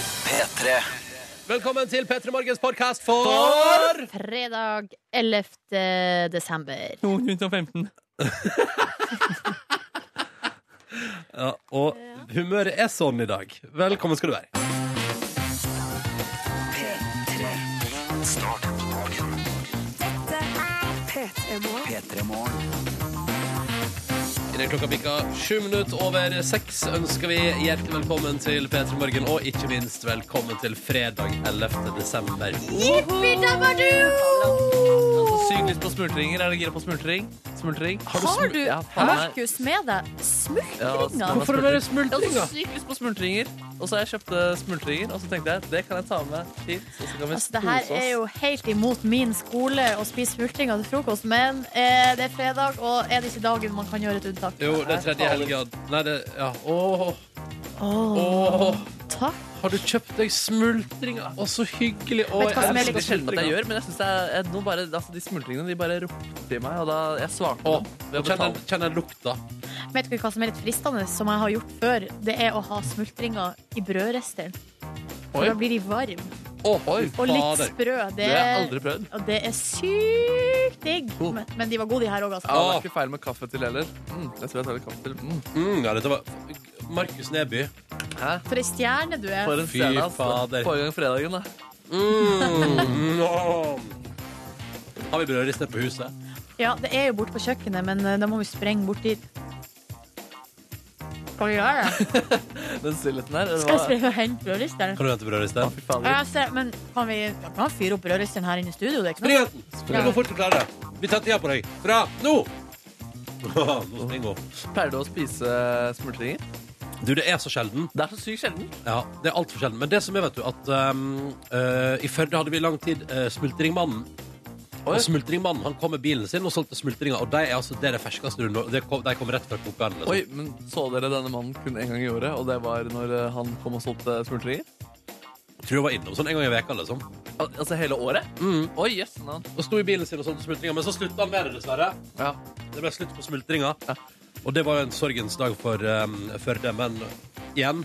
P3. Velkommen til P3 Morgens podkast for Fredag 11. desember. 215. ja, Og humøret er sånn i dag. Velkommen skal du være. P3 Morgen. Innen klokka bikker sju minutter over seks ønsker vi hjertelig velkommen til P3 Morgen, og ikke minst velkommen til fredag 11. desember. Syk lyst på smultringer. Er det gira på smultring? Smultring? Har du, Ja, faen, nei. Markus, med deg Ja, smultringer? smultring. det Jeg være hadde så smultringer? sykt lyst på smultringer, og så jeg kjøpte smultringer. Og så tenkte jeg det kan jeg ta med hit. Og så kan vi Altså, det her kose oss. er jo helt imot min skole å spise smultringer til frokost, men eh, det er fredag, og er det ikke dagen man kan gjøre et unntak? Jo, det er tredje helga. Nei, det Ja. Åh, Åh, åh. takk. Har du kjøpt deg smultringer? Å, så hyggelig. Å, Vet du hva som er jeg like Det er sjelden elsker at jeg smultringer. gjør, men jeg synes det er, jeg, nå bare, altså, de smultringene de bare ropte i meg, og da jeg svarte Å, dem ved å nå kjenner betale. jeg- kjenner jeg lukta. Vet du hva som er litt fristende, som jeg har gjort før? Det er å ha smultringer i brødristeren. For Oi. da blir de varme. Å, Oi, fy Og litt fader. sprø. Det, Det har jeg aldri prøvd. og det er sykt digg. Oh. Men, men de var gode, de her òg, altså. Ja, det er ikke feil med kaffe til heller. Mm, jeg tror jeg tar litt kaffe til. Mm. Mm, ja, dette var Markus Neby. Hæ? For ei stjerne du er. For en Fy stjerne, altså. fader. Forrige gang fredagen, da. Mm, nom. Har vi brødriste på huset? Ja, det er jo borte på kjøkkenet, men eh, da må vi sprenge bort dit. Skal vi gjøre det? Den stillheten her. det Skal jeg var- sprenge og hente brødristeren? Kan du hente brødriste? Å, fy fader. Ja, se, men kan vi kan vi fyre opp brødristeren her inne i studio? Det er ikke Spring noe. henten! Du må fort klare det. Vi tar tida på deg. Fra nå! Nå springer hun. Pleier du å spise eh, smultringer? Du, det er så sjelden. Det er så sykt sjelden. Ja, det er altfor sjelden. Men det som er, vet du, at um, øh, i Førde hadde vi i lang tid øh, Smultringmannen. Oi. Og Smultringmannen han kom med bilen sin og solgte smultringer. Og de er altså, det er det ferskeste du når- det kom- De kom rett fra kokeren. Liksom. Oi, men Så dere denne mannen kun én gang i året, og det var når eh, han kom og solgte smultringer? Tror jeg var innom sånn en gang i veka liksom. Al altså hele året? Mm. Oi, jøss. navn. Og sto i bilen sin og solgte smultringer. Men så slutta han med det, dessverre. ja. Det ble slutt på smultringa. Ja. Og det var jo en sorgens dag for um, Førde, men igjen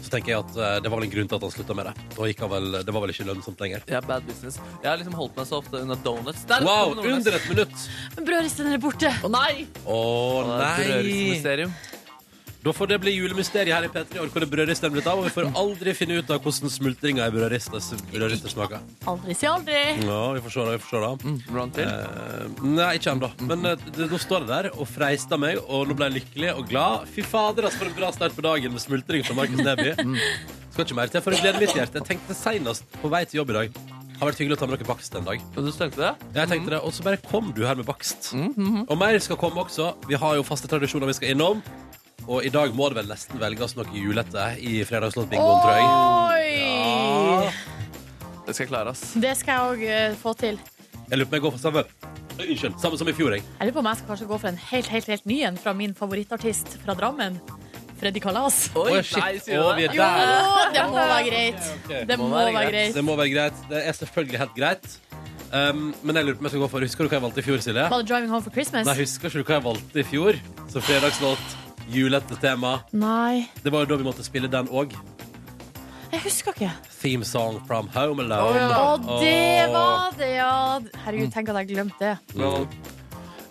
så tenker jeg at eh, det var vel en grunn til at han slutta med det. Og gikk han vel, det var vel ikke lønnsomt lenger. Jeg er bad business. Jeg har liksom holdt meg så ofte unna donuts. Der Wow, kom donuts. under et minutt! Men brødristeren er borte! Å nei! Å nei! Nei! Da får det bli julemysteriet her i P3 i år, hvor det brødristeren blitt av. Og vi får aldri finne ut av hvordan smultringa i brødrister brødrister smaker. Aldri si aldri. Ja, vi får se da. vi får se da. Mm, hvordan til? Eh, nei, ikke ennå. Men eh, det, nå står det der og freister meg, og nå ble jeg lykkelig og glad. Fy fader, altså, for en bra start på dagen med smultring fra Markus Neby. Skal ikke mer til for å glede mitt hjerte. Jeg tenkte senest på vei til jobb i dag. Har vært hyggelig å ta med dere bakst en dag. Men du stengte det? Jeg tenkte det, Og så bare kom du her med bakst. Og mer skal komme også. Vi har jo faste tradisjoner vi skal innom. Og i dag må det vel nesten velges noe julete i fredagslåtbingoen, tror jeg. Oi! Det skal jeg klare, ass. Det skal jeg òg få til. Jeg lurer på om jeg går for samme Oi, Unnskyld, samme som i fjor, jeg. Jeg lurer på om jeg skal kanskje gå for en helt, helt, helt ny en fra min favorittartist fra Drammen. Freddy Kalas. Oi, Å, shit. nei, sier Å, du vi det? er Jo, der, ja. det må være greit. Det må være greit. Det må være greit. Det er selvfølgelig helt greit. Um, men jeg lurer på om jeg skal gå for Husker du hva jeg valgte i fjor, Silje? Var det 'Driving Home for Christmas'? Nei, husker ikke du hva jeg valgte i fjor? Så fredagslåt, julete tema. Nei. Det var jo da vi måtte spille den òg. Jeg husker ikke. Theme song from Home Å, Alone. det Åh. var det, ja! Herregud, tenk at jeg glemte det. Mm.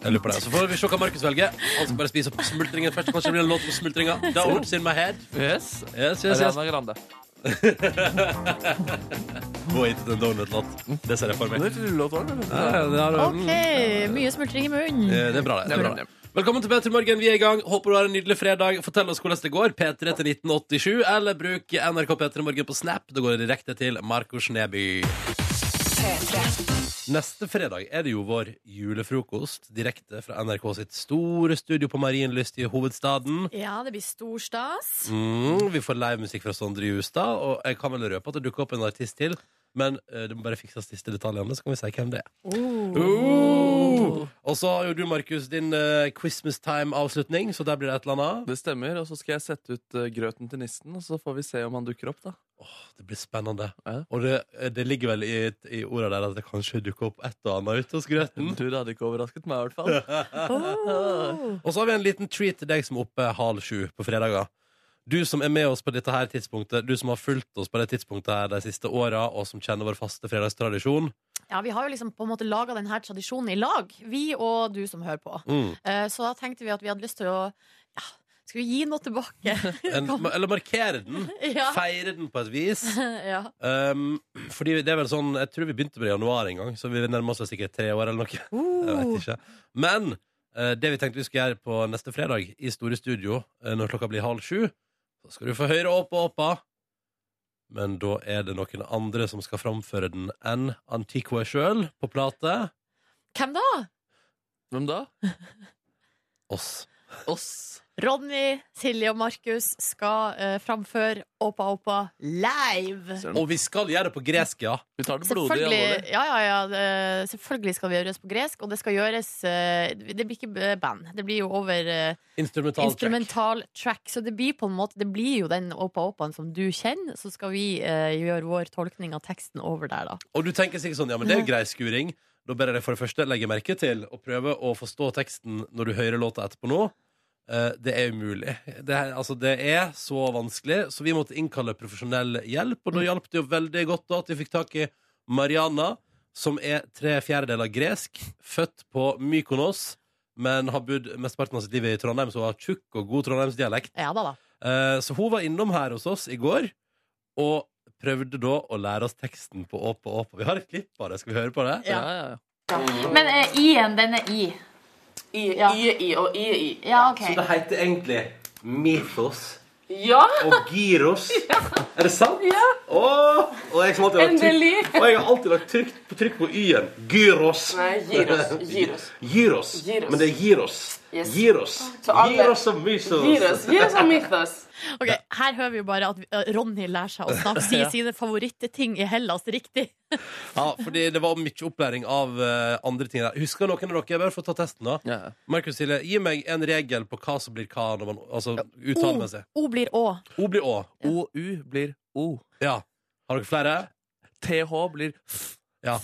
Jeg lurer på det. Så får vi se hva Markus velger. Han skal bare spise opp smultringen først. Kanskje det blir en låt om smultringa. Donuts in my head. Yes. Yes, yes, yes. Ariana Grande. Gå hit til en donutlåt. Det ser jeg for meg. Det er rullelåt også, eller? Ja, det har du- OK, mye smultring i munnen. Eh, Det er bra, det. det er Nemlig. bra. Velkommen til P3 Morgen, vi er i gang. Håper du har en nydelig fredag. Fortell oss hvordan det går. P3 til 1987, eller bruk NRK P3 Morgen på Snap. Da går det direkte til Markus Neby. Neste fredag er det jo vår julefrokost direkte fra NRK sitt store studio på Marienlyst i hovedstaden. Ja, det blir stor stas. Mm, vi får livemusikk fra Sondre Justad, og jeg kan vel røpe at det dukker opp en artist til. Men eh, det må bare fikses siste detaljene, så kan vi si hvem det er. Mm. Oh. Og så har jo du, Markus, din eh, Christmas time-avslutning, så der blir det et eller annet. Det stemmer. Og så skal jeg sette ut eh, grøten til nissen, og så får vi se om han dukker opp, da. Det blir spennende. Ja. Og det, eh, det ligger vel i, i orda der at det kanskje dukker opp et og annet ute hos grøten. Du, det hadde ikke overrasket meg, i hvert fall. Oh. Mm. Og så har vi en liten treat til deg som er oppe halv sju på fredager. Du som er med oss på dette her tidspunktet, du som har fulgt oss på det tidspunktet her de siste åra, og som kjenner vår faste fredagstradisjon. Ja, Vi har jo liksom på en måte laga denne tradisjonen i lag, vi og du som hører på. Mm. Eh, Så da tenkte vi at vi hadde lyst til å ja, Skal vi gi noe tilbake? En, eller markere den. ja. Feire den på et vis. ja. Um, fordi det er vel sånn Jeg tror vi begynte med det i januar en gang, så vi nærmer oss vel sikkert tre år eller noe. Jeg Uh. vet ikke. Men eh, det vi tenkte vi skulle gjøre på neste fredag, i Store Studio, eh, når klokka blir halv sju, så skal du få høre Åpa Åpa. Men da er det noen andre som skal framføre den enn Antiqua sjøl, på plate. Hvem da? Hvem da? Oss. Oss. Ronny, Silje og Markus skal eh, framføre Åpa Åpa live. Søren. Og vi skal gjøre det på gresk, ja. Vi tar det blodig Selvfølgelig, alvorlig. ja, ja, ja, det- selvfølgelig skal vi gjøres på gresk, og det skal gjøres eh, Det blir ikke eh, band. Det blir jo over eh, Instrumental track. instrumental track. Så det blir på en måte Det blir jo den Åpa Åpaen som du kjenner, så skal vi eh, gjøre vår tolkning av teksten over der, da. Og du tenker sikkert sånn, ja, men det er jo grei skuring. Da ber jeg deg for det første legge merke til og prøve å forstå teksten når du hører låta etterpå nå. Eh, det er umulig. Det er, altså, det er så vanskelig, så vi måtte innkalle profesjonell hjelp. Og da hjalp det jo veldig godt da at vi fikk tak i Mariana, som er tre fjerdedeler gresk, født på Mykonos, men har bodd mesteparten av sitt liv i Trondheim, så hun har tjukk og god trondheimsdialekt. Ja da, da. Eh, Så hun var innom her hos oss i går og prøvde da å lære oss teksten på Åpa Åpa. Vi har et klipp av det. Skal vi høre på det? Ja, ja, ja. Men eh, i-en, den er i. I, Ja. i, i og i, i. Ja, OK. Det heter egentlig Mythos Ja, og Gyros. Er det sant? Ja. Åh, og jeg som alltid har lagt trykk- endelig. og jeg har alltid lagt trykk på, trykk på Y-en. Gyros. Nei, gyros, gyros. Gyros. Gyros. Men det er gyros. Yes. Gyros. Så alle- Gyros og mysos. Gyros. Gyros og mythos. Ok, Her hører vi jo bare at eh, Ronny lærer seg å snakke, si sine favorittting i Hellas riktig. Ja, fordi det var mye opplæring av eh, andre ting der. Husker noen av dere? Jeg bare får ta testen, da. ja. ja. Markus Silje, gi meg en regel på hva som blir hva når man altså, uttaler med seg. O blir Å. O blir Å. OU blir O. Ja. Har dere flere? TH blir F. Ja.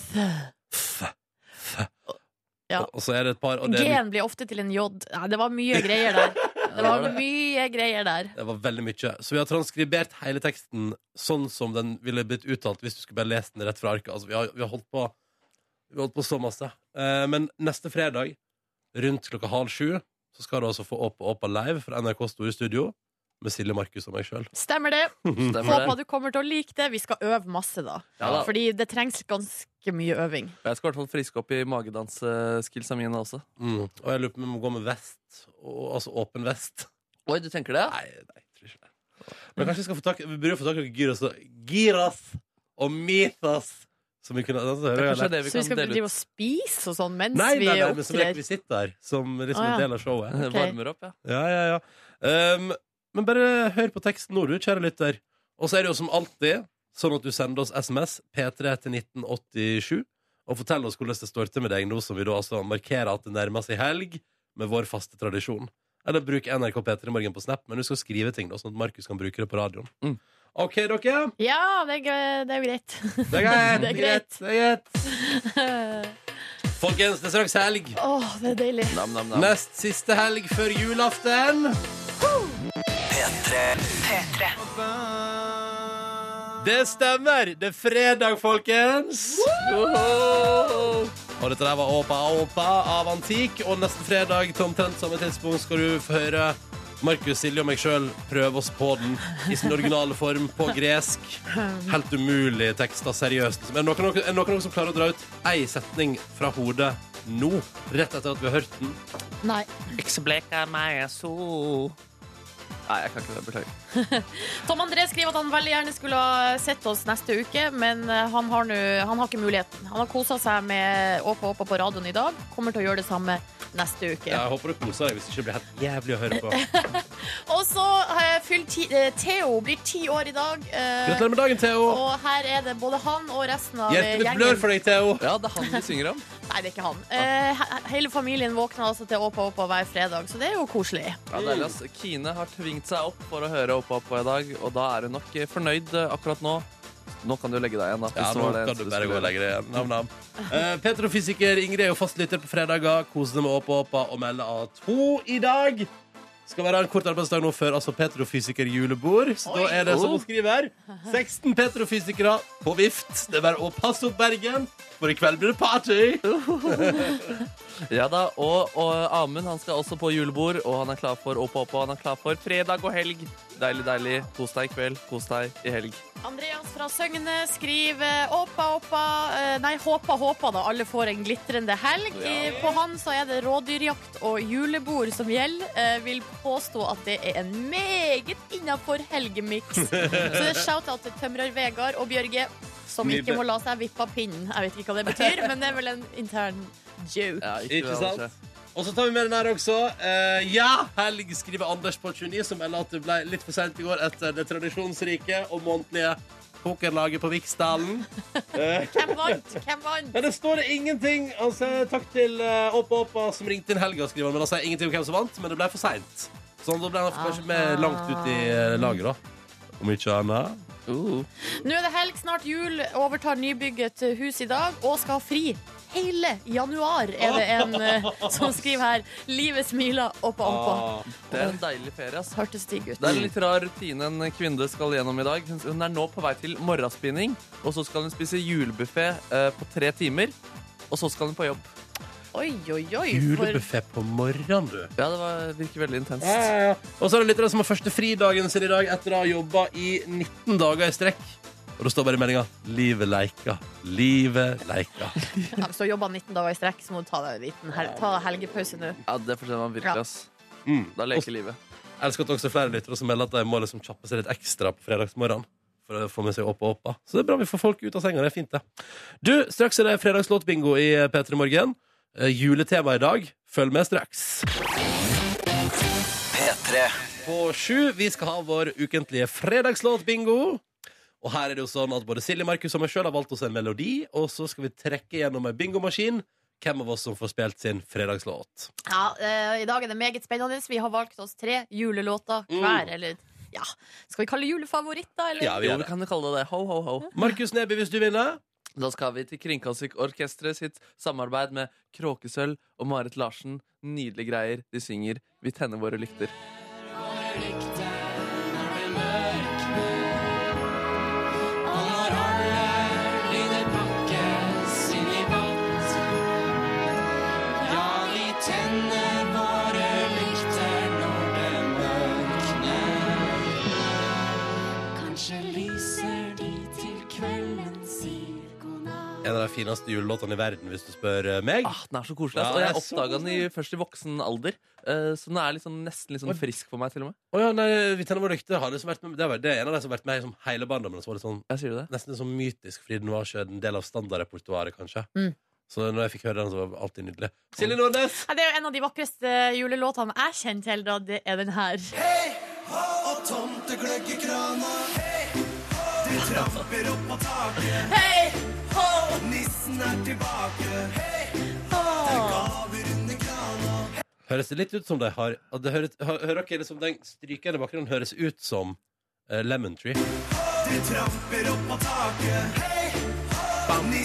Ja. Og, og så er det et par, og det, er, G-en blir ofte til en J. Nei, det var mye greier der. Det var mye greier der. det var veldig mye. Så vi har transkribert hele teksten sånn som den ville blitt uttalt hvis du skulle bare lest den rett fra arket. Altså, vi, har, vi har holdt på Vi har holdt på så masse. Eh, men neste fredag rundt klokka halv sju så skal du altså få Åpa Åpa live fra NRK Store Studio med Silje, Markus og meg sjøl. Stemmer det. Stemmer Håper det? du kommer til å like det. Vi skal øve masse, da. Ja, da. Fordi det trengs ganske mye øving. Jeg skal i hvert fall friske opp i magedansskillsa mine også. Mm. Og jeg lurer på om jeg må gå med vest. Og, altså åpen vest. Oi, du tenker det? Nei, nei, jeg tror ikke det. Men kanskje vi skal få tak Vi burde få tak i noen gyros og Gyros og mythos Som vi kunne altså, Det hører er jeg kanskje der. det vi Så vi kan skal dele drive og ut. spise og sånn mens Nei, nei, nei, vi men som opptrer. rekvisitt der. Som liksom Å, ja. en del av showet. Ok. Varmer opp, ja. Ja, ja, ja um, Men bare hør på teksten nå, du, kjære lytter. Og så er det jo som alltid sånn at du sender oss SMS P3 til 1987 og forteller oss hvordan det står til med deg nå som vi da altså markerer at det nærmer seg helg med vår faste tradisjon. Eller bruk NRK P3 Morgen på Snap, men du skal skrive ting, da, sånn at Markus kan bruke det på radioen. Mm. OK, dere. Ja, det er, gøy- det er jo greit. Det er greit. Det er greit. Det er greit. Folkens, det er straks helg. Åh, det er deilig. Nam, nam, nam. Nest siste helg før julaften. Det stemmer! Det er fredag, folkens. Woho! Og dette der var Åpa Åpa av Antik. Og neste fredag til omtrent samme tidspunkt skal du få høre Markus, Silje og meg sjøl prøve oss på den i sin originale form på gresk. Helt umulige tekster, seriøst. Men er det noen, er det noen som klarer å dra ut ei setning fra hodet nå, rett etter at vi har hørt den? Nei. Eksbleka meg så Nei, jeg kan ikke det. Beklager. Tom André skriver at han veldig gjerne skulle ha sett oss neste uke, men eh, han har, nå, han har ikke muligheten. Han har kosa seg med Åpa Åpa på radioen i dag. Kommer til å gjøre det samme neste uke. Jeg håper du koser deg hvis det ikke blir helt jævlig å høre på. Og så eh, fyller ti, eh, Theo blir ti år i dag. eh, Gratulerer med dagen, Theo. og her er det både han og resten av eh, Hjertelig gjengen. blør for deg, Theo. Ja, det er han vi synger om. Nei, det er ikke han. Eh, he- hele familien våkner altså til Åpa Åpa hver fredag, så det er jo koselig. Ja, deilig, ass. Kine har tvingt seg opp for å høre Oppa Oppa i dag, og da er hun nok eh, fornøyd eh, akkurat nå. Nå kan du legge deg igjen. Da, Ja, hvis det nå var det kan eneste du bare skulle gå og gjøre. legge deg igjen. Nam, nam. Eh, Peter og fysiker Ingrid er jo fastlytter på fredager. Koser seg med Åpa Åpa og melder at hun i dag skal bare ha en kort arbeidsdag nå før altså petrofysikerjulebord. Så da er det Oh. som hun skriver. 16 petrofysikere på vift. Det er bare å passe opp Bergen, for i kveld blir det party! Ja da, og, og Amund han skal også på julebord, og han er klar for Åpa Åpa. Han er klar for fredag og helg. Deilig, deilig. Kos deg i kveld, kos deg i helg. Andreas fra Søgne skriver Åpa, åpa eh, Nei, håpa, håpa da Alle får en glittrende helg Eh, På han så er det rådyrjakt og julebord som gjelder Eh, Vil påstå at det er en meget innenfor helgemiks Så det er shoutout til Tømrer Vegard og Bjørge Som ikke må la seg vippe av pinnen Jeg vet ikke hva det betyr Men det er vel en intern joke Ja, Ikke vær sant? det. Og så tar vi med den her også. Eh, ja, helg, skriver Anders på 29, som melder at det ble litt for sent i går etter det tradisjonsrike og månedlige pokerlaget på Viksdalen. Hvem vant? Hvem vant? Men det står det ingenting. Altså, takk til eh, Åpa Åpa som ringte inn helga, skriver han. Men han sier ingenting om hvem som vant, men det ble for seint. Sånn, da ble han kanskje med langt ut i eh, laget, da. Om ikke annet. Uh. Nå er det helg, snart jul. Overtar nybygget hus i dag og skal ha fri. Hele januar er det en eh, som skriver her. Livet smiler oppa Ah. ompa. Det er en deilig ferie, ass. Hørtes digg ut. Det er en litt rar rutine en kvinne skal gjennom i dag. Hun- Hun er nå på vei til morgenspinning, og så skal hun spise julebuffé eh, på tre timer. Og så skal hun på jobb. Oi, oi, oi. For Julebuffé på morgenen, du. Ja, det var, virker veldig intenst. Ja, ja, ja. Eh, Og så er det litt av det som har første fridagen sin i dag etter å ha jobba i 19 dager i strekk. Og det står bare i meldinga 'Livet leika'. Livet leika. ja, hvis du har jobba 19 dager i strekk, så må du ta deg en liten hel ta deg helgepause nå. Ja, Det fortjener man virkelig, Ja. ass. Mm, Da leker livet. Jeg elsker at også flere lyttere som melder at de må liksom kjappe seg litt ekstra på fredagsmorgenen. For å få med seg opp og opp. da. Så det er bra vi får folk ut av senga. Det er fint, det. Du, straks er det fredagslåtbingo i P3 Morgen. Eh, Juletema i dag. Følg med straks. P3. på sju. Vi skal ha vår ukentlige fredagslåt-bingo. Og her er det jo sånn at både Silje, Markus og meg sjøl har valgt oss en melodi, og så skal vi trekke gjennom ei bingomaskin hvem av oss som får spilt sin fredagslåt. Ja, eh, I dag er det meget spennende. Vi har valgt oss tre julelåter hver. Eller ja, skal vi kalle det julefavoritter, eller? Mm. Ja, vi Jo, gjør vi det. kan jo kalle det det. Ho, ho, ho. Markus Neby, hvis du vinner. Da skal vi til Kringkastingorkestret sitt samarbeid med Kråkesølv og Marit Larsen. Nydelige greier. De synger 'Vi tenner våre lykter'. En av de fineste julelåtene i verden, hvis du spør eh, meg. Ah, den er så koselig. ass. Og jeg Ja, den er så oppdaga den koselig. i, først i voksen alder, Eh, så den er liksom, nesten litt sånn frisk for meg, til og med. Å ja, nei, vi tenner vår lykte. Har liksom vært med, det, er, det er en av de som har vært med i liksom, hele barndommen. og Så var det sånn, Jeg sier det. nesten sånn mytisk, fordi den var ikke en del av standardrepertoaret, kanskje. Mm. Så når jeg fikk høre den, så var det alltid nydelig. Silje Nordnes! Nei, det er jo en av de vakreste julelåtene jeg kjenner til, da. Det er den her. Hei, hå, og tomtegløggekrana. Høres det litt ut som de har at det høres, hø- Hører dere liksom den strykende bakgrunnen høres ut som eh, Lemon Tree? Jeg er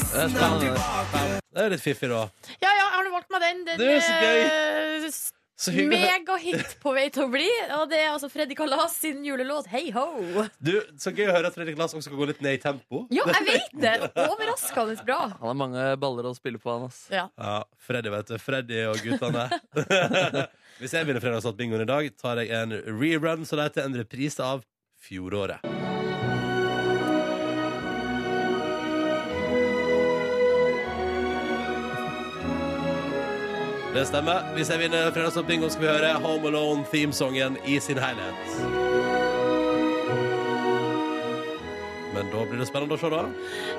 spent. Det er litt fiffig, da. Hei, hå! Nissen er tilbake. Hei, hå! Ja, ja, jeg har nå valgt meg den. Den Det er så er eh, s- Så hyggelig. megahit på vei til å bli. Og det er altså Freddy Kalas sin julelåt Hei ho. Du, så gøy å høre at Fredrik Lass også kan gå litt ned i tempo. Ja, jeg vet det! Overraskende bra. Han har mange baller å spille på, han, ass. Ja. Ja, Freddy, vet du. Freddy og guttene. Hvis jeg vinner Fredagsnatt-bingoen i dag, tar jeg en rerun, så det heter en reprise av fjoråret. Det stemmer. Hvis jeg vinner Fredagsnatt-bingoen, skal vi høre Home Alone-themesongen i sin helhet. Men da blir det spennende å se, da.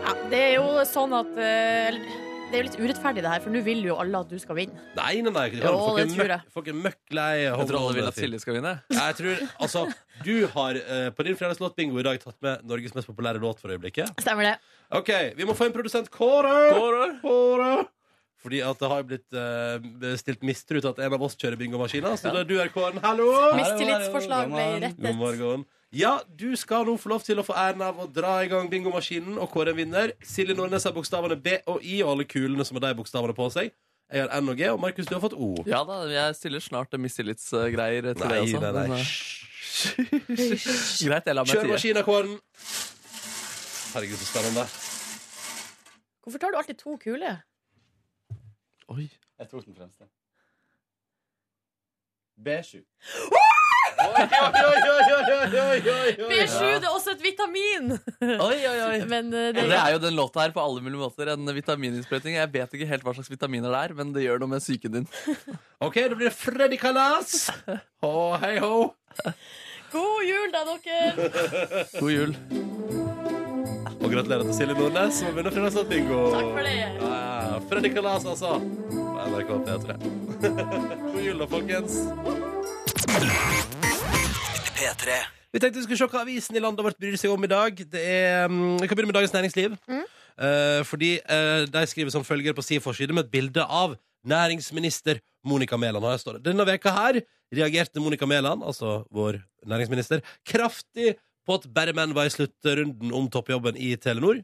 ja. Det er jo sånn at eh, eller, Det er jo litt urettferdig, det her, for nå vil jo alle at du skal vinne. Nei, nei, nei. du Jo, kan- Folk er det tror jeg. møkk- folk er møkk lei Home Jeg tror alle vil at Alone-theme. Silje skal vinne. Jeg tror, altså, Du har eh, på din fredagslåtbingo i dag tatt med Norges mest populære låt for øyeblikket. Stemmer det. Ok, Vi må få en produsent, Kåre! Kåre! Fordi at det har blitt eh, stilt mistro til at en av oss kjører bingomaskina. Så da er du er Kåren. Hallo! Mistillitsforslag ble God rettet. morgen. Ja, du skal nå få lov til å få æren av å dra i gang bingomaskinen og kåre en vinner. Silje Nordnes har bokstavene B og I og alle kulene som har de bokstavene på seg. Jeg har N og G, og Markus, du har fått O. Ja da, jeg stiller snart mistillitsgreier til Nei, det også. nei, nei. men, eh, Hysj. Greit, jeg lar meg Kjør tie. maskinakorden! Herregud, så spennende. Hvorfor tar du alltid to kuler? Oi. Jeg tok den fremste. B7. B7 det er også et vitamin! Oi, oi, oi. Men eh, det, Og det er jo den låta her på alle mulige måter. En vitamininnsprøytning. Jeg vet ikke helt hva slags vitaminer det er, men det gjør noe med psyken din. OK, da blir det Freddy Kalas. Hå, hei, ho. God jul, da, dere! God jul. Og gratulerer til Silje Nordnes, som har vunnet Fredagsnatt bingo. Takk for det. Ja, Freddy Kalas, altså. På NRK P3. God jul, da, folkens. P3. Vi tenkte vi skulle se hva avisen i landet vårt bryr seg om i dag. Det er, mm, vi kan begynne med Dagens Næringsliv. Mm. Eh, fordi eh, de skriver som følger på sin forside med et bilde av næringsminister Monica Mæland. Og Her står det. Denne veka her reagerte Monica Mæland, altså vår næringsminister, kraftig på at bare menn var i sluttrunden om toppjobben i Telenor.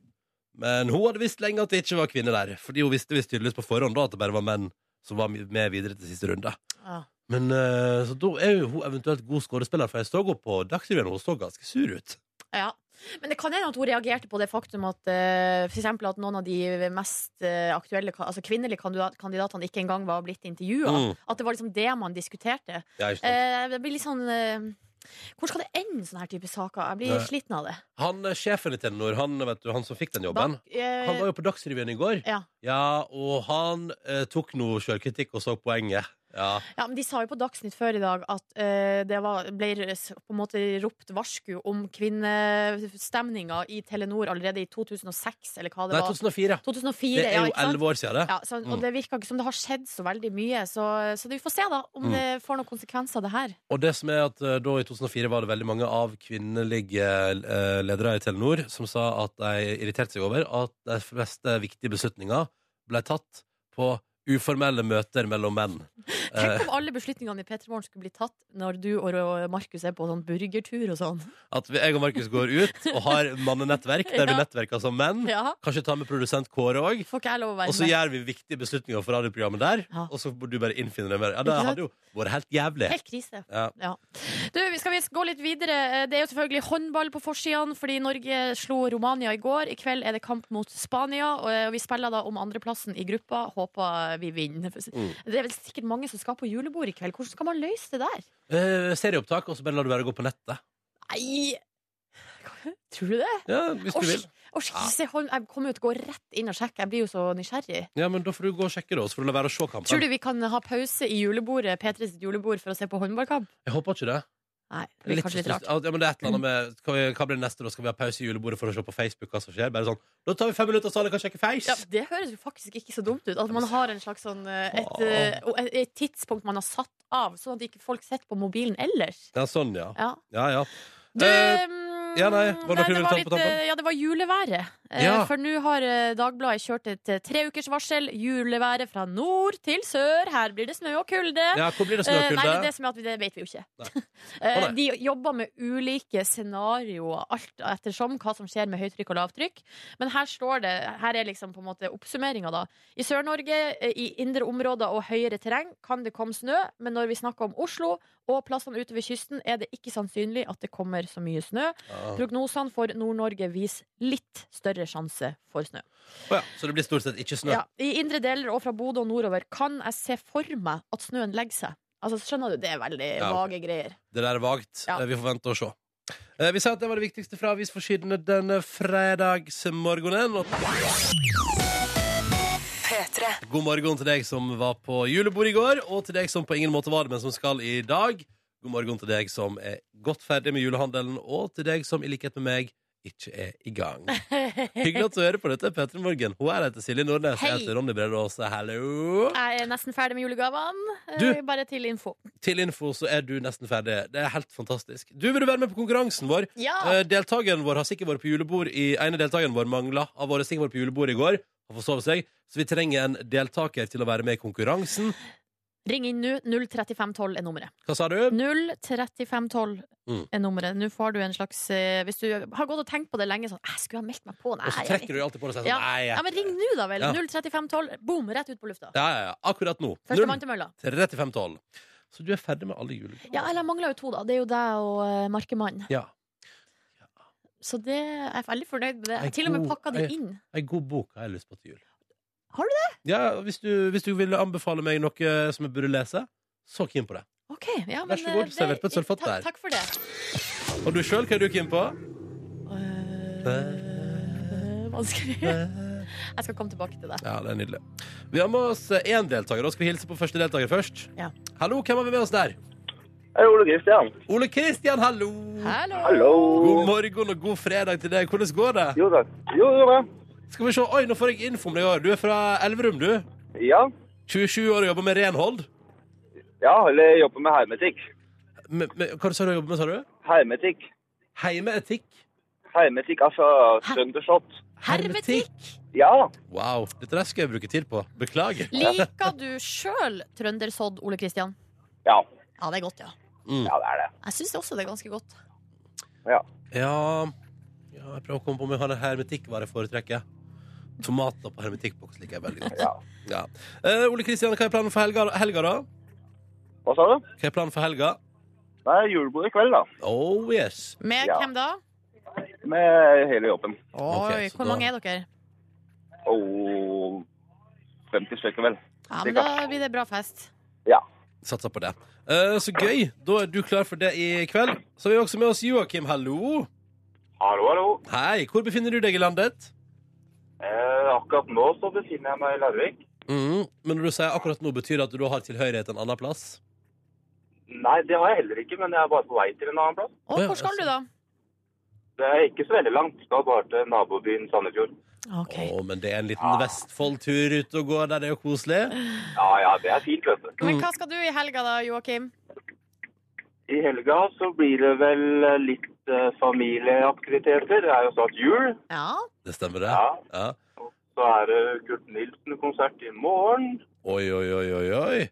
Men hun hadde visst lenge at det ikke var kvinner der. Fordi hun visste visst tydeligvis på forhånd da at det bare var menn som var med videre til siste runde. Ja. Men eh, så da er jo hun eventuelt god skuespiller, for jeg så henne på Dagsrevyen, og hun så ganske sur ut. Ja. Men det kan hende at hun reagerte på det faktum at eh, for eksempel at noen av de mest eh, aktuelle ka- altså kvinnelige kandidat, kandidatene ikke engang var blitt intervjua. Mm. At det var liksom det man diskuterte. Ja, ikke sant? Eh, det blir litt sånn eh, Hvor skal det ende, sånne her type saker? Jeg blir Nei. sliten av det. Han eh, sjefen i Telenor, han, vet du, han som fikk den jobben, Bak- eh, han var jo på Dagsrevyen i går. ja. Ja, og han eh, tok noe sjølkritikk og så poenget. Ja. eh, Ja, men De sa jo på Dagsnytt før i dag at eh, det var, ble s- på en måte ropt varsku om kvinnestemninga i Telenor allerede i 2006, eller hva det Nei, var. 2004. 2004, Det er ja, jo ikke sant? elleve år siden, det. Ja, så, og det virker ikke som det har skjedd så veldig mye, så, så vi får se da Mm. om det får noen konsekvenser av det her. Og det som er at eh, da i 2004 var det veldig mange av kvinnelige eh, ledere i Telenor som sa at de irriterte seg over at de fleste viktige beslutninger ble tatt på uformelle møter mellom menn. Eh, Tenk om alle beslutningene i P3 Morgen skulle bli tatt når du og og Markus er på sånn burgertur og sånn. at vi- jeg og Markus går ut og har mannenettverk der vi Ja. nettverker som menn. Ja, Kanskje ta med produsent Kåre òg. Får ikke jeg lov å Mm. Og være så med? gjør vi viktige beslutninger for radioprogrammet der. Ja. Og så må du bare innfinne deg med det. Ja, Ikke det sant? hadde jo vært helt jævlig. Helt krise. Ja. Du, vi skal vi gå litt videre. Eh, Det er jo selvfølgelig håndball på forsidene, fordi Norge slo Romania i går. I kveld er det kamp mot Spania, og eh, vi spiller da om andreplassen i gruppa. Håper vi vinner. Mm. Det er vel sikkert mange som skal på julebord i kveld. Hvordan skal man løse det der? Eh, serieopptak, og så bare lar du være å gå på nettet. Nei! Tror du det? Ja, hvis du Åh, vil. Åh, skal jeg se hånd- Jeg kommer jo til å gå rett inn og sjekke. Jeg blir jo så nysgjerrig. Ja, men Da får du gå og sjekke, da. Så får du la være å se kampen. Tror du vi kan ha pause i julebordet, P3 sitt julebord, for å se på håndballkamp? Jeg håper ikke det. Nei, det blir kanskje litt rart. Ja, men det er et eller annet med Hva, hva blir det neste, da? Skal vi ha pause i julebordet for å se på Facebook hva som skjer? Bare sånn Da tar vi fem minutter, så alle kan sjekke face! Ja, det høres jo faktisk ikke så dumt ut. At man har en slags sånn eh, et, eh, og et, et tidspunkt man har satt av, sånn at ikke folk sitter på mobilen ellers. Ja, sånn, ja. Ja. Ja, ja. Du, Eh, mm, ja, nei, var det noe du ville ta på litt, eh, tampen? Ja, det var juleværet. Eh, Ja. For nå har eh, Dagbladet kjørt et eh, tre ukers varsel. Juleværet fra nord til sør. Her blir det snø og kulde. ja hvor blir det Eh, Nei, men snøkulde? det som er at vi- det vet vi jo ikke. Nei. Eh, Å, nei. De jobber med ulike scenarioer, alt ettersom hva som skjer med høytrykk og lavtrykk. Men her står det, her er liksom på en måte oppsummeringa, da. I Sør-Norge, eh, i indre områder og høyere terreng kan det komme snø, men når vi snakker om Oslo og plassene utover kysten, er det ikke sannsynlig at det kommer så mye snø. Ja. Prognosene for Nord-Norge viser litt større sjanse for snø. Å ja. Så det blir stort sett ikke snø? Ja, I indre deler og fra Bodø og nordover kan jeg se for meg at snøen legger seg. Altså, skjønner du, Det er veldig Ja, ok. vage greier. Det der er vagt. Ja. Eh, Vi får vente og se. Eh, Vi sier at det var det viktigste fra avisforsidene denne fredagsmorgenen. Og God morgen til deg som var på julebord i går, og til deg som på ingen måte var det, men som skal i dag. God morgen til deg som er godt ferdig med julehandelen, og til deg som i likhet med meg ikke er i gang. Hyggelig at du hører på dette, Petter Morgen. Hun er heter Silje Nordnes. Hei. Jeg heter Ronny Brede Aase. Hallo. Jeg er nesten ferdig med julegavene. Eh, Du- Bare til info. Til info så er du nesten ferdig. Det er helt fantastisk. Du vil du være med på konkurransen vår. Ja! Eh, Deltakeren vår har sikkert vært på julebord i, ene deltakeren vår manglet Har vært sikkert vært på julebord i går og forsovet seg, så vi trenger en deltaker til å være med i konkurransen. Ring inn nå. 03512 er nummeret. Hva sa du? 03512 Mm. er nummeret. Nå får du en slags eh, Hvis du har gått og tenkt på det lenge sånn Jeg skulle ha meldt meg på. Nei, Og så jeg vet trekker du alltid på det og sier Ja. sånn Nei. Ja, jeg- men ring nå, da vel. Ja. 03512. Boom, rett ut på lufta. Ja, ja, ja. Akkurat nå. Førstemann til mølla. 3512. Så du er ferdig med alle julegaver? Ja, eller jeg mangler jo to, da. Det er jo deg og eh, Markemannen. Ja. Så det, jeg er veldig fornøyd med det. Ei Jeg har til og med god- pakka det ei- inn. Ei god bok har jeg lyst på til jul. Har du det? Ja, Hvis du, hvis du ville anbefale meg noe som jeg burde lese, så keen på det. Ok, ja, men Vær så god, eh, det- servert på et sølvfat takk- der. Takk for det. Og du sjøl, hva er du keen på? Eh, Vanskelig. Jeg skal komme tilbake til det. Ja, det er nydelig. Vi har med oss én deltaker. Da skal vi hilse på første deltaker først. Ja. Hallo, hvem har vi med oss der? Hei, Ole Kristian. Ole Kristian, hallo! Hallo! God Hallo. morgen og god fredag til deg. Hvordan går det? Jo da. Jo, jo da. Skal vi se. Oi, nå får jeg info om deg i år. Du er fra Elverum, du. Ja. 27 år og jobber med renhold. Ja, eller jobber med hermetikk. Med, med, hva sa du jobber med, sa du? Hermetikk. Heimeetikk? Hermetikk, altså søndershot. Hermetikk! Ja. Wow. Dette der skal jeg bruke tid på. Beklager. Liker du sjøl trøndersodd, Ole Kristian? Ja. Ja, det er godt, ja. Ja, det er det. Jeg syns også det er ganske godt. Ja, ja Jeg prøver å komme på om jeg har en hermetikk hva jeg foretrekker. Tomater på hermetikkboks liker jeg veldig godt. Ja. Ja. Eh, Ole Kristian, hva er planen for helga, helga, da? Hva sa du? Hva er planen for helga? Det er julebord i kveld, da. Oh yes. Med Ja. hvem da? Med hele jobben. Oi, Ok, så hvor da- mange er dere? Og 50 stykker, vel. Ja, men Da blir det bra fest. Satser på det. Eh, så gøy. Da er du klar for det i kveld. Så har vi også med oss Joakim. Hallo. Hallo, hallo. Hei. Hvor befinner du deg i landet? Eh, akkurat nå så befinner jeg meg i Larvik. Mm. Men når du sier akkurat nå, betyr det at du da har tilhørighet en annen plass? Nei, det har jeg heller ikke, men jeg er bare på vei til en annen plass. Og Å, ja, hvor skal du, da? Det er ikke så veldig langt. Skal bare til nabobyen Sandefjord. OK. Å, men det er en Ah. liten Vestfold-tur ute og går der. Det er jo koselig. Ja, ja, det er fint, vet du. Men hva skal du i helga, da, Joakim? I helga så blir det vel litt eh, familieaktiviteter. Det er jo snart jul. Ja. Det stemmer, det. Ja. Ja. Så er det Kurt Nilsen-konsert i morgen. Oi, oi, oi, oi, oi.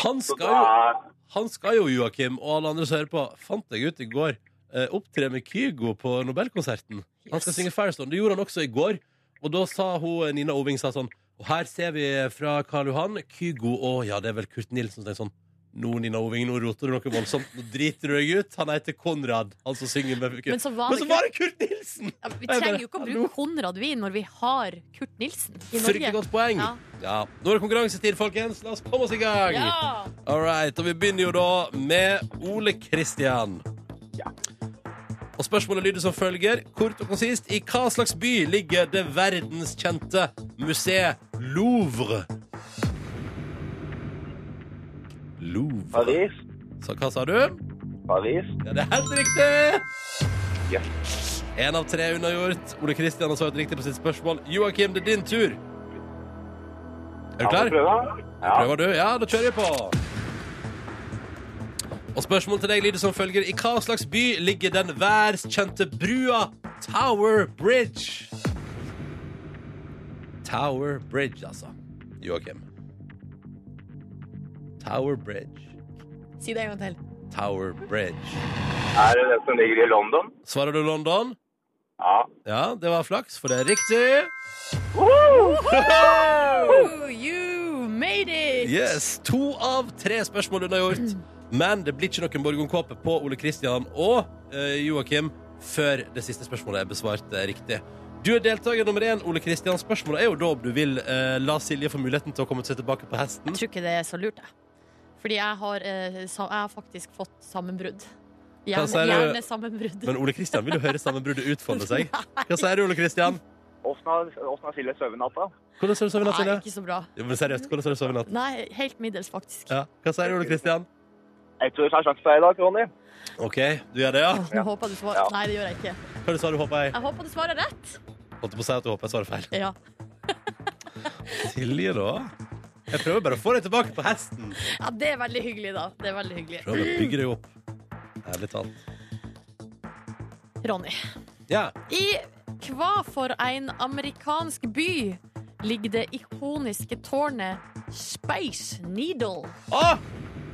Han Så skal da jo, er han skal jo Joakim og alle andre som hører på, fant jeg ut i går, eh, opptre med Kygo på Nobelkonserten. Han skal Yes. synge Firestone. Det gjorde han også i går. Og da sa hun, Nina Oving sa sånn Og her ser vi fra Karl Johan Kygo og ja, det er vel Kurt Nilsen. Så tenkte jeg sånn Nå, Nina Oving, nå roter du noe voldsomt. Nå driter du deg ut. Han heter Konrad, han som synger med Kurt. Men så var Men så det var det Kurt Nilsen! Ja, Vi trenger jo ikke å bruke Konrad Wien når vi har Kurt Nilsen i Fryktelig Norge. godt poeng. Ja. Ja. Nå er det konkurransetid, folkens. La oss komme oss i gang. Ja. All right, og vi begynner jo da med Ole Kristian. Og spørsmålet lyder som følger, kort og konsist. I hva slags by ligger det verdenskjente museet Louvre? Louvre. Paris. Så hva sa du? Paris. Ja, det er helt riktig! Ja. En av tre unnagjort. Ole Kristian har svart riktig på sitt spørsmål. Joakim, det er din tur. Er du Kan klar? vi prøve? Ja. Prøver du? Ja, da kjører vi på. Og spørsmålet til deg lyder som følger. I hva slags by ligger den verdenskjente brua Tower Bridge? Tower Bridge, altså. Joakim. Tower Bridge. Si det en gang til. Tower Bridge. Er det den som ligger i London? Svarer du London? Ja. Ja, det var flaks, for det er riktig. Oh, you made it! Yes, To av tre spørsmål unnagjort. Mm. Men det blir ikke noen Borgundkåpe på Ole Kristian og eh, Joakim før det siste spørsmålet er besvart eh, riktig. Du er deltaker nummer én. Ole Kristian. Spørsmålet er jo da om du vil eh, la Silje få muligheten til å komme seg tilbake på hesten. Jeg tror ikke det er så lurt, jeg. Fordi jeg har, eh, sa- jeg har faktisk fått sammenbrudd. Hva sier Hjerne, du? hjernesammenbrudd. Men Ole Kristian vil jo høre sammenbruddet utfolde seg. Hva sier du, Ole Kristian? Åssen har åssen har Silje sovet i natt, da? Hvordan ser du sovet i natt, Nei, Silje? ikke så bra. Jo, men seriøst, hvordan ser du sovet i natt? Nei, helt middels, faktisk. Ja. Hva sier du, Ole Kristian? Jeg tror det er sjanse for deg i dag, Ronny. OK, du gjør det, ja? Nå håper jeg du svarer Ja. Nei, det gjør jeg ikke. Hva sa du, håper jeg? Jeg håper du svarer rett. Holdt på å si at du håper jeg svarer feil. Ja. Silje, da? Jeg prøver bare å få deg tilbake på hesten. ja, det er veldig hyggelig, da. Det er veldig hyggelig. Prøv å bygge deg opp. Ærlig talt. Ronny. Ja. I hva for en amerikansk by ligger det ikoniske tårnet Space Needle. Å,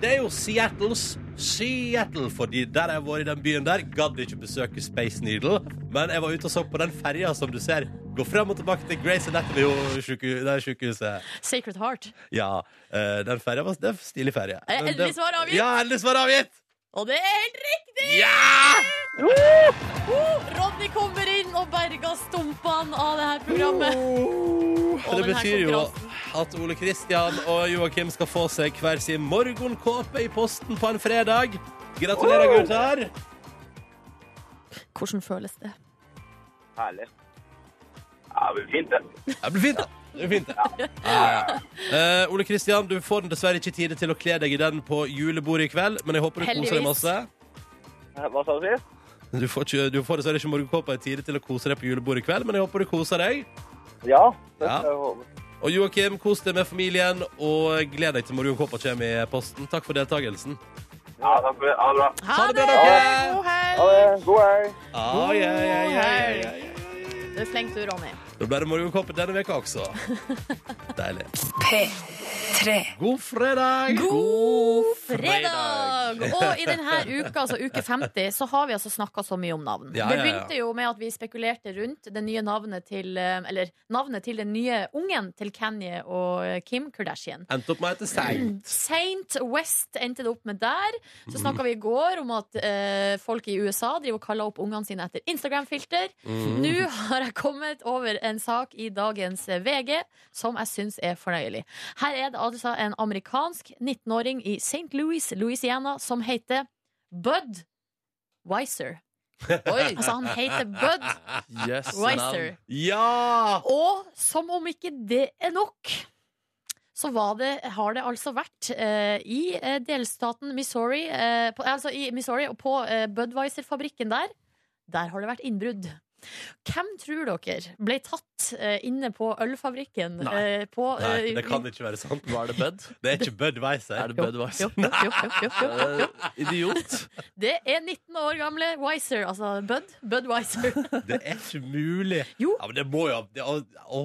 det er jo Seattles Seattle, fordi der jeg har vært i den byen der, gadd ikke besøke Space Needle. Men jeg var ute og så på den ferja som du ser gå frem og tilbake til Grace Anatomy og syke- det er sykehuset. Sacred Heart. Ja, eh, den ferja var det er stilig ferje. Er Men det- endelig svar avgitt? Ja, endelig svar avgitt! Og det er helt riktig! Ja! Ronny kommer inn og berga stumpene av det her programmet. Det denne betyr jo konkurransen. at Ole Kristian og Joakim skal få seg hver sin morgenkåpe i posten på en fredag. Gratulerer, gutter! Hvordan føles det? Herlig. Ja, det blir fint, det. Det blir fint, da. Det blir fint, det. Ja, ja. Eh, Ole Kristian, du får den dessverre ikke tid til å kle deg i den på julebordet i kveld, men jeg håper du koser deg Heldigvis. masse. Hva sa du sist? Du får, ikke, du får dessverre ikke morgenkåpa i tide til å kose deg på julebordet i kveld, men jeg håper du koser deg. Ja. Det Ja. skal jeg håpe. Og Joakim, kos deg med familien, og gled deg til morgenkåpa kommer i posten. Takk for deltakelsen. Ja, takk for det. Ha det bra. Ha det det! bra, dere! God Ha helg! det. God helg. Ah, ja, ja, ja, ja, ja. Du er flink du, Ronny. Da ble det morgenkåpe denne veka også. Deilig. God fredag! God fredag! Og i denne uka, altså uke 50, så har vi altså snakka så mye om navn. Ja, ja, det ja. begynte jo med at vi spekulerte rundt det nye navnet til eh, Eller navnet til den nye ungen til Kanye og eh, Kim Kardashian. Endte opp med å hete Seint. Saint West endte det opp med der. Så snakka vi i går om at eh, folk i USA driver og kaller opp ungene sine etter Instagram-filter. Nå har jeg kommet over en sak i dagens VG som jeg syns er fornøyelig. Her er det altså en amerikansk 19-åring i St. Louis, Louisiana, som heter Bud Wiser. Oi! Altså, han heter Bud Yes, eh, Wiser. Ja! Og som om ikke det er nok, så var det, har det altså vært eh, i eh, delstaten Missouri, eh, på, altså i Missouri og på eh, Budwiser-fabrikken der, der har det vært innbrudd. Hvem tror dere ble tatt eh, inne på ølfabrikken? Nei. eh, på, Nei, eh, det kan ikke være sant. Var det Bud? Det er ikke Bud Er Weiser. det Jo, Bud jo, Wiser? Eh, jo, jo, jo, jo, jo, jo. Idiot. Det er 19 år gamle Wiser, altså Bud. Budwiser. Det er ikke mulig. Jo. Ja, men det må jo det, å, å,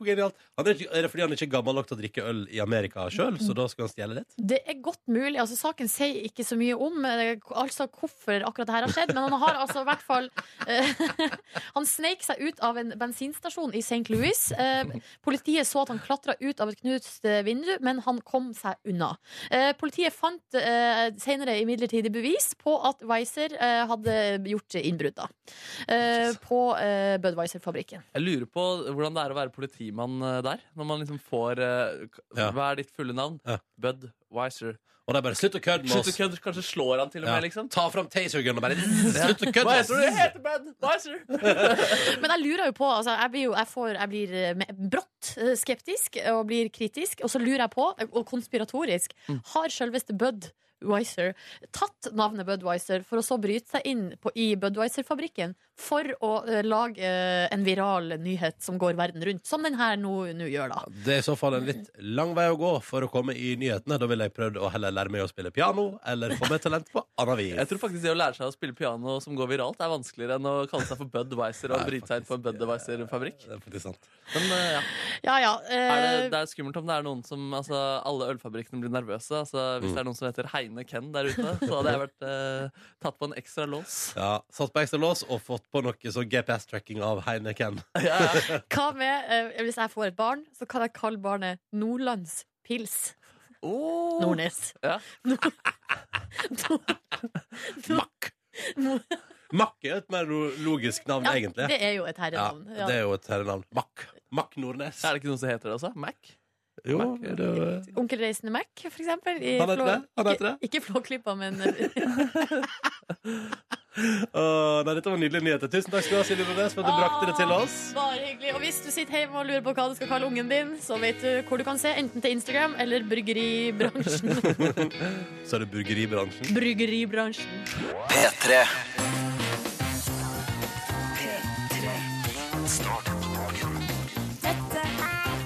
hvor genialt. Han er, ikke, er det fordi han ikke er gammel nok til å drikke øl i Amerika sjøl, så da skal han stjele litt? Det er godt mulig. altså Saken sier ikke så mye om eh, altså hvorfor akkurat det her har skjedd, men han har altså i hvert fall eh, Han sneik seg ut av en bensinstasjon i St. Louis. Eh, Politiet så at han klatra ut av et knust eh, vindu, men han kom seg unna. Eh, Politiet fant eh, senere imidlertid bevis på at Weiser eh, hadde gjort innbrudd da, eh, på eh, Budwiser-fabrikken. Jeg lurer på hvordan det er å være politimann eh, der. Når man liksom får eh, k- Ja. Hva er ditt fulle navn? Ja. Bud Wiser. Og de bare slutt å kødde med Slutt å oss. kødde. Kanskje slår han til og med, Ja. liksom. Ta fram tasergun og bare slutt å kødde Hva med heter du? Jeg oss. heter Bud Wiser. Men jeg lurer jo på altså, jeg, blir jo, jeg, får, jeg blir eh, me- brått eh, skeptisk og blir kritisk, og så lurer jeg på, eh, og konspiratorisk, har selveste Bud Weiser tatt navnet Budwiser for å så bryte seg inn på, i Budwiser-fabrikken for å eh, lage eh, en viral nyhet som går verden rundt, som den her nå nå gjør, da. Det er i så fall en litt lang vei å gå for å komme i nyhetene. Da ville jeg prøvd å heller lære meg å spille piano, eller få meg talent på annet Jeg vis. tror faktisk det å lære seg å spille piano som går viralt, er vanskeligere enn å kalle seg for Bud Wiser og bryte seg inn på en Bud Wiser-fabrikk. Det er faktisk sant. Men eh, ja. Ja ja. er det, eh, det er skummelt om det er noen som altså, Alle ølfabrikkene blir nervøse. Altså, hvis det er noen som heter Heine Ken der ute, så hadde jeg vært eh, tatt på en ekstra lås. Ja, Satt på ekstra lås og fått på noe sånn GPS-tracking av Heineken. Ja, ja. hva med eh, hvis jeg får et barn, så kan jeg kalle barnet Nordlandspils Oh. Nordnes. Ja. Nord- Mack. Nord- Mack er jo et mer lo- logisk navn, Ja, egentlig. Det er jo et Ja, herrenavn. Ja. det er jo et herrenavn. Mack. Mack Nordnes. Er det ikke noen som heter det også? Mac? Jo, Mack, det er jo eh. Onkel Reisende Mac, for eksempel. i Han heter Flå- det? Han heter det? Ikke, ikke Flåklypa, men eh, Åh, nei, Dette var nydelige nyheter. Tusen takk skal du ha, Silje Nordnes, for at Ah. du brakte det til oss. Bare hyggelig. Og hvis du sitter hjemme og lurer på hva du skal kalle ungen din, så vet du hvor du kan se. Enten til Instagram eller bryggeribransjen. Så er det burgeribransjen. Bryggeribransjen. P3.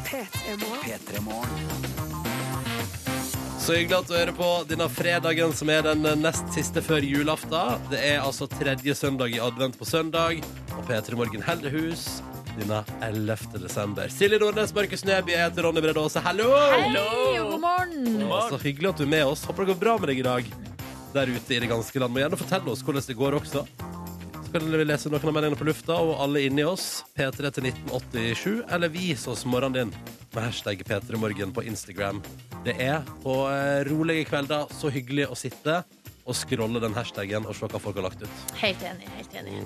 P3 Morgen. Så hyggelig at du hører på denne fredagen som er den nest siste før julaften. Det er altså tredje søndag i advent på søndag, og P3 Morgen holder hus. denne 11. desember. Silje Nordnes, Markus Neby, jeg heter Ronny Brede Aase. Hallo! Hei og god morgen! Å, Så hyggelig at du er med oss. Håper det går bra med deg i dag der ute i det ganske land. Må gjerne fortelle oss hvordan det går også. Så kan vi lese noen av meldingene på lufta, og alle inni oss. P3 til 1987, eller vis oss morgenen din med hashtag P3morgen på Instagram. Det er på eh, rolige kvelder så hyggelig å sitte og scrolle den hashtagen og se hva folk har lagt ut. Helt enig. helt enig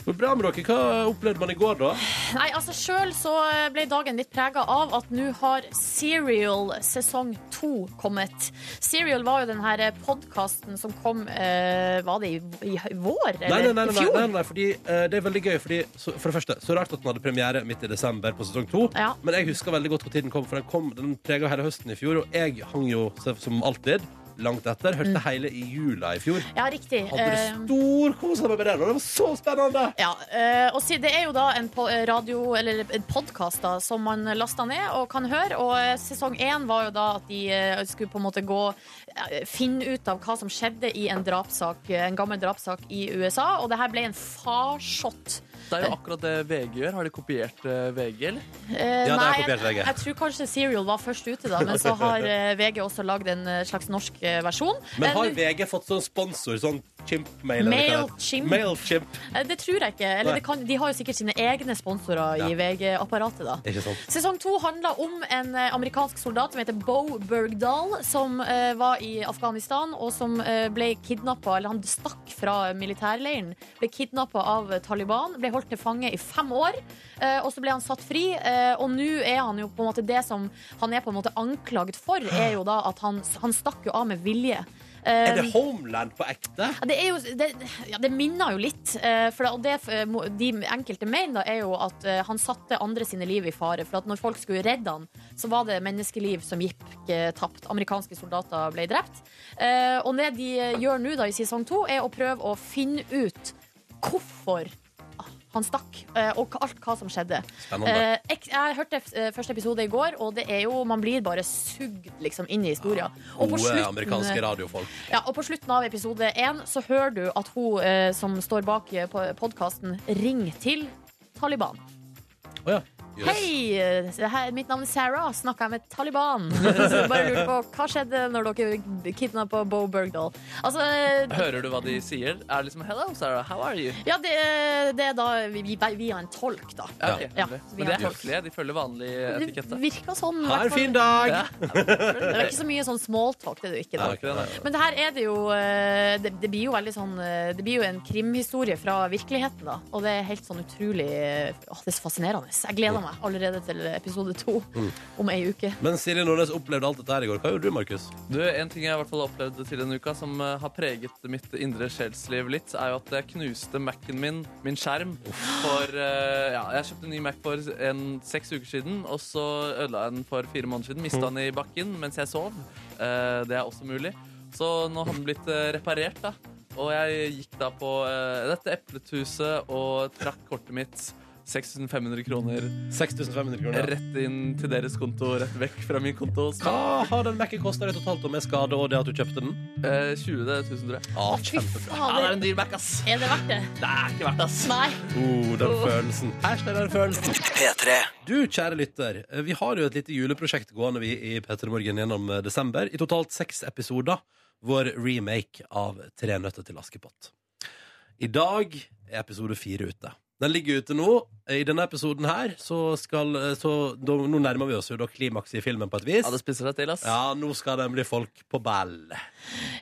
Det går bra med dere. Hva opplevde man i går, da? Nei, altså Sjøl så ble dagen litt prega av at nå har Serial sesong to kommet. Serial var jo den her podkasten som kom eh, Var det i, i vår? Nei, Eller nei, nei, i nei, fjor? nei, nei fordi eh, det er veldig gøy. Fordi, så, for det første, så rart at den hadde premiere midt i desember på sesong to. Ja. Men jeg husker veldig godt hvor tiden kom, for den, kom, den prega hele høsten i fjor. Og jeg hang jo se- som alltid langt etter. Hørte hele i jula i fjor. Ja, riktig. Hadde det Mm. Eh, storkosa meg med den, og det var så spennende! Ja, eh, og si- Det er jo da en po- eh, radio, eller en podkast da, som man lasta ned og kan høre. Og eh, sesong én var jo da at de eh, skulle på en måte gå eh, finne ut av hva som skjedde i en drapssak, eh, en gammel drapssak i USA. Og det her ble en farsott. Det er jo akkurat det VG gjør. Har de kopiert eh, VG, eller? Eh, Ja, det har nei, kopiert VG. Jeg, jeg tror kanskje Serial var først ute, da, men så har eh, VG også lagd en eh, slags norsk eh, versjon. Men har Eh, VG fått sånn sponsor? Sånn Chimp-mail? eller hva det heter? Mailchimp. Mailchimp. eh, det tror jeg ikke. Nei. Eller det kan, de har jo sikkert sine egne sponsorer Ja. i VG-apparatet, da. Ikke sant? Sesong to handla om en eh, amerikansk soldat som heter Bo Bergdahl, som eh, var i Afghanistan, og som eh, ble kidnappa Eller han stakk fra militærleiren. Ble kidnappa av Taliban, ble holdt til fange i fem år, eh, og så ble han satt fri. eh, Og nå er han jo på en måte det som han er på en måte anklaget for, er jo da at han, han stakk jo av med vilje. Er Eh, det Homeland på ekte? Ja, det, er jo, det, ja, det minner jo litt. eh, For det, og det eh, må- de enkelte mener, da, er jo at eh, han satte andre sine liv i fare. For at når folk skulle redde han, så var det menneskeliv som gikk eh, tapt. Amerikanske soldater ble drept. Eh, Og det de eh, gjør nå da i sesong to, er å prøve å finne ut hvorfor han stakk, eh, og alt hva som skjedde. Spennende. Eh, ek- jeg hørte eh, første episode i går, og det er jo, man blir bare sugd liksom, inn i historien. Og på Ah, Gode slutten- amerikanske radiofolk. ja, og på slutten av episode 1 så hører du at hun eh, som står bak eh, på- podkasten, ringer til Taliban. Å ja. Jøss. Hei, eh, det her, mitt navn er Sarah. Snakka jeg med Taliban? Så bare lurte på hva skjedde når dere kidnappa Bo Bergdahl. Altså, eh, Hører du hva de sier? Er det liksom 'Hello, Sarah, how are you?' ja, det, eh, det er da vi, vi, vi har en tolk, da. Ja, ok, Ja. nemlig. Men de er høflige. De følger vanlig Det etikette. virka sånn. Ha en hvertfall. fin dag! Ja. Det er ikke så mye sånn smalltalk. Det er det jo ikke. Nei, Da. ok, nei. Men det her er det jo eh, Det, det blir jo veldig sånn eh, Det blir jo en krimhistorie fra virkeligheten, da. Og det er helt sånn utrolig eh, åh, Det er så fascinerende. Jeg gleder meg allerede til episode to Mm. om ei uke. Men Silje Nordnes opplevde alt dette her i går. Hva gjorde du, Markus? Du, En ting jeg i hvert fall opplevde til denne uka som eh, har preget mitt indre sjelsliv litt, er jo at jeg knuste Mac-en min, min skjerm, for eh, ja, Jeg kjøpte en ny Mac for en, seks uker siden, og så ødela jeg den for fire måneder siden. Mista den i bakken mens jeg sov. Eh, det er også mulig. Så nå har den blitt eh, reparert, da. Og jeg gikk da på eh, dette eplethuset og trakk kortet mitt. 6500 kroner 6500 kroner. rett inn til deres konto, rett vekk fra min konto. Hva har den Mac-en kosta deg totalt og med skade og det at du kjøpte den? Eh, 20 000, tror jeg. Ah, Fy Ja, det er fader. en dyr Mac, ass. Er det verdt det? Det er ikke verdt det, ass. Nei. oh, den følelsen. Æsj, det er den følelsen. P3. Du, kjære lytter, vi har jo et lite juleprosjekt gående vi i P3 Morgen gjennom eh, desember. I totalt seks episoder. Vår remake av Tre nøtter til Askepott. I dag er episode fire ute. Den ligger ute nå. I denne episoden her så skal eh, så, da, Nå nærmer vi oss jo da klimakset i filmen på et vis. Ja, det spiser deg til, ass. Ja, nå skal nemlig folk på ball.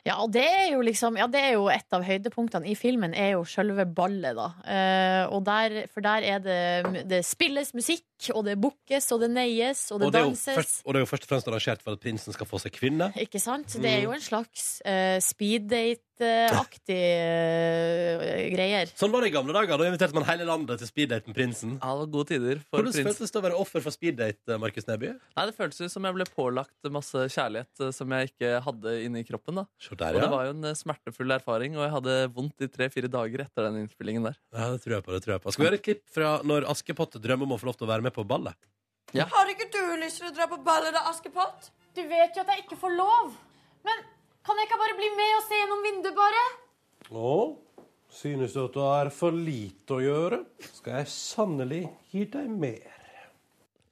Ja, og det er jo liksom Ja, det er jo et av høydepunktene i filmen, er jo sjølve ballet, da. Eh, og der, for der er det Det spilles musikk, og det bukkes, og det neies, og det, Og det, er jo danses. først, og det er jo først og fremst arrangert for at prinsen skal få seg kvinne. Ikke sant? Det Mm. er jo en slags uh, speeddate-aktig eh, greier. Sånn var det i gamle dager. Da inviterte man hele landet til speeddate med prinsen. Ja, det var gode tider for Hvordan prins. føltes det å være offer for speeddate, eh, Markus Neby? Nei, Det føltes ut som jeg ble pålagt masse kjærlighet eh, som jeg ikke hadde inni kroppen. da. Se der, Og ja. det var jo en eh, smertefull erfaring, og jeg hadde vondt i tre-fire dager etter den innspillingen der. ja, det tror jeg på. det tror jeg på Skal vi høre et klipp fra når Askepott drømmer om å få lov til å være med på ballet? Har ikke du lyst til å dra på ballet, da, Askepott? Du vet jo at jeg ikke får lov. Men kan jeg ikke bare bli med og se gjennom vinduet, bare? Åh. Synes du at du har for lite å gjøre, skal jeg sannelig gi deg mer.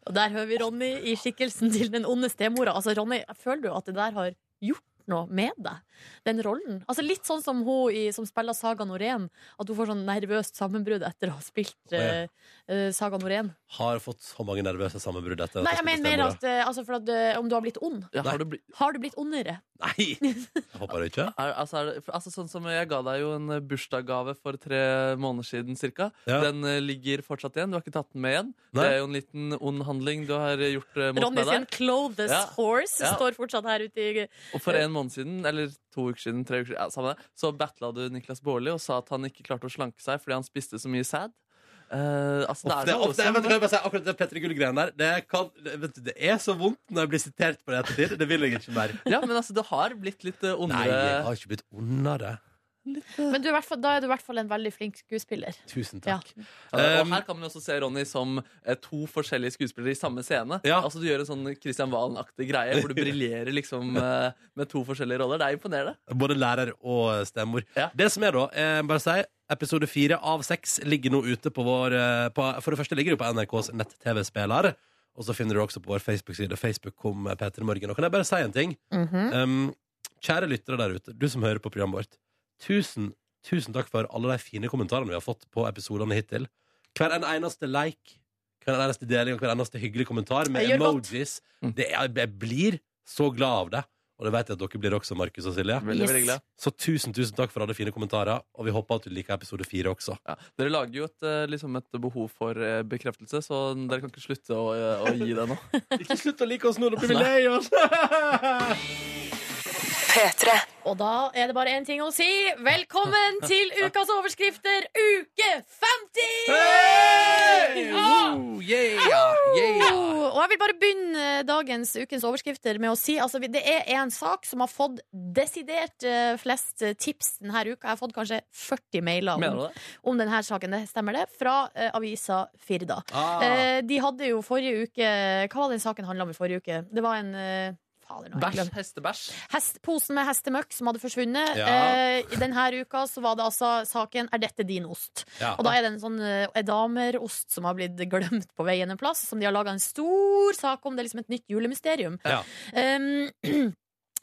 Og der hører vi Ronny i skikkelsen til den onde stemora. Altså, Ronny, føler du at det der har gjort noe med deg? Den rollen? Altså Litt sånn som hun i, som spiller Saga Norén. At hun får sånn nervøst sammenbrudd etter å ha spilt eh, eh, Saga Norén. Har fått så mange nervøse sammenbrudd etter Nei, at jeg jeg mener spilte mer stemora. at, eh, altså, for at eh, om du har blitt ond. Ja, har du blitt- Har du blitt ondere? Nei! Jeg håper det ikke. Er, altså, er det, for- altså sånn som Jeg ga deg jo en eh, bursdagsgave for tre måneder siden cirka. Ja. Den eh, ligger fortsatt igjen. Du har ikke tatt den med igjen. Nei. Det er jo en liten ond handling du har eh, gjort eh, mot Ronny meg der. sin clothes Ja. horse Ja. står fortsatt her ute i Og for en måned siden, eller to uker siden, tre uker siden, ja, samme det, så battla du Niklas Baarli og sa at han ikke klarte å slanke seg fordi han spiste så mye sæd. Eh, altså, det Ofte, er noe ofte, som- jeg vet, ikke hva jeg bare sier, akkurat det Petter Gull-greien der det, kan, det, vet du, det er så vondt når jeg blir sitert på det i ettertid. Det vil jeg ikke mer. Ja, men altså, det har blitt litt eh, ondere. Nei, jeg har ikke blitt ondere. Men du, er i hvert fall- da er du i hvert fall en veldig flink skuespiller. Tusen Ja. takk. Eh, og Um, her kan man jo også se Ronny som eh, to forskjellige skuespillere i samme scene. Ja. Altså Du gjør en sånn Christian Valen-aktig greie hvor du briljerer liksom, eh, med to forskjellige roller. Det er imponerende. Både lærer og stemor. Det som er da, eh, bare si Episode fire av seks ligger nå ute på vår eh, på, For det første ligger det på NRKs nett-TV-spiller. Og så finner du det også på vår Facebook-side. Facebook kom Peter Morgen. Og kan jeg bare si en ting? Um, kjære lyttere der ute, du som hører på programmet vårt. Tusen, tusen takk for alle de fine kommentarene vi har fått på episodene hittil. Hver en eneste like, hver en eneste deling og hver eneste hyggelig kommentar med Jeg gjør godt. emojis. Det, jeg, jeg blir så glad av det. Og det vet jeg at dere blir også, Markus og Silje. Veldig, veldig glad. Så tusen, tusen takk for alle fine kommentarer, og vi håper at du liker episode fire også. Dere lager jo et, eh, liksom et behov for eh, bekreftelse, så dere kan ikke slutte å, eh, å gi det nå. Ikke slutt å like oss nå, da blir vi Nei. lei oss! Og da er det bare én ting å si. Velkommen til ukas overskrifter, uke 50! Ja! Oh, yeah, yeah. Og jeg vil bare begynne dagens ukens overskrifter med å si altså, vi- det er en sak som har fått desidert eh, flest tips denne uka. Jeg har fått kanskje 40 mailer om, Mener du det? om denne saken. Det stemmer det? Fra eh, avisa Firda. Ah. Eh, de hadde jo forrige uke Hva var den saken handla om i forrige uke? Det var en eh, Fader, nå har jeg Bæsj. glemt. Hestebæsj. Hest, posen med hestemøkk som hadde forsvunnet. Ja. Eh, I denne uka så var det altså saken 'Er dette din ost?' Ja. Og da er det en sånn eh, edamerost som har blitt glemt på veien en plass, som de har laga en stor sak om. Det er liksom et nytt julemysterium. Ja. Um,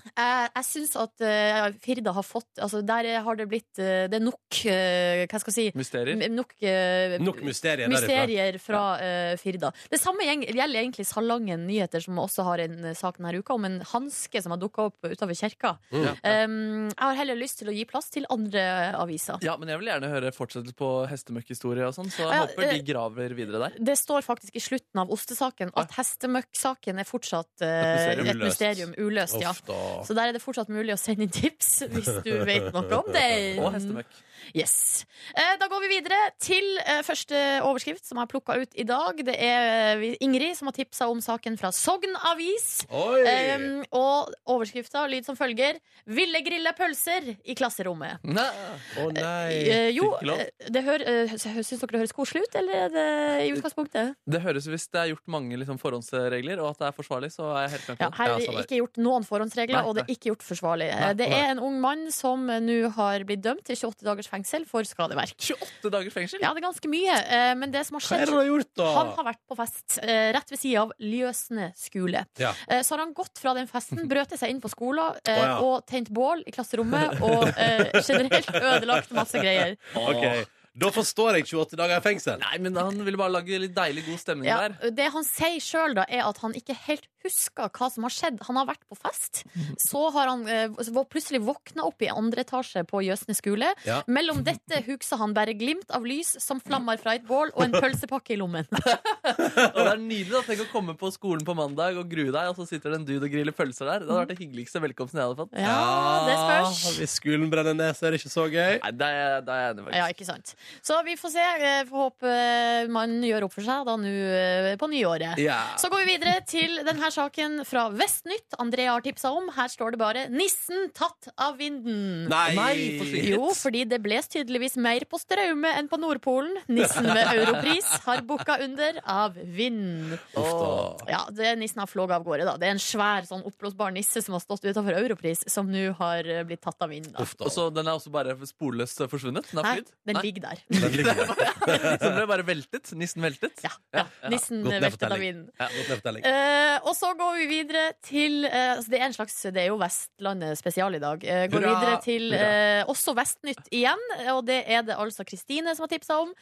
jeg, jeg syns at eh, Firda har fått Altså, der har det blitt eh, Det er nok eh, Hva skal jeg si? Mysterier. M- Nok, eh, Nok mysterier derifra. Mysterier fra eh, Firda. Det samme gjeng- gjelder egentlig Salangen Nyheter, som også har en eh, sak denne uka om en hanske som har dukka opp utover kirka. Mm. Um, jeg har heller lyst til å gi plass til andre aviser. Ja, men jeg vil gjerne høre fortsettelse på hestemøkkhistorie og sånn, så jeg Ja, håper de eh, graver videre der. Det står faktisk i slutten av ostesaken at hestemøkksaken er fortsatt eh, Et mysterium et mysterium uløst. ja. Uff, da. Så der er det fortsatt mulig å sende inn tips hvis du vet noe om det. Og hestemøkk. Yes. Eh, Da går vi videre til eh, første overskrift som jeg har plukka ut i dag. Det er eh, vi- Ingrid som har tipsa om saken fra Sogn Avis. Oi! Um, og overskrifta lyd som følger Ville grille pølser i klasserommet. Nei. Å nei. Eh, jo, ikke lov. eh, det hør, eh, syns dere det høres koselig ut, eller er det i utgangspunktet? Det høres hvis det er gjort mange liksom, forhåndsregler, og at det er forsvarlig, så er jeg helt med på Ja, det. her er Ja, det sånn er det. ikke gjort noen forhåndsregler, Nei, og det er ikke gjort forsvarlig. Eh, Det er en ung mann som eh, nå har blitt dømt til 28 dagers fengsel for skadeverk. 28 dagers fengsel! Ja, det er ganske mye, eh, men det som har Hva er det du skjedd har gjort, da? han har vært på fest eh, rett ved sida av Ljøsne skole. Ja. Eh, så har han gått fra den festen, brøtet seg inn på skolen eh, Å, ja. og tent bål i klasserommet og eh, generelt ødelagt masse greier. Ok, Da forstår jeg 28 dager i fengsel. Nei, men han ville bare lage litt deilig god stemning Ja, der. det han sier sjøl, er at han ikke helt husker hva som har skjedd. Han har vært på fest, så har han eh, så plutselig våkna opp i andre etasje på Jøsne skole. Ja. Mellom dette husker han bare glimt av lys som flammer fra et bål, og en pølsepakke i lommen. Og det er nydelig da, Tenk å komme på skolen på mandag og grue deg, og så sitter det en dude og griller pølser der. Det hadde vært det hyggeligste velkomsten jeg hadde fått. Ja, det spørs. Ja, Hvis skolen brenner ned, så er det ikke så gøy. Nei, det er, det er jeg enig i, Ja, faktisk. ikke sant. Så vi får se. eh, Får håpe eh, man gjør opp for seg da nå eh, på nyåret. Ja. Så går vi videre til denne saken fra Vestnytt. Andrea har tipsa om. Her står det bare 'Nissen tatt av vinden'. Nei. Nei, for slik. jo, fordi det bles tydeligvis mer på Straume enn på Nordpolen. Nissen ved Europris har bukka under av vind. Uff da. Ja, det Nissen har flåget av gårde. da Det er en svær sånn oppblåsbar nisse som har stått utenfor Europris, som nå har eh, blitt tatt av vinden. Da. Uff da. Og så den er også bare sporløst forsvunnet? Den har Nei, flydd? altså. den ligger der. Den ligger der. Så den ble bare veltet? Nissen veltet? Ja, ja. Nissen Godt eh, nedfortelling. veltet av vinden. Ja, godt nedfortelling. Eh, og så går vi videre til eh, altså Det er en slags, det er jo Vestlandet spesial i dag. Eh, går Hurra! videre til eh, også Vestnytt igjen, og det er det altså Kristine som har tipsa om.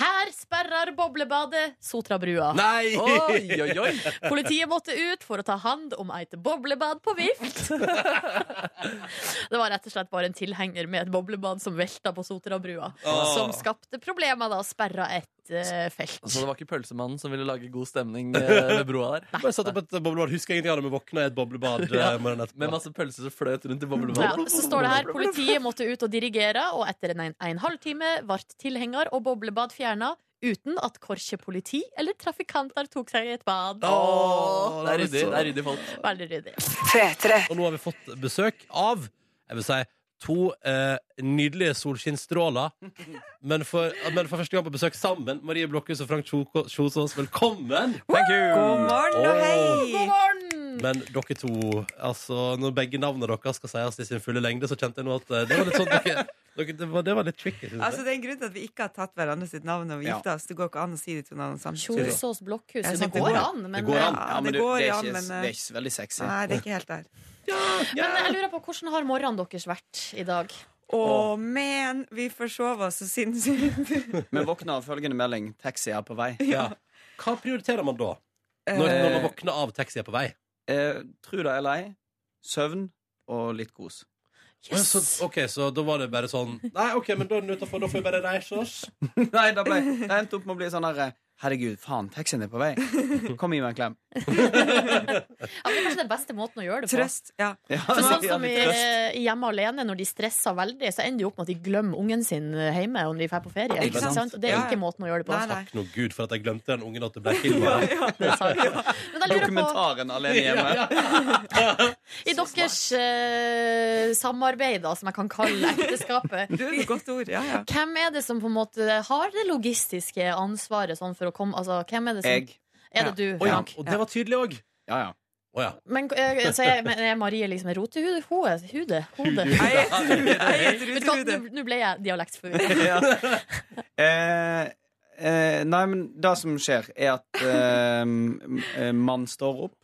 Her sperrer boblebadet Sotrabrua. Nei! Oi, oi, oi! Politiet måtte ut for å ta hand om eit boblebad på vift. det var rett og slett bare en tilhenger med et boblebad som velta på Sotrabrua. Åh. Som skapte problemer, da, og sperra et eh, felt. Så Altså, det var ikke pølsemannen som ville lage god stemning eh, ved broa der? Bare satt opp et boblebad. Husker ingenting av det, men våkna i et boblebad. eh, morgenen etterpå. Med masse pølser som fløt rundt i Ja, boblevannet? så står det her Politiet måtte ut og dirigere Og etter en, en, en halvtime Vart tilhenger og boblebad fjernet Uten at korkje politi eller trafikanter Tok seg et bad Åh, det er ryddig, det er ryddig folk. Veldig ryddig Og nå har vi fått besøk av jeg vil si, to eh, nydelige solskinnsstråler. Men, for- men for første gang på besøk sammen, Marie Blokhus og Frank Kjoko- Kjosås, velkommen! God morgen og hei! God morgen Men dere to, altså når begge navnene deres skal sies i sin fulle lengde, så kjente jeg nå at eh, det var litt sånn dere, dere, det, var, det var litt tricky. Synes jeg. Altså, det er en grunn til at vi ikke har tatt hverandre sitt navn når vi Ja. gifta oss. Det går ikke an å si de to navnene samtidig. Kjolsås Blokkhus Jeg Det synes det går går. an men, Det går an. Ja, det går ja, men eh, så veldig sexy. Nei, det er ikke helt der. eh, men jeg lurer på hvordan har morgenen deres vært i dag Å, men vi forsov oss så sinnssykt. Men våkna av følgende melding. Taxi er på vei. ja. Hva prioriterer man da? Når, når Eh, man våkner av taxi er på vei? Eh, Tru det eller ei. Søvn og litt kos. Å, ja, Så, ok, så da var det bare sånn Nei, ok, men da er den utenfor, da får vi bare reise oss. Nei, da ble det endte opp med å bli sånn herre Herregud, faen, taxien er på vei. Kom, gi meg en klem. ja, Det er kanskje den beste måten å gjøre det på Trøst. Ja. Ja, for sånn ja, som i, litt trøst. i hjemme alene, når de stresser veldig, så ender de opp med at de glemmer ungen sin eh, hjemme om de drar på ferie. Ikke Ikke sant? sant? Og Det er Ja, ja. ikke måten å gjøre det på. Nei, nei. Takk nå Gud for at jeg glemte den ungen at det ble film av. Det er sant. Men jeg lurer på, Dokumentaren alene hjemme. i deres eh, samarbeid, da, som jeg kan kalle ekteskapet Du er et godt ord. Ja, ja. hvem er det som på en måte har det logistiske ansvaret sånn for å komme altså, hvem er, det som, Jeg. er det du, Oi, Frank? og det var tydelig òg. Ja, ja. Å ja. Men, eh, så er, men er Marie liksom en rotehode? Hode? Hode? Hode? Jeg er et rude- jeg er et Vet du hva, rude. Nå nå ble jeg dialektforvirret. ja. eh, eh, nei, men det som skjer, er at eh, m- eh, man står opp.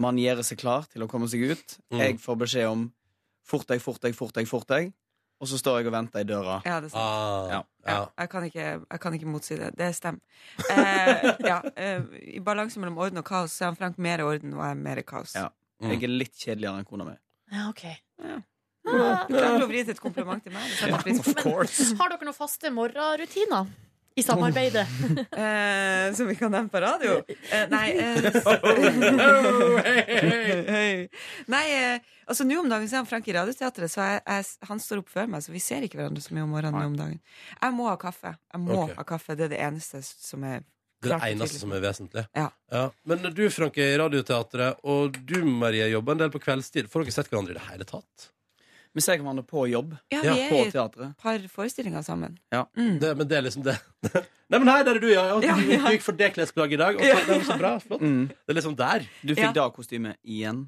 Man gjør seg klar til å komme seg ut. Mm. Jeg får beskjed om 'fort deg, fort deg, fort deg', fort deg. Og så står jeg og venter i døra. Ja, det er sant. Ah, ja. Ja. Ja, jeg, kan ikke, jeg kan ikke motsi det. Det stemmer. Eh, ja, eh, I balanse mellom orden og kaos så er han Frank mer orden, og jeg er mer kaos. Ja. Mm. Jeg er litt kjedeligere enn kona mi. Ja, ok. Klarte å vri til et kompliment til meg. Det setter jeg pris på. Men har dere noen faste morgenrutiner i samarbeidet? Eh, som vi kan nevne på radio. Eh, nei eh, Oh, Hei. Nei, eh, altså nå om dagen så er han Frank i Radioteatret, så jeg, jeg, han står opp før meg, så vi ser ikke hverandre så mye om morgenen nå om dagen. Jeg må ha kaffe. Jeg må Ok. ha kaffe. Det er det eneste som er Det er klart det og eneste tydelig. som er vesentlig. Ja. Men du, Frank, er i Radioteatret, og du, Marie, jobber en del på kveldstid. Får dere sett hverandre i det hele tatt? Vi ser hverandre på jobb Ja, Ja, vi på er i et teatret. par forestillinger sammen. Det, men det er liksom det. Nei, men hei, der er du, ja. ja. Ja, Du, ja. du gikk for det klesplagget i dag. Og så, det var så bra, flott. Mm. Det er liksom der, Du fikk Ja. da kostymet igjen.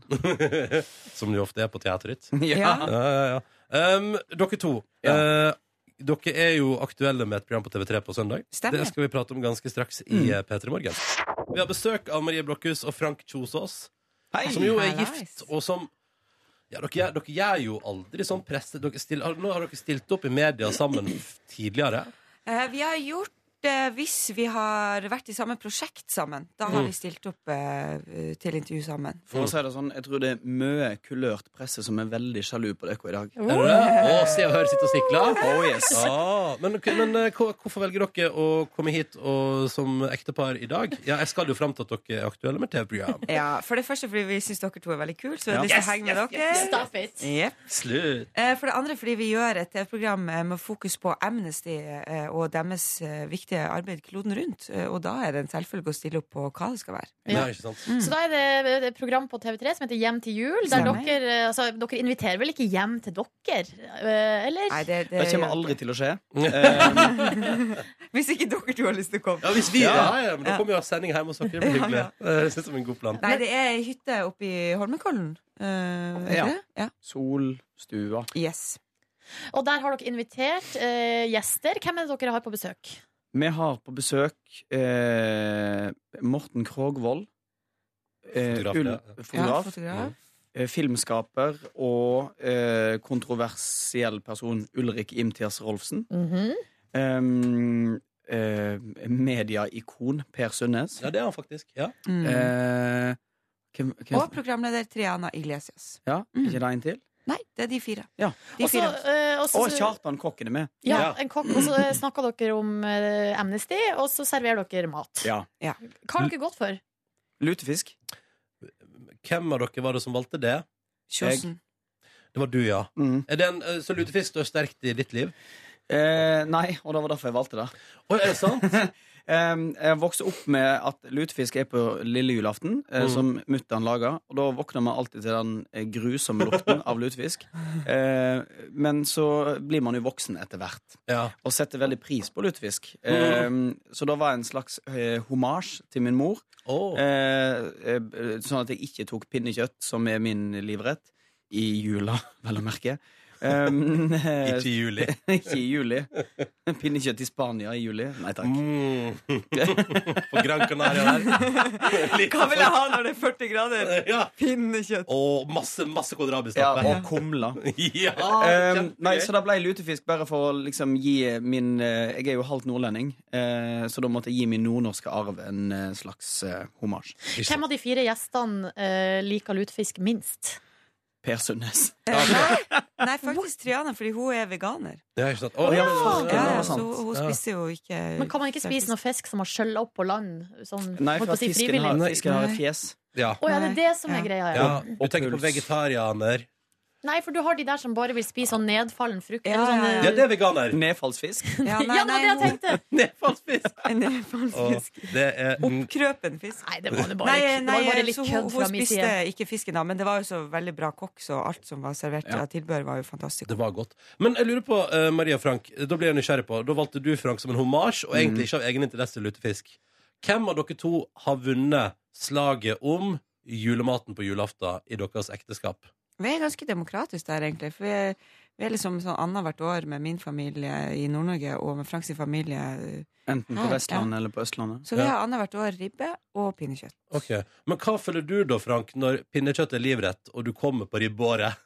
som det jo ofte er på teateret ditt. Ja. Ja, ja, ja. Um, dere to. Ja. eh, dere er jo aktuelle med et program på TV3 på søndag. Stemmer. Det skal vi prate om ganske straks i eh, P3 Morgen. Vi har besøk av Marie Blokhus og Frank Kjosås, Hei! som jo er Hei. gift, og som ja, dere, gjør- dere gjør jo aldri sånn presse... Dere still, har- nå har dere stilt opp i media sammen f- tidligere. Eh, vi har gjort gjort eh, hvis vi har vært i samme prosjekt sammen. Da har Mm. vi stilt opp eh, til intervju sammen. For å si det sånn, jeg tror det er mye kulørt presse som er veldig sjalu på dere i dag. Er du det? Å, se og hør, sitte og sikle. Oh, yes. Ah, men men eh, hva- hvorfor velger dere å komme hit og, som ektepar i dag? Ja, jeg skal jo fram til at dere er aktuelle med TV-program. Ja, for det første fordi vi syns dere to er veldig kule, så vi har Ja. lyst til Yes, å henge med yes, dere. yes, yes. Stop it. Jep. Slutt. Eh, For det andre fordi vi gjør et TV-program eh, med fokus på Amnesty eh, og deres eh, viktige arbeid kloden rundt. eh, Og da er det en selvfølge å stille opp på hva det skal være. Nei, ikke sant? Så da er det et program på TV3 som heter Hjem til jul. Der Stemmer. dere, eh, altså, dere inviterer vel ikke hjem til dere, eh, eller? Nei, det, Det kommer aldri til å skje. Mm. Eh, Eh, Hvis ikke dere to har lyst til å komme. Ja, hvis vi Ja. ja, ja, men Da kommer jo sending hjemme hos dere. Det blir hyggelig. Eh, Det synes jeg er en god plan. Nei, det er ei hytte oppe i Holmenkollen. Eh, er det Ja. det? ja. Solstua. Yes. Og der har dere invitert eh, gjester. Hvem er det dere har på besøk? Vi har på besøk eh, Morten Krogvold. eh, Fotograf, Ulf- ja. Ja, fotograf, fotograf. eh, Filmskaper og eh, kontroversiell person Ulrik Imtias Rolfsen. Mhm. Um, eh, Mediaikon Per Sundnes. Ja, det er han faktisk. Ja. Mm. Eh, hvem, hvem, Og programleder Triana Iglesias. ja, ikke det en til? Nei, det er de fire. Ja. De Også, fire. eh, også- Og Kjartan Kokken er med. Ja, en kokk. Og så snakka dere om eh, Amnesty, og så serverer dere mat. Ja. Hva har dere gått for? Lutefisk. Hvem av dere var det som valgte det? Kjosen. Det var du, ja. Mm. Er det en, eh, så lutefisk står sterkt i ditt liv? Eh, nei, og det var derfor jeg valgte det. Oi, er det sant? Em, jeg vokste opp med at lutefisk er på lille julaften, eh, Mm. som mutter'n lager. Og da våkner man alltid til den eh, grusomme lukten av lutefisk. Eh, men så blir man jo voksen etter hvert, Ja. og setter veldig pris på lutefisk. Em, så da var jeg en slags eh, homasj til min mor, Å. eh, eh, sånn at jeg ikke tok pinnekjøtt, som er min livrett, i jula, vel å merke. Em, eh, Ikke i juli. ikke i juli. Pinnekjøtt i Spania i juli. Nei takk. Mm. På Gran Canaria der. Litt Hva vil jeg ha når det er 40 grader? for- Ja. Pinnekjøtt. Og masse, masse Ja, kålrabistappe. og kumla. Ja, Eh, Ehm, kjempegøy. nei, så det ble lutefisk bare for å liksom gi min eh, Jeg er jo halvt nordlending, eh, så da måtte jeg gi min nordnorske arv en eh, slags eh, homasj. Hvem av de fire gjestene eh, liker lutefisk minst? Per Sundnes. Nei, faktisk Triana, fordi hun er veganer. Ja, ikke sant? Å, Ja, ja, faen, Ja, det ja, var så sant. hun Ja. spiser jo ikke Men kan man Eh, ikke spise noe fisk som har skjølla opp på land? Sånn, Nei, holdt for på å at si fisken har, frivillig? Å fisken har et Nei. fjes. ja. ja, det er det som er Nei, greia, ja. ja. Du tenker på vegetarianer. Nei, for du har de der som bare vil spise sånn nedfallen frukt. Ja, eller sånn, ja, eh, ja. Ja, det er veganer. Nedfallsfisk. Ja, nei, Ja, det var det jeg nei, tenkte! Nedfallsfisk. hun- en nepalfisk. Å, Det er mm, Krøpen fisk. Nei, det var det bare, Nei, ikke. det var bare nei litt så hun, kødd hun fra min side. spiste ikke fisken, da, men det var jo så veldig bra kokk, så alt som var servert av tilbehør, var jo fantastisk. Det var godt. Men jeg lurer på, eh, Maria Frank, da ble jeg nysgjerrig på Da valgte du Frank som en homasj, og egentlig ikke av egen interesse lutefisk. Hvem av dere to har vunnet slaget om julematen på julaften i deres ekteskap? Vi er ganske demokratiske der, egentlig. For vi er, vi er liksom sånn annethvert år med min familie i Nord-Norge og med Franks familie. Enten på Ah, Her, Vestlandet eller på Østlandet. Så vi Ja. har annethvert år ribbe og pinnekjøtt. Ok, Men hva føler du da, Frank, når pinnekjøtt er livrett, og du kommer på ribbeåret?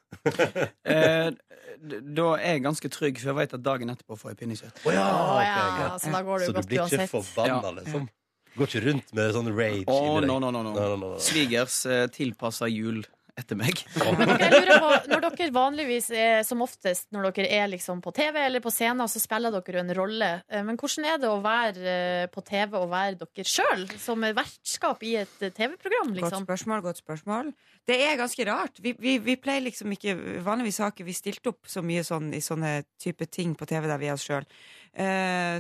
Eh, d- da er jeg ganske trygg, for jeg vet at dagen etterpå får jeg pinnekjøtt. Å ja, Å Ah, ok, ja, greit. så da går det Så jo du godt blir ikke uansett. forbanna, Ja. liksom? Går ikke rundt med sånn rage Å, inni deg? no, no, no, no. no, no. Svigers eh, tilpassa jul etter meg. Men Jeg lurer på, når dere vanligvis er, som oftest når dere er liksom på TV eller på scenen, så spiller dere jo en rolle. Eh, Men hvordan er det å være eh, på TV og være dere sjøl, som er vertskap i et eh, TV-program, Godt liksom? spørsmål, godt spørsmål. Det er ganske rart. Vi, vi, vi pleier liksom ikke Vanligvis har ikke vi stilt opp så mye sånn i sånne type ting på TV der vi er oss sjøl.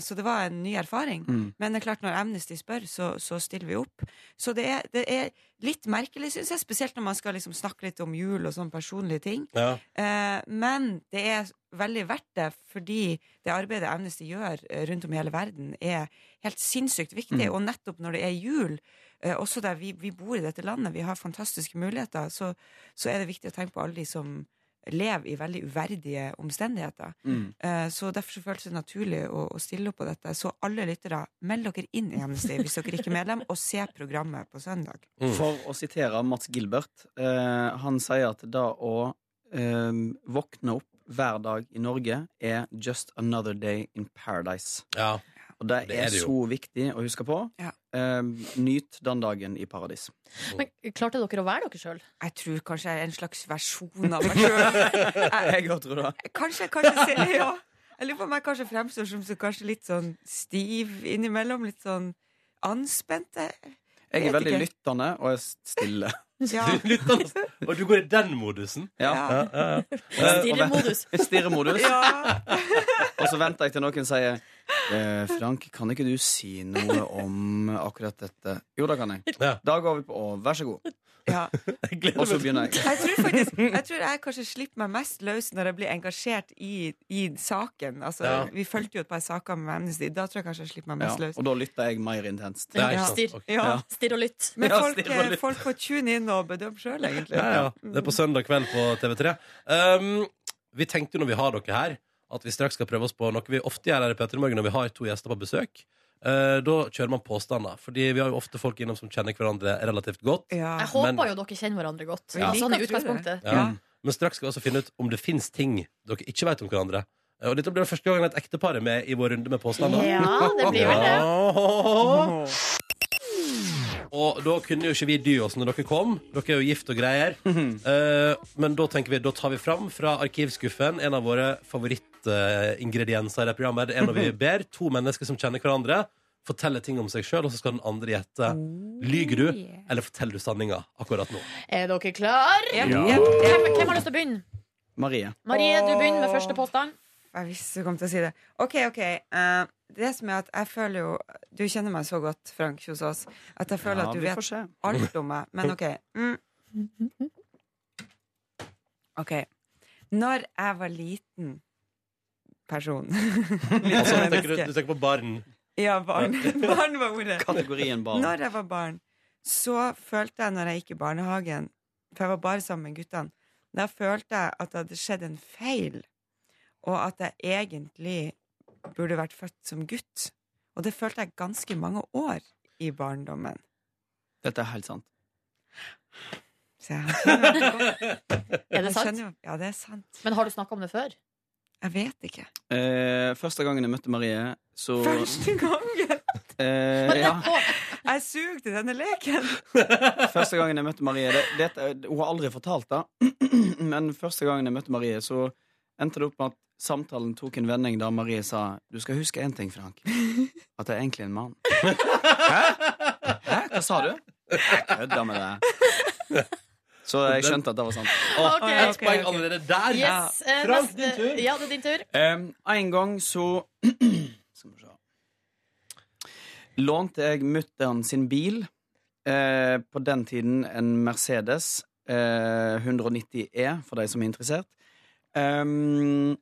så det var en ny erfaring. Mm. Men det er klart, når Amnesty spør, så, så stiller vi opp. Så det er, det er litt merkelig, syns jeg. Spesielt når man skal liksom snakke litt om jul og sånne personlige ting. Ja. Eh, men det er veldig verdt det, fordi det arbeidet Amnesty gjør eh, rundt om i hele verden, er helt sinnssykt viktig. Og nettopp når det er jul, eh, også der vi, vi bor i dette landet, vi har fantastiske muligheter, så, så er det viktig å tenke på alle de som lever i veldig uverdige omstendigheter. Mm. Eh, Så Derfor så føles det naturlig å, å stille opp på dette. Så alle lyttere, meld dere inn i Amnesty hvis dere ikke er medlem, og se programmet på søndag. Mm. For å sitere Mats Gilbert, eh, han sier at det å eh, våkne opp hver dag i Norge er just another day in paradise. ja. Og det, Det er er, det jo. så viktig å huske på. Eh, nyt den dagen i paradis. Men klarte dere å være dere sjøl? Jeg tror kanskje jeg er en slags versjon av meg sjøl. òg tror det. Kanskje, kanskje ser jeg, ja. Jeg lurer på om jeg kanskje fremstår som så kanskje litt sånn stiv innimellom. Litt sånn anspent. Jeg Jeg er vet veldig ikke. lyttende og er stille. Ja. Og du går i den modusen? Ja. Ja. Stirremodus. Stirremodus. Ja. Og så venter jeg til noen sier eh, Frank, kan ikke du si noe om akkurat dette? Jo, det kan jeg. Ja. Da går vi på å, vær så god. Ja. Og så begynner jeg. Jeg tror faktisk Jeg tror jeg kanskje slipper meg mest løs når jeg blir engasjert i, i saken. Altså, Ja. Vi fulgte jo et par saker med Amnesty. Da tror jeg kanskje jeg slipper meg Ja, mest løs. og da lytter jeg mer intenst. Ja, ikke Ja. sant. Stirr Ok. Ja. Ja. Stirr og lytt. Men Ja, folk, stirr og eh, lytt. folk får tune inn og bedømme sjøl, egentlig. Ja, ja. Det er på søndag kveld på TV3. Um, vi tenkte jo når vi har dere her, at vi straks skal prøve oss på noe vi ofte gjør her i Petter i Morgen når vi har to gjester på besøk. Eh, da kjører man påstander, Fordi vi har jo ofte folk innom som kjenner hverandre relativt godt. Ja. Jeg håper Men- jo dere kjenner hverandre godt. Vi Ja. liker Sånn i å tro det. utgangspunktet. Ja. Ja. Men straks skal vi også finne ut om det fins ting dere ikke vet om hverandre. Eh, Og dette blir det første gangen et ektepar er med i vår runde med påstander. Ja, det blir vel det. Ja. Og da kunne jo ikke vi dy oss når dere kom. Dere er jo gift og greier. Eh, men da tenker vi, da tar vi fram fra arkivskuffen en av våre favorittingredienser i det programmet. Det er når vi ber to mennesker som kjenner hverandre, fortelle ting om seg sjøl, og så skal den andre gjette. Oh, Lyger du, eller forteller du sanninga akkurat nå? Er dere klar? Ja. Hvem, hvem har lyst til å begynne? Marie. Marie, du begynner med første påstand. Jeg visste du kom til å si det. OK, OK. eh, det som er at jeg føler jo Du kjenner meg så godt, Frank Kjosås, at jeg føler Ja, at du vi vet får se. alt om meg. Men OK. Mm. OK. Når jeg var liten person Liten Altså, tenker du, menneske. du tenker på barn. Ja, barn. barn var ordet. Kategorien barn. Når jeg var barn, så følte jeg når jeg gikk i barnehagen For jeg var bare sammen med guttene. Da følte jeg at det hadde skjedd en feil, og at jeg egentlig burde vært født som gutt. Og det følte jeg ganske mange år i barndommen. Dette er helt sant. Så jeg skjønner, Er det jeg sant? skjønner, jo- ja, det er sant. Men har du snakka om det før? Jeg vet ikke. Eh, første gangen jeg møtte Marie, så Første gangen! eh, ja, Jeg sugde denne leken! Første gangen jeg møtte Marie det, dette- Hun har aldri fortalt det, men første gangen jeg møtte Marie, så endte det opp med at samtalen tok en vending da Marie sa Du skal huske én ting, Frank. At jeg er egentlig en mann. Hæ? Hæ? Hva sa du? Jeg kødda med deg. Så jeg skjønte at det var sant. Å, Ok, Ett ok, poeng ok. allerede der! Yes. eh, Frank, neste- din tur. Ja, det er din tur. Em, en gang så Skal vi se Lånte jeg mutter'n sin bil. Eh, på den tiden en Mercedes eh, 190 E, for de som er interessert. Em,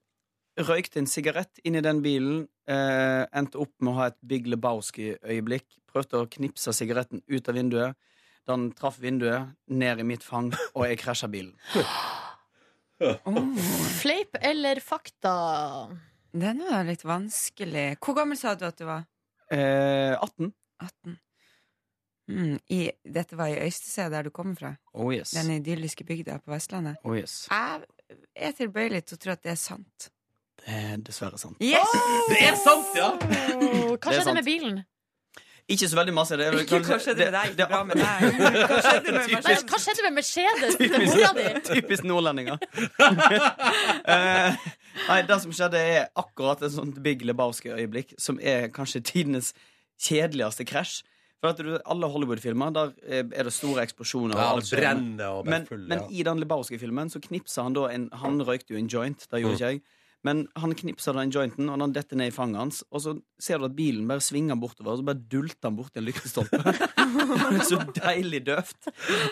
røykte en sigarett inn i den bilen. Eh, endte opp med å ha et Big Lebowski-øyeblikk. Prøvde å knipse sigaretten ut av vinduet. Den traff vinduet, ned i mitt fang, og jeg krasja bilen. Fleip eller fakta? Den var litt vanskelig. Hvor gammel sa du at du var? Eh, 18. 18. Mm, i, dette var i Øystese, der du kommer fra. Oh yes. Den idylliske bygda på Vestlandet. Oh yes. Jeg er tilbøyelig til å tro at det er sant. Det er Eh, dessverre sant. Yes! Det er sant, ja! Oh, Hva Det er skjedde sant. med bilen? Ikke så veldig masse. Det er vel Ikke kanskje- hva skjedde med deg, det ikke bra med deg. Hva skjedde med Nei, hva skjedde med Mercedes? til mora di? Typisk, typisk nordlendinger. Eh, nei, det som skjedde, er akkurat et sånt Big Lebowski-øyeblikk, som er kanskje tidenes kjedeligste krasj. For at du, Alle Hollywood-filmer der eh, er det store eksplosjoner. og Ja, alt det skjer. brenner og men, blir full. men ja. i den Lebowski-filmen så knipsa han da en Han røykte jo en joint, det gjorde ikke jeg. Men han knipsa den jointen, og den detter ned i fanget hans. Og så ser du at bilen bare svinger bortover, og så bare dulter han borti en lyktestolpe. Det er så deilig døvt.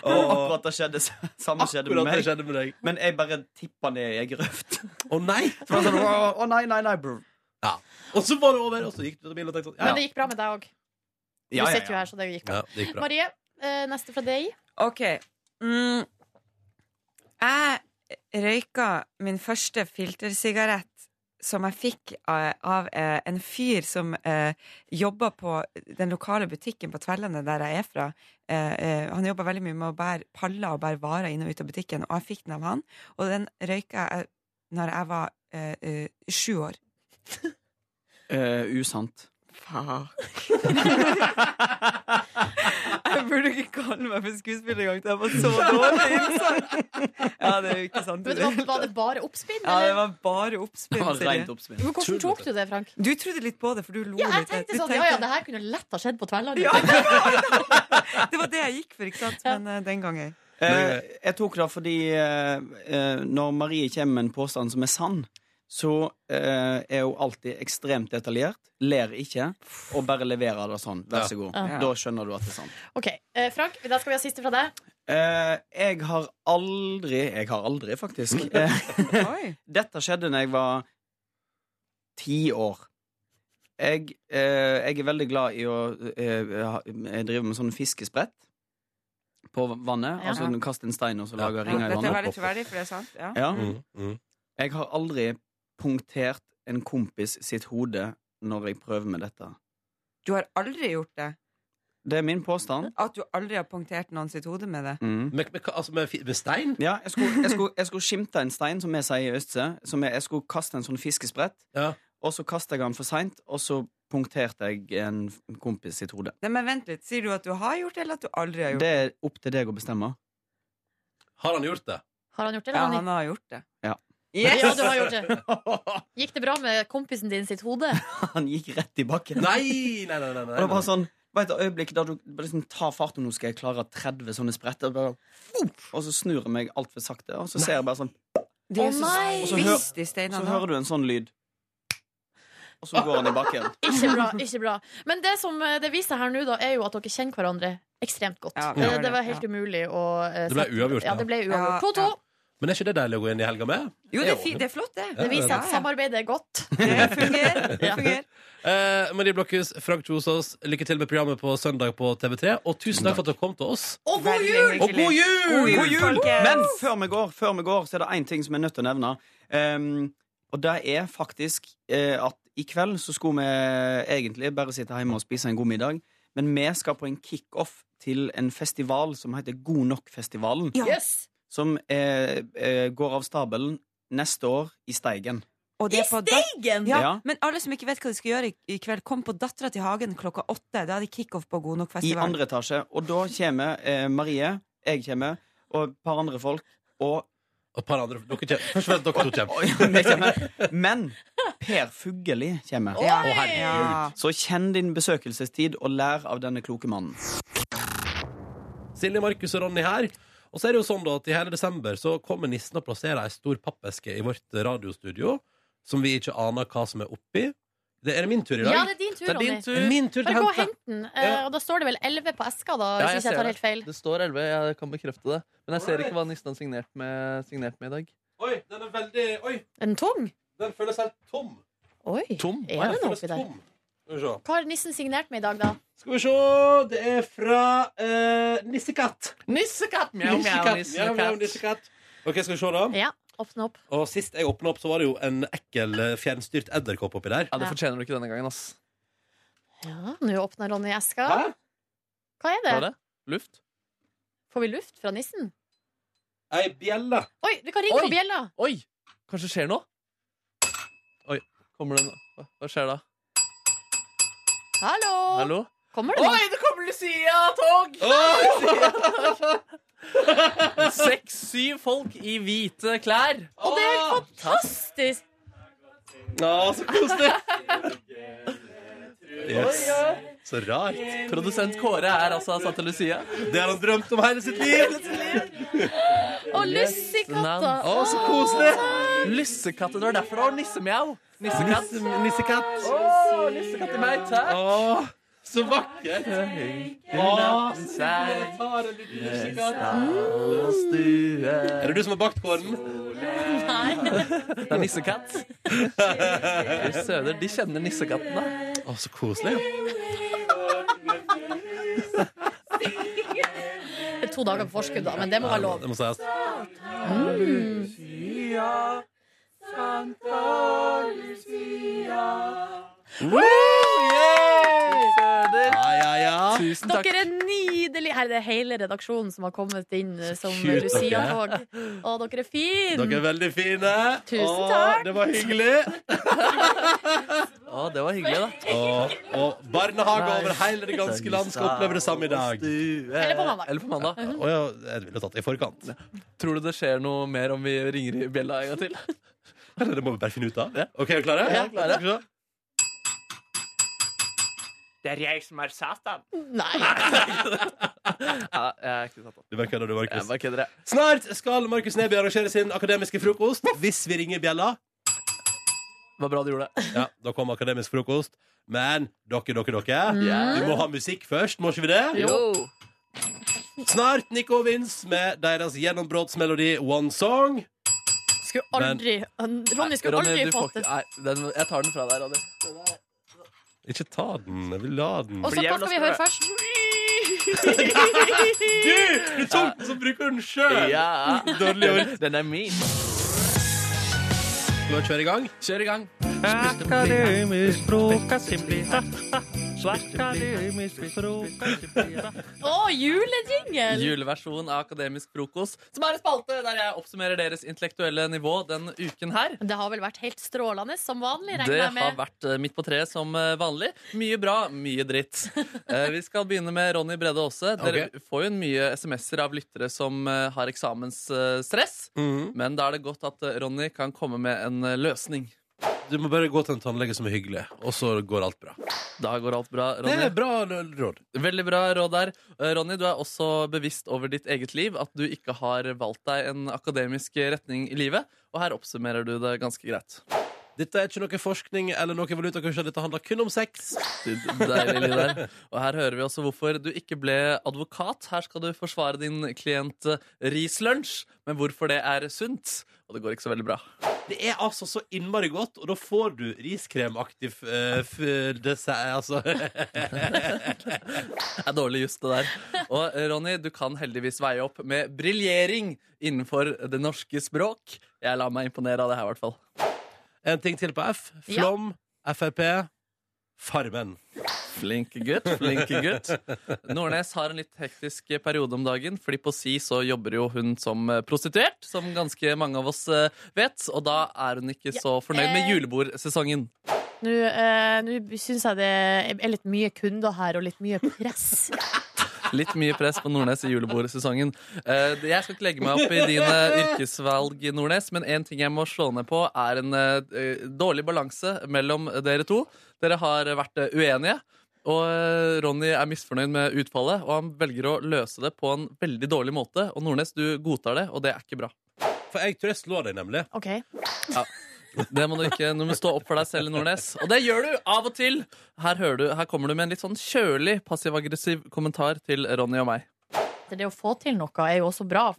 Og akkurat det skjedde, samme skjedde med Akkurat det meg. skjedde med deg. Men jeg bare tippa ned i ei grøft. Å nei! Så var det sånn, Å, å nei, nei, nei, bror. Ja. Og så var det over, og så gikk du ut av bilen og tenkte sånn. Men Ja, det gikk bra med deg òg. Du Ja, ja, sitter jo ja. her, så det gikk bra. ja. ja, det gikk bra. Marie, eh, neste fra deg. Ok. Mm. Jeg røyka min første filtersigarett som jeg fikk av, av eh, en fyr som eh, jobba på den lokale butikken på Tverlandet, der jeg er fra. Eh, eh, han jobba veldig mye med å bære paller og bære varer inn og ut av butikken, og jeg fikk den av han. Og den røyka jeg når jeg var eh, eh, sju år. Eh, usant. Fuck. jeg burde ikke kalle meg for skuespiller engang. Jeg var så dårlig. innsatt. Ja, det er jo ikke sant. Men det var, var det bare oppspinn? Ja, det eller? var bare oppspinn. Det var Silje. rent oppspinn. Men hvordan tok du det, Frank? Du trodde litt på det, for du lo Ja, jeg litt. tenkte Du sånn, ja, ja, det her kunne lett ha skjedd på Tverlandet. Ja, det var- det var det jeg gikk for, ikke sant? Men eh, den gangen. Eh, jeg tok det fordi eh, eh, når Marie kommer med en påstand som er sann, så eh, er hun alltid ekstremt detaljert, ler ikke, og bare leverer det sånn. Vær så god. Ja. Da skjønner du at det er sant. Ok, eh, Frank, da skal vi ha siste fra deg. Eh, jeg har aldri Jeg har aldri, faktisk. Eh, Oi. dette skjedde når jeg var ti år. Jeg, eh, jeg er veldig glad i å eh, ha- Jeg driver med sånn fiskesprett på vannet. Ja. Altså kaste en stein, og så lage Ja, ringer i dette er vannet. veldig troverdig, for det er sant. Ja. Ja. Mm, mm. Jeg har aldri punktert en kompis sitt hode når jeg prøver med dette. Du har aldri gjort det? Det er min påstand. At du aldri har punktert noen sitt hode med det? Mm. Med, med, altså med, fi- med stein? Ja, jeg skulle, jeg, skulle, jeg skulle skimte en stein, som vi sier i Østse. Som jeg, jeg skulle kaste en sånn fiskesprett, Ja. og så kasta jeg den for seint, og så punkterte jeg en kompis sitt hode. Nei, men vent litt, Sier du at du har gjort det, eller at du aldri har gjort det? Det er opp til deg å bestemme. Har han gjort det? Har han gjort det? Ja, eller har han har gjort det. Ja. han ikke? Yes! Ja, du har gjort det. Gikk det bra med kompisen din sitt hode? Han gikk rett i bakken. Nei, nei, nei. nei, Og det nei, var nei. sånn det var et øyeblikk der du bare liksom tar fart og nå skal jeg klare 30 sånne spretter. Og, bare, voff, og så snur jeg meg altfor sakte, og så ser jeg bare sånn De er Å, så nei! spist, de Så steinene. hører du en sånn lyd. Og så går han i bakken. Ikke bra. ikke bra Men det som eh, det viser seg her nå, da, er jo at dere kjenner hverandre ekstremt godt. Ja, vi Eh, gjør det det, var helt ja. umulig å eh, Det ble sette- uavgjort, Ja, ja. det ble Ja, uavgjort. 2-2. ja. Men er ikke det deilig å gå inn i helga med? Jo, det er, fint, det er flott, det. Ja, Det viser ja, at ja. samarbeidet er godt. Det fungerer. Det fungerer. Eh, Marie Blokhus, Frank Kjosås, lykke til med programmet på søndag på TV3. Og tusen takk for at dere kom til oss. Og god Veldig jul! hyggelig. Og god God jul, folkens! Men før vi går, før vi går så er det én ting som jeg er nødt til å nevne. Ehm, og det er faktisk eh, at i kveld så skulle vi egentlig bare sitte hjemme og spise en god middag. Men vi skal på en kickoff til en festival som heter God nok-festivalen. Ja. Yes. Som eh, eh, går av stabelen neste år i Steigen. Og det er på dat- Egen! ja, Ja. Men alle som ikke vet hva de skal gjøre i, i kveld, kom på Dattera til Hagen klokka åtte. Da er det kickoff på God nok I festival. andre etasje. Og da kommer eh, Marie, jeg kommer, og et par andre folk. Og Og et par andre dere kjem. Først og fremst dere to kjem. Oi, det kommer. Men Per Fugelli kommer. Oi! Å, herregud. Ja. Så kjenn din besøkelsestid og lær av denne kloke mannen. Silje, Markus og Ronny her. Og så er det jo sånn da at i hele desember så kommer nissen og plasserer ei stor pappeske i vårt radiostudio, som vi ikke aner hva som er oppi. Det er det min tur i dag. Ja, det er din tur, Det er Ronny. din tur. Det er min tur til Bare å gå og hente. hent den. Eh, Ja. Og da står det vel 11 på eska, da, Ja, hvis ikke jeg ser tar helt feil. Det står 11, jeg kan bekrefte det. Men jeg ser ikke hva nissen har signert med, signert med i dag. Oi, den er veldig Oi, Er den tung? den føles helt tom. Oi. Tom? Er det noe oppi Skal der? vi se. Hva har nissen signert med i dag, da? Skal vi se. Det er fra eh, Nissekatt. Nissekatt! Mjau, mjau, Nissekatt. Mjau, nissekatt. mjau, nissekatt. OK, skal vi se, da. Ja, åpne opp. Og Sist jeg åpna opp, så var det jo en ekkel eh, fjernstyrt edderkopp oppi der. Ja, det fortjener du ikke denne gangen, ass. Ja, Nå åpner Ronny eska. Hæ? Hva er Hva er det? det? Luft? Får vi luft fra nissen? Ei bjelle. Oi, vi kan ringe Oi. på bjella! Oi! Kanskje det skjer noe? Oi, kommer det noe? Hva- Hva skjer da? Hallo! Hallo? Kommer det noen? Oi, det kommer Lucia-tog! Seks-syv folk i hvite klær. Og det er helt fantastisk! Å, så koselig! yes. Så rart. Produsent Kåre er altså satt til Lucia. Det har han drømt om hele sitt liv. Og lussekatta! Navn. Å, så koselig! Lussekatt. Det var derfor det var nissemjau. Nissekatt. Nisse, nissekatt. Åh, nissekatt i meg, takk. Å, så vakkert! Er det du som har bakt kålen? Det er nissekatt. Fy Søder, de kjenner nissekatten, da. Å, så koselig. Det er to dager på forskudd, da, men det må være lov. Det må sies. Fy Søder. Ja, ja, ja. Tusen takk. Dere er nydelige. Her er det hele redaksjonen som har kommet inn eh, som cute dere Lucia-tog. Å, dere er fine! Dere er veldig fine. Tusen Å, takk. Det var hyggelig. Å, det var hyggelig, da. Og, og barnehage over hele det ganske land skal oppleve det samme i dag. Eller på mandag. Eller på mandag. Å ja, jeg ville tatt det i forkant. Tror du det skjer noe mer om vi ringer i bjella en gang til? Eller det må vi bare finne ut av. OK, er vi klare? Ja, klare. Skal vi se. Det er jeg som er Satan. Ja, jeg er ikke satt opp. Du bare kødder, du, Jeg Markus. bare kødder, jeg. Snart skal Markus Neby arrangere sin akademiske frokost hvis vi ringer bjella. Det var bra du gjorde det. Ja, da kommer akademisk frokost. Men dere, dere, dere. Vi må ha musikk først, må ikke vi det? Jo. Snart Nico og Vince med deres gjennombruddsmelodi One Song. Skulle aldri Ronny skulle Ronny, aldri du får fått ikke- det. Nei, den, jeg tar den fra deg, Ronny. Ikke ta den. Jeg vil la den. Og så hva skal vi høre først? Du tok den, så bruker du den sjøl! Ja. Dårlig gjort. Ah. Den er min. Skal vi kjøre i gang? Kjør i gang. Akademisk frokost i bita. Akademisk frokost i bita. Å, julejingle! Juleversjonen av Akademisk frokost, som er en spalte der jeg oppsummerer deres intellektuelle nivå den uken her. Det har vel vært helt strålende som vanlig, Det regner jeg har med. vært eh, midt på treet som eh, vanlig. Mye bra, mye dritt. Eh, Vi skal begynne med Ronny Brede Aase. Dere får jo mye SMS-er av lyttere som eh, har eksamensstress. Mhm. Men da er det godt at eh, Ronny kan komme med en eh, løsning. Du må bare gå til en tannlege som er hyggelig, og så går alt bra. Da går alt bra, Det Ronny. er bra råd. Veldig bra råd der. Eh, Ronny, du er også bevisst over ditt eget liv, at du ikke har valgt deg en akademisk retning i livet. Og her oppsummerer du det ganske greit. Dette er ikke noe forskning eller noe valutakurs. Dette handler kun om sex. Du- Deilig, Lille der. Og her hører vi også hvorfor du ikke ble advokat. Her skal du forsvare din klient eh, Rislunsj, men hvorfor det er sunt. Og det går ikke så veldig bra. Det er altså så innmari godt, og da får du riskremaktiv eh, f- dessert. Altså. Det er dårlig just, det der. Og eh, Ronny, du kan heldigvis veie opp med briljering innenfor det norske språk. Jeg lar meg imponere av det her, i hvert fall. En ting til på F. Ja. Flom, Frp, Farmen. Flink gutt, flink gutt. Nordnes har en litt hektisk periode om dagen, fordi på si så jobber jo hun som prostituert, som ganske mange av oss eh, vet, og da er hun ikke så fornøyd med eh. julebordsesongen. Nå, eh, nå syns jeg det er litt mye kunder her, og litt mye press. Litt mye press på Nordnes i julebordsesongen. Eh, Jeg skal ikke legge meg opp i dine yrkesvalg, Nordnes, men en ting jeg må slå ned på, er en eh, dårlig balanse mellom dere to. Dere har vært eh, uenige. Og eh, Ronny er misfornøyd med utfallet, og han velger å løse det på en veldig dårlig måte. Og Nordnes, du godtar det, og det er ikke bra. For jeg tror jeg slår deg, nemlig. OK. Det må du ikke, Du må stå opp for deg selv, Nordnes. Og det gjør du av og til! Her, hører du, her kommer du med en litt sånn kjølig passiv-aggressiv kommentar til Ronny og meg. Det å få til noe er jo også bra.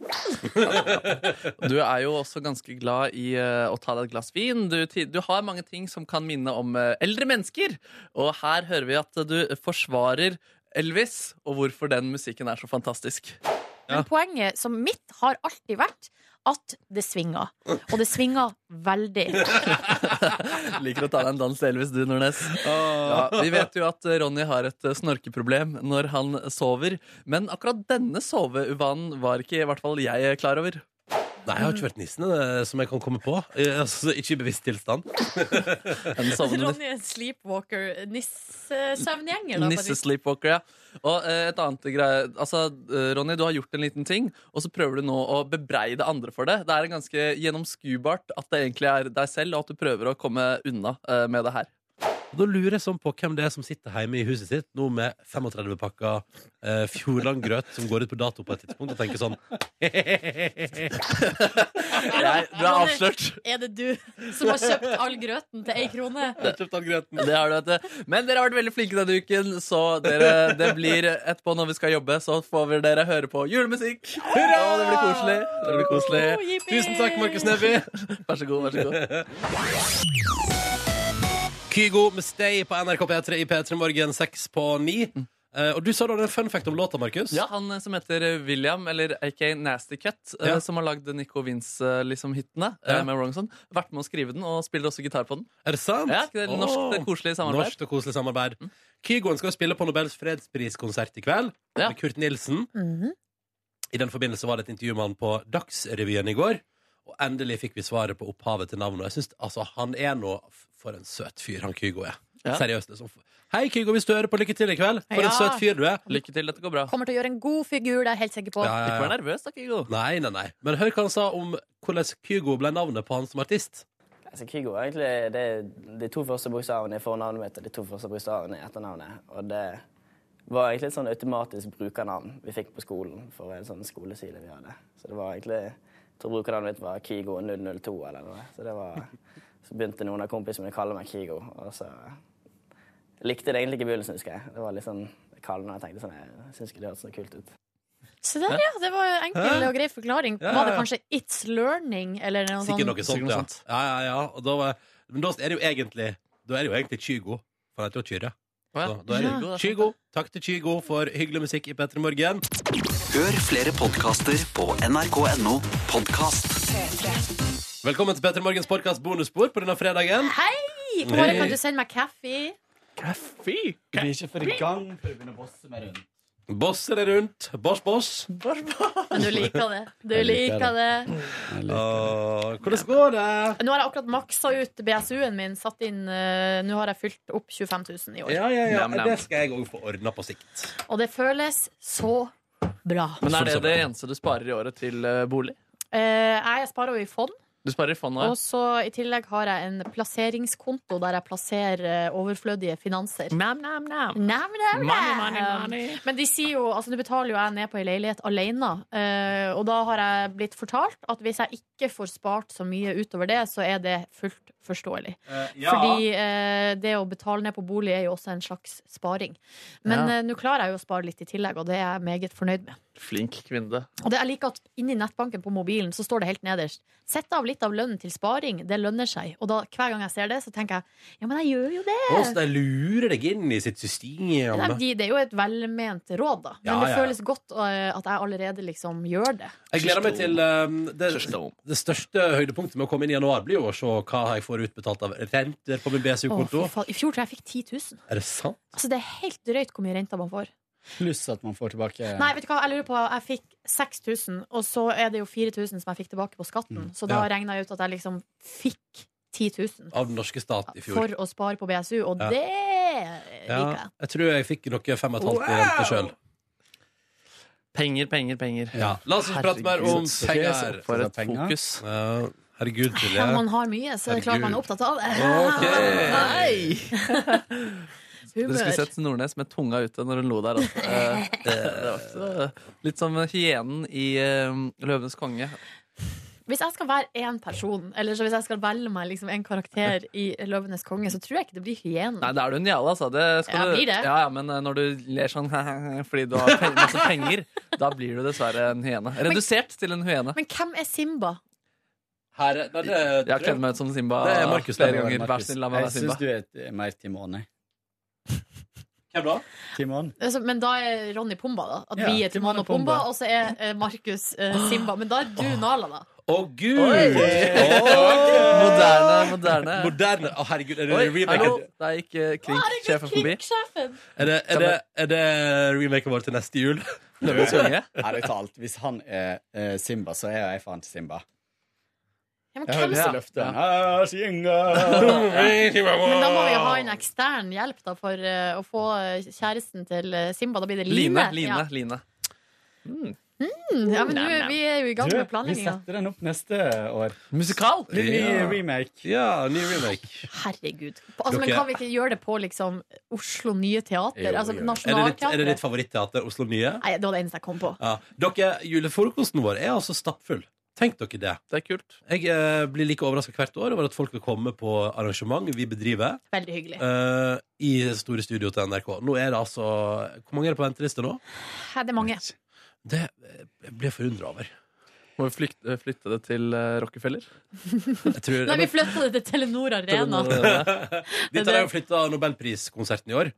Du er jo også ganske glad i eh, å ta deg et glass vin. Du, ti- du har mange ting som kan minne om eh, eldre mennesker. Og her hører vi at du forsvarer Elvis, og hvorfor den musikken er så fantastisk. Men poenget som mitt har alltid vært at det svinger. Og det svinger veldig. Liker å ta deg en dans til Elvis, du, Nordnes. Ja, vi vet jo at eh, Ronny har et eh, snorkeproblem når han sover, men akkurat denne soveuvanen var ikke i hvert fall jeg eh, klar over. Nei, jeg har ikke vært nissen eh, som jeg kan komme på. Eh, Altså, ikke i bevisst tilstand. Den altså, sovende Ronny er en sleepwalker. Nissesøvngjenger, da. på en Nisse Sleepwalker, ja. Og eh, et annet greie Altså, eh, Ronny, du har gjort en liten ting, og så prøver du nå å bebreide andre for det. Det er en ganske gjennomskuebart at det egentlig er deg selv, og at du prøver å komme unna eh, med det her. Og da lurer jeg sånn på hvem det er som sitter hjemme i huset sitt nå med 35 pakker eh, Fjordlandgrøt som går ut på dato på et tidspunkt, og tenker sånn Jeg, du er Ronny. avslørt. måte. Er det du som har kjøpt all grøten til ei krone? Det har du, vet du. Men dere har vært veldig flinke denne uken, så dere, det blir etterpå når vi skal jobbe, så får vi dere høre på julemusikk. Hurra! Og det blir koselig. Det blir Oh, koselig. yippee! Tusen takk, Markus Neby! Vær så god, vær så god. Mm. Kygo med Stay på NRK P3 i P3 Morgen 6 på 9. Eh, og du sa da det var en fun fact om låta, Markus. Han eh, som heter eh, William, eller AK Nasty Cat, eh, Ja. som har lagd Nico Vince-hitene liksom, hitene, eh, Ja. med Wrongson, vært med å skrive den og spiller også gitar på den. Er det sant? Ja, ikke det er norsk, Åh. det er koselig samarbeid. Mm. Norsk og koselig samarbeid. Kygoen skal jo spille på Nobels fredspriskonsert i kveld med Kurt Nilsen. I den forbindelse var det et intervju med han på Dagsrevyen i går. Og endelig fikk vi svaret på opphavet til navnet. Og jeg synes, altså, Han er nå f- for en søt fyr, han Kygo er. Ja. Seriøst. liksom. Hei, Kygo, hvis du hører på Lykke til i kveld. For Ja. en søt fyr du er. Lykke til, dette går bra. Kommer til å gjøre en god figur, det er jeg helt sikker på. Ja, ja, ja. Ikke vær nervøs, da, Kygo. Nei, nei, nei. Men hør hva han sa om hvordan Kygo ble navnet på han som artist. Altså, Kygo er egentlig det er de to første bokstavene i fornavnet mitt og de to første bokstavene i etternavnet. Og det var egentlig et sånn automatisk brukernavn vi fikk på skolen for en sånn skoleside vi hadde. Så det var egentlig Jeg tror brukernavnet mitt var Kygo002 eller noe. Så det var Så begynte noen av kompisene mine å kalle meg Kygo, og så likte jeg det egentlig ikke i begynnelsen, husker jeg. Det var litt sånn kallende, og jeg tenkte sånn Jeg syns ikke det hørtes så kult ut. Se der, ja. Det var en enkel Hæ? og grei forklaring. Ja, ja, Var det ja. kanskje It's Learning eller noe Sikkert noe sånt? sånt, ja. ja, ja, ja. Og da var, men da er det jo egentlig Da er det jo egentlig Kygo. For han heter jo Kyrre. Så Da er Ja. det Kygo. Takk til Kygo for hyggelig musikk i P3 Morgen. Hør flere podkaster på nrk.no podkast. Velkommen til P3 Morgens podkast bonusbord på denne fredagen. Hei! Kåre, kan du sende meg kaffe? Kaffe? Du blir ikke for i gang før du begynner å bosse med rundt. Bosser er rundt. Boss, boss. Men du liker det. Du Jeg liker liker det. Åh, hvordan går det? Nå har jeg akkurat maksa ut BSU-en min. Satt inn, eh, nå har jeg fylt opp 25 000 i år. Ja, ja, ja. Det skal jeg òg få ordna på sikt. Og det føles så bra. Men er det det eneste du sparer i året til eh, bolig? Eh, jeg sparer jo i fond. Du sparer i fondet? Og så I tillegg har jeg en plasseringskonto der jeg plasserer eh, overflødige finanser. Nam, nam, nam. nam, nam. Money, money, money. Um, Men de sier jo, altså nå betaler jo jeg ned på ei leilighet alene, eh, og da har jeg blitt fortalt at hvis jeg ikke får spart så mye utover det, så er det fullt forståelig. Eh, ja. Fordi eh, det å betale ned på bolig er jo også en slags sparing. Men Ja. eh, nå klarer jeg jo å spare litt i tillegg, og det er jeg meget fornøyd med. Flink kvinne. Og det jeg liker at Inni nettbanken på mobilen så står det helt nederst Sett av litt av lønnen til sparing, det lønner seg. Og da, hver gang jeg ser det, så tenker jeg ja, men jeg gjør jo det. Åh, så de lurer deg inn i sitt system. Nei, de, det er jo et velment råd, da. Men Ja, det ja, ja. føles godt eh, at jeg allerede liksom gjør det. Jeg gleder meg til um, det, det største høydepunktet med å komme inn i januar blir jo å se hva jeg får utbetalt av renter på min BSU-konto. Å, fy faen. I fjor tror jeg jeg fikk 10 000. Er det sant? Altså, det er helt drøyt hvor mye renter man får. Pluss at man får tilbake Nei, vet du hva, jeg lurer på Jeg fikk 6000, og så er det jo 4000 som jeg fikk tilbake på skatten. Så da Mm. Ja. regna jeg ut at jeg liksom fikk 10 000 Av den norske stat i fjor. for å spare på BSU, og Ja. det ja, liker jeg. jeg tror jeg fikk noe fem og et halvt i rente sjøl. Penger, penger, penger. Ja. La oss ikke prate mer om penger. For et fokus. Ja, herregud, Silje. Ja, man har mye, så er det klart man er opptatt av det. Ok. Dere skulle Humør. sett Nordnes med tunga ute når hun lo der. Altså. Eh, det var ikke så, litt som hyenen i uh, Løvenes konge. Hvis jeg skal være én person, eller så hvis jeg skal velge meg liksom en karakter i Løvenes konge, så tror jeg ikke det blir hyenen. Nei, da er du en jævla, altså. Det skal Ja, du- blir det. Ja, ja, men eh, når du ler sånn fordi du har pen masse penger, da blir du dessverre en hyene. Redusert til en hyene. Men hvem er Simba? Jeg har kledd meg ut som Simba Det er Markus flere Lillevold, ganger. Vær Markus. snill, la meg være Jeg Simba. syns du er et- eh, mer Timon, jeg. Hvem da? Timon. Altså, men da er Ronny Pumba, da. At Ja, vi er Timon og Pumba, og så er eh, Markus eh, Simba. Men da er du Nala, da. Å, gud! Moderne, moderne. Moderne. Å, herregud, er det Oi, remake? hallo, der gikk eh, klinksjefen forbi. Sjefen! Er det, er det, er det remaken vår til neste jul? Løvenes konge? Ærlig talt, hvis han er eh, Simba, så er jeg faen til Simba. Ja, men, Jeg har hvem... lyst til å løfte den. Ah, Simba. men da må vi ha en ekstern hjelp da, for eh, å få eh, kjæresten til eh, Simba. Da blir det Line. Line. Line, Ja. Line. Mm, ja, men Nam, du, nam. vi er jo i gang Du, med Vi planlegginga. setter den opp neste år. Musikal? Litt ny Ja. remake. Ja, ny remake. Herregud. Altså, men Dere- kan vi ikke gjøre det på liksom, Oslo Nye Teater? altså Er det ditt, er det Nationaltheatret? ditt favoritteater, Oslo Nye? Nei, det var det eneste jeg kom på. Ja. Dere, Julefrokosten vår er altså stappfull. Tenk dere det. Det er kult. Jeg eh, blir like overraska hvert år over at folk vil komme på arrangement vi bedriver. Veldig hyggelig. eh, I det store studio til NRK. Nå er det altså Hvor mange er det på venteliste nå? Her, det er mange. Det eh, jeg blir jeg forundra over. Må vi flytte, flytte det til eh, Rockefeller? Jeg tror, Nei, vi flytta det til Telenor Arena. Dit har jeg jo flytta nobelpriskonserten i år.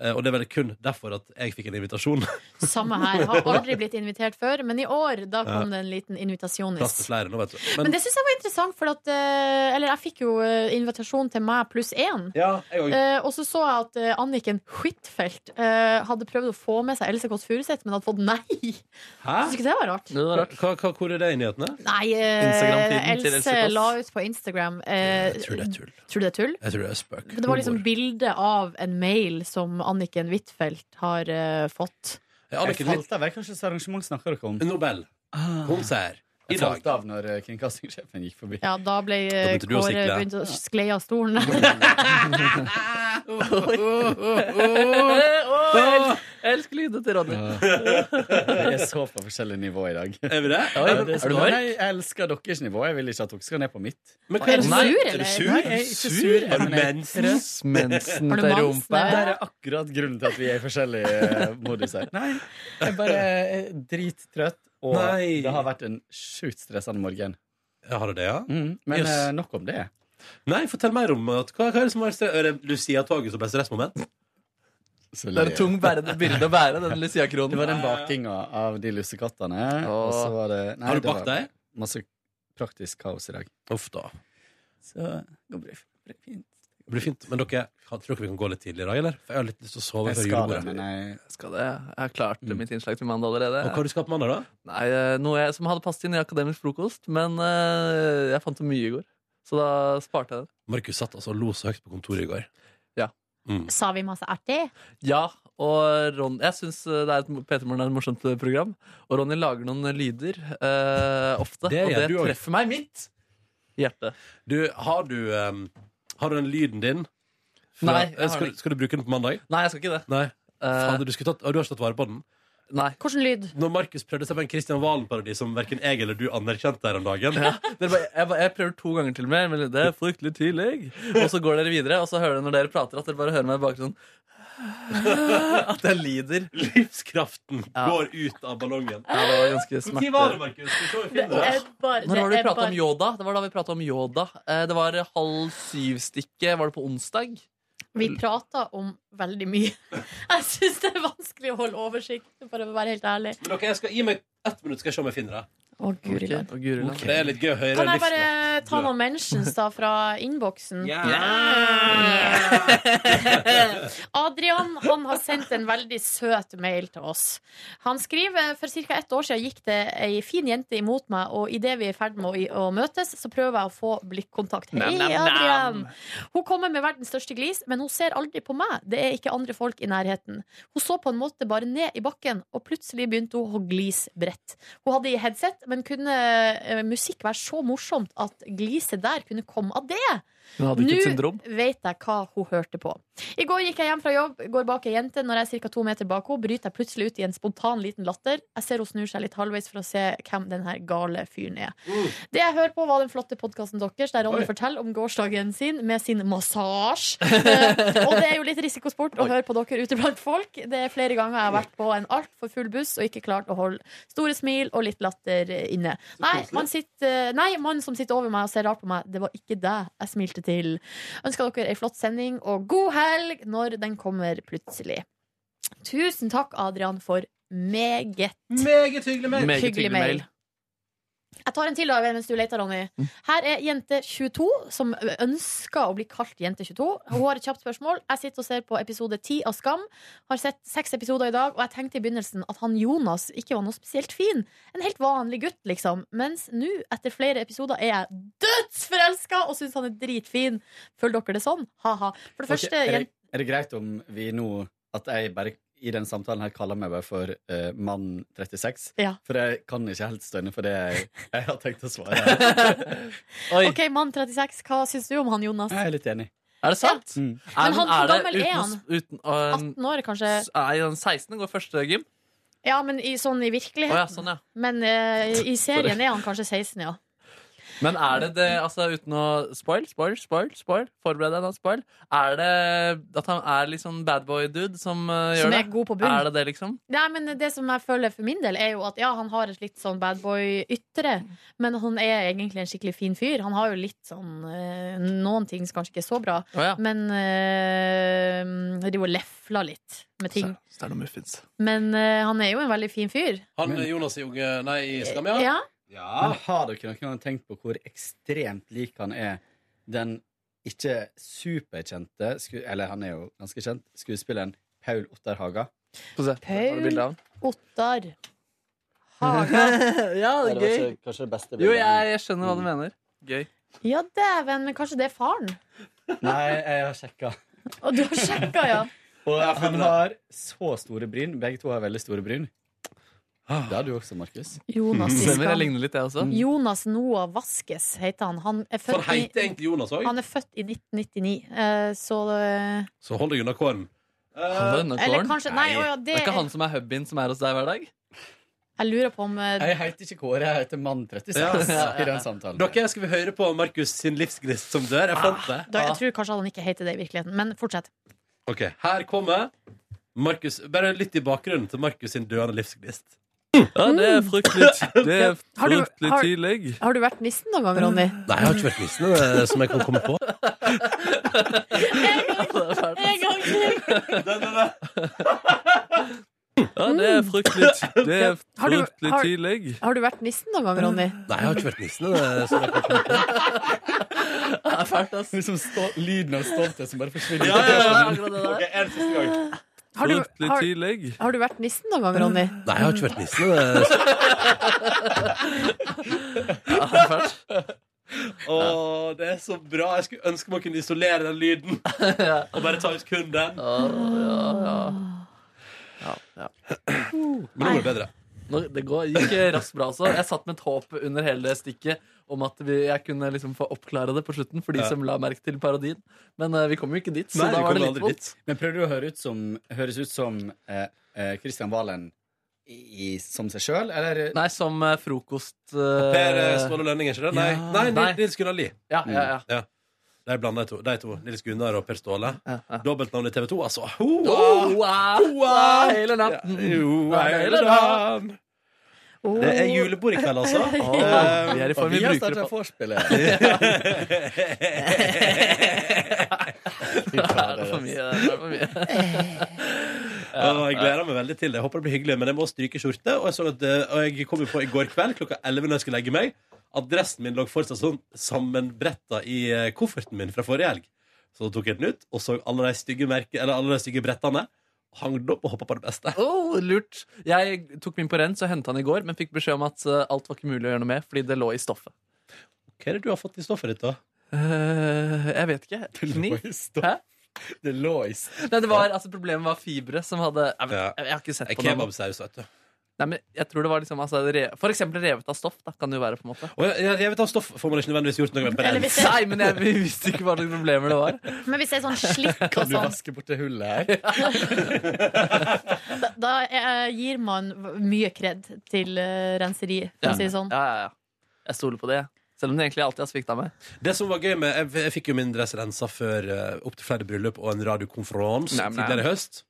Eh, Og det er vel kun derfor at jeg fikk en invitasjon. Samme her. Har aldri blitt invitert før, men i år da kom Ja. det en liten Plass invitasjonis. til flere nå, vet du. Men, det syns jeg var interessant, for at eh, Eller jeg fikk jo eh, invitasjon til meg pluss én. Ja, jeg òg. Eh, og så så jeg at eh, Anniken Huitfeldt eh, hadde prøvd å få med seg Else Kåss Furuseth, men hadde fått nei. Hæ? Syns ikke det var rart? Hva, hva, hvor er det i nyhetene? Nei, eh, Instagram-tiden til Else Else Kåss. la ut på Instagram eh, Jeg tror det er tull. Tror du det er tull? Jeg tror det er spøk. Men Det var liksom bilde av en mail som Anniken Huitfeldt har eh, fått. Jeg falt av. Jeg kan ikke se arrangement snakker dere om. Nobel. Konsert. I Jeg falt av når eh, kringkastingssjefen gikk forbi. Ja, da ble Da eh, begynte du å Kåre sikle. begynt å sklei av stolen. jeg, elsker lydene til Ronny. Vi er så på forskjellige nivå i dag. Er vi det? Ja, ja, det Er er du så- mørk? Nei, jeg elsker deres nivå. Jeg vil ikke at dere skal ned på mitt. Men hva er det som- Nei, Er du sur, eller? Nei, jeg er ikke sur. Har du men jeg- mensens? Mensen Har du til mans, rumpa. nei? Det er akkurat grunnen til at vi er i forskjellig eh, modus her. Nei, jeg bare er drittrøtt, og Nei. det har vært en sjukt stressende morgen. Ja, har du det, ja? Mm, men Jøss. eh, nok om det. Nei, fortell mer om at, hva, hva er det som var stre- Er det Lucia-toget som ble stressmoment? Så Det er en tung bærende byrde å bære, den Lucia-kronen. Det var den bakinga av de lussekattene. Åh. Og så var det Har du det bakt var deg? Masse praktisk kaos i dag. Uff da. Så det blir det fint. Det blir fint. Men dere, kan- tror dere vi kan gå litt tidlig i dag, eller? For jeg har litt lyst til å sove Jeg før skal julebordet. det, jeg skal det. Jeg har klart mitt innslag til mandag allerede. Og hva har du skal på mandag, da? Nei, eh, Noe jeg, som hadde passet inn i akademisk frokost, men eh, jeg fant det mye i går. Så da sparte jeg det. Markus satt altså og lo så høyt på kontoret i går. Mm. Ja. Sa vi masse artig? Ja, og Ron, jeg synes det er et, Peter Morgen er et morsomt eh, program, og Ronny lager noen lyder eh, ofte, Det og gjør det du også. treffer meg midt i hjertet. Du, har du, ehm, har du den lyden din? fra- Nei, jeg Eh, har den skal, ikke. skal du bruke den på mandag? Nei, jeg skal ikke det. Eh, Nei. Fader, du, skulle tatt, og du har ikke tatt vare på den? Nei. Hvordan lyd? Når Markus prøvde seg på en Kristian Valen-parodi som verken jeg eller du anerkjente her om dagen. Ja, dere bare, jeg, bare- jeg prøver to ganger til med, men det er fryktelig tidlig. Og så går dere videre, og så hører dere når dere prater at dere bare hører meg i bakgrunnen. At jeg lider. Livskraften går ut av ballongen. Ja, det var ganske Hvor tid var smerte. det, Markus? Skal vi se om vi finner det? Når var det vi prata om Yoda? Det var da vi pratet om Yoda. Eh, Det var halv syv-stikket. Var det på onsdag? Vi prata om veldig mye. Jeg syns det er vanskelig å holde oversikt, for å være helt ærlig. Men dere, jeg skal Gi meg ett minutt, skal jeg se om jeg finner det. Å, guri land. Ok, Det er litt gøy å høre. Kan livskraften. jeg bare ta noen mentions da fra innboksen? Ja. Adrian han har sendt en veldig søt mail til oss. Han skriver for ca. ett år siden gikk det ei fin jente imot meg, og idet vi er i ferd med å, i- å møtes, så prøver jeg å få blikkontakt. Hei, Nam, nam, nam. Adrian! Hun kommer med verdens største glis, men hun ser aldri på meg. Det er ikke andre folk i nærheten. Hun så på en måte bare ned i bakken, og plutselig begynte hun å glise bredt. Hun hadde i headset, men kunne eh, musikk være så morsomt at gliset der kunne komme av det? Hun hadde ikke et syndrom. Nå vet jeg hva hun hørte på. I går gikk jeg hjem fra jobb, går bak ei jente. Når jeg er ca. to meter bak henne, bryter jeg plutselig ut i en spontan liten latter. Jeg ser hun snur seg litt halvveis for å se hvem den her gale fyren er. Det jeg hører på, var den flotte podkasten deres, der Ronny Oi. forteller om gårsdagen sin med sin massasje. Eh, og det er jo litt risikosport å høre på dere ute blant folk. Det er flere ganger jeg har vært på en altfor full buss og ikke klart å holde store smil og litt latter eh, inne. Nei, man sitter, nei, mannen som sitter over meg og ser rart på meg, det var ikke deg jeg smilte til. Ønsker dere ei flott sending og god helg når den kommer plutselig. Tusen takk, Adrian, for meget Meget hyggelig mail. Meget hyggelig mail. Jeg tar en til da, mens du leter, Ronny. Her er jente 22, som ønsker å bli kalt jente 22. Hun har et kjapt spørsmål. Jeg sitter og ser på episode 10 av Skam. Har sett seks episoder i dag, og jeg tenkte i begynnelsen at han Jonas ikke var noe spesielt fin. En helt vanlig gutt, liksom. Mens nå, etter flere episoder, er jeg dødsforelska og syns han er dritfin. Føler dere det sånn? Ha-ha. For det første, Ok, er, jente det, er det greit om vi nå At jeg bare i den samtalen her kaller meg bare for eh, mann 36? Ja. For jeg kan ikke helt stå inne for det jeg, jeg har tenkt å svare. OK, mann 36, hva syns du om han Jonas? Jeg er litt enig. Er det sant? Men han, hvor det gammel er han? Uten, uten, øh, en- 18 år, kanskje? er han 16 og går første gym? Ja, men i, sånn i virkeligheten. Å ja, sånn, ja. Men eh, i serien Sorry. er han kanskje 16, ja. Men er det det, altså uten å spoil, spoil, spoil, spoil forbered deg da, spoil Er det at han er litt sånn bad boy dude som eh, gjør Som det? er god på bunn. Er det det, liksom? Nei, men Det som jeg føler for min del, er jo at ja, han har et litt sånn bad boy-ytre, men han er egentlig en skikkelig fin fyr. Han har jo litt sånn eh, Noen ting som kanskje ikke er så bra, Å ja. men eh, driver og lefler litt med ting. Så er det noe muffins. Men eh, han er jo en veldig fin fyr. Han Jonas i Unge Nei, i Skam, ja. Ja. Men har dere noen gang tenkt på hvor ekstremt lik han er den ikke superkjente sku- Eller han er jo ganske kjent, skuespilleren Paul Otterhaga? Få se. Paul Ottar. ja, det er gøy. Kanskje det beste Jo, jeg, jeg skjønner hva du mener. Mm. Gøy. Ja, dæven, men kanskje det er faren? Nei, jeg har sjekka. Og du har sjekka, ja. Og han har så store bryn. Begge to har veldig store bryn. Det har du også, Markus. Jonas i Stemmer, jeg Skam. ligner litt, jeg også. Jonas Noah Vaskes heter han. Han er For født, heiter i, egentlig Jonas òg. han er født i 1999, eh, så eh, Så hold deg unna kåren. Han var unna Eller kåren. kanskje- nei, å ja, det det er er- ikke han som er hubbyen som er hos deg hver dag? Jeg lurer på om eh, Jeg heter ikke Kåre, jeg heter Mann 36 i den samtalen. Dere, skal vi høre på Markus sin livsgnist som dør? Jeg fant det. da, Jeg tror kanskje han ikke heter det i virkeligheten, men fortsett. Ok, Her kommer Markus Bare litt i bakgrunnen til Markus sin døende livsgnist. Ja, det er fryktelig Det er Mm. Har du- fryktelig har- tidlig. Har du vært nissen noen gang, Ronny? Nei, jeg har ikke vært nissen eh, som jeg kan komme på. En gang til! Ja, det er fryktelig Det er Mm. Har du- fryktelig har- tidlig. Har du vært nissen noen gang, Ronny? Nei, jeg har ikke vært nissen. eh, Som jeg kan komme Det er fælt, ass. Liksom stå- lyden av stolthet som bare forsvinner. Ja, ja, ja, akkurat det der. Ok, en siste gang. Har du, Fryktelig har, tidlig. har du vært nissen noen gang, Ronny? Nei, jeg har ikke vært nissen. eh, som- Ja, det er fælt. Å, det er så bra. Jeg skulle ønske man kunne isolere den lyden. Og bare ta ut kun den. Ja, ja. Men nå går det bedre. Nå, det går, gikk raskt bra også. Jeg satt med et håp under hele det stikket om at vi, jeg kunne liksom få oppklare det på slutten for de Ja. som la merke til parodien. Men eh, vi kom jo ikke dit, så Nei, da var vi det kommer litt aldri vondt. dit. Men prøver du å høre ut som, høres ut som eh, eh, Christian Valen i, i, som seg sjøl, eller? Nei, som eh, frokost Per eh, Ståle Lønning, er ikke det? Nei, Ja. nei, Nei. Nils- Nils Gunnar Lie. Ja, ja, ja. Ja. Der blanda jeg to. De to. Nils Gunnar og Per Ståle. Mm. Dobbeltnavn i TV 2, altså. Ho! Hoa! Hoa! Hele natten! Jo, Nei, hele hele dagen. Det er julebord i kveld, altså. Ja. Eh, Vi er i form, vi bruker det på- Det er for mye. Det er for mye. Å, jeg gleder meg veldig til det. Jeg håper det blir hyggelig, men jeg må stryke skjorte. Og jeg, så at, eh, og jeg kom jo på i går kveld klokka 11 når jeg skulle legge meg, at dressen min lå fortsatt sånn sammenbretta i eh, kofferten min fra forrige helg. Så tok jeg den ut og så alle de stygge, merke, eller alle de stygge brettene. Hang den opp og hoppa på det beste. Oh, lurt. Jeg tok min på rens og henta den i går, men fikk beskjed om at eh, alt var ikke mulig å gjøre noe med fordi det lå i stoffet. Hva er det du har fått i stoffet ditt, da? Eh, jeg vet ikke. Kniv? Hæ? Det lå i stoff. Nei, det var, altså, problemet var fibre som hadde jeg, vet, jeg, jeg har ikke sett på noe. Kebabsaus, vet du. Nei, men jeg tror det var liksom altså, re, For eksempel revet av stoff. Da, kan det jo være på en måte Og jeg, jeg, vet at stoff får man ikke nødvendigvis gjort noe med på rens. Nei, men jeg vi visste ikke hva slags problemer det var. Men hvis det er sånn slitt og Kan du sånn, vaske bort det hullet her? da, da eh, gir man mye kred til eh, renseri, for å si det sånn. Ja, ja, ja. Jeg stoler på det, jeg. selv om det egentlig alltid har svikta meg. Det som var gøy med Jeg, jeg fikk jo min dress rensa før eh, opp til flere bryllup og en radiokonferanse Nei, nei. tidligere i høst.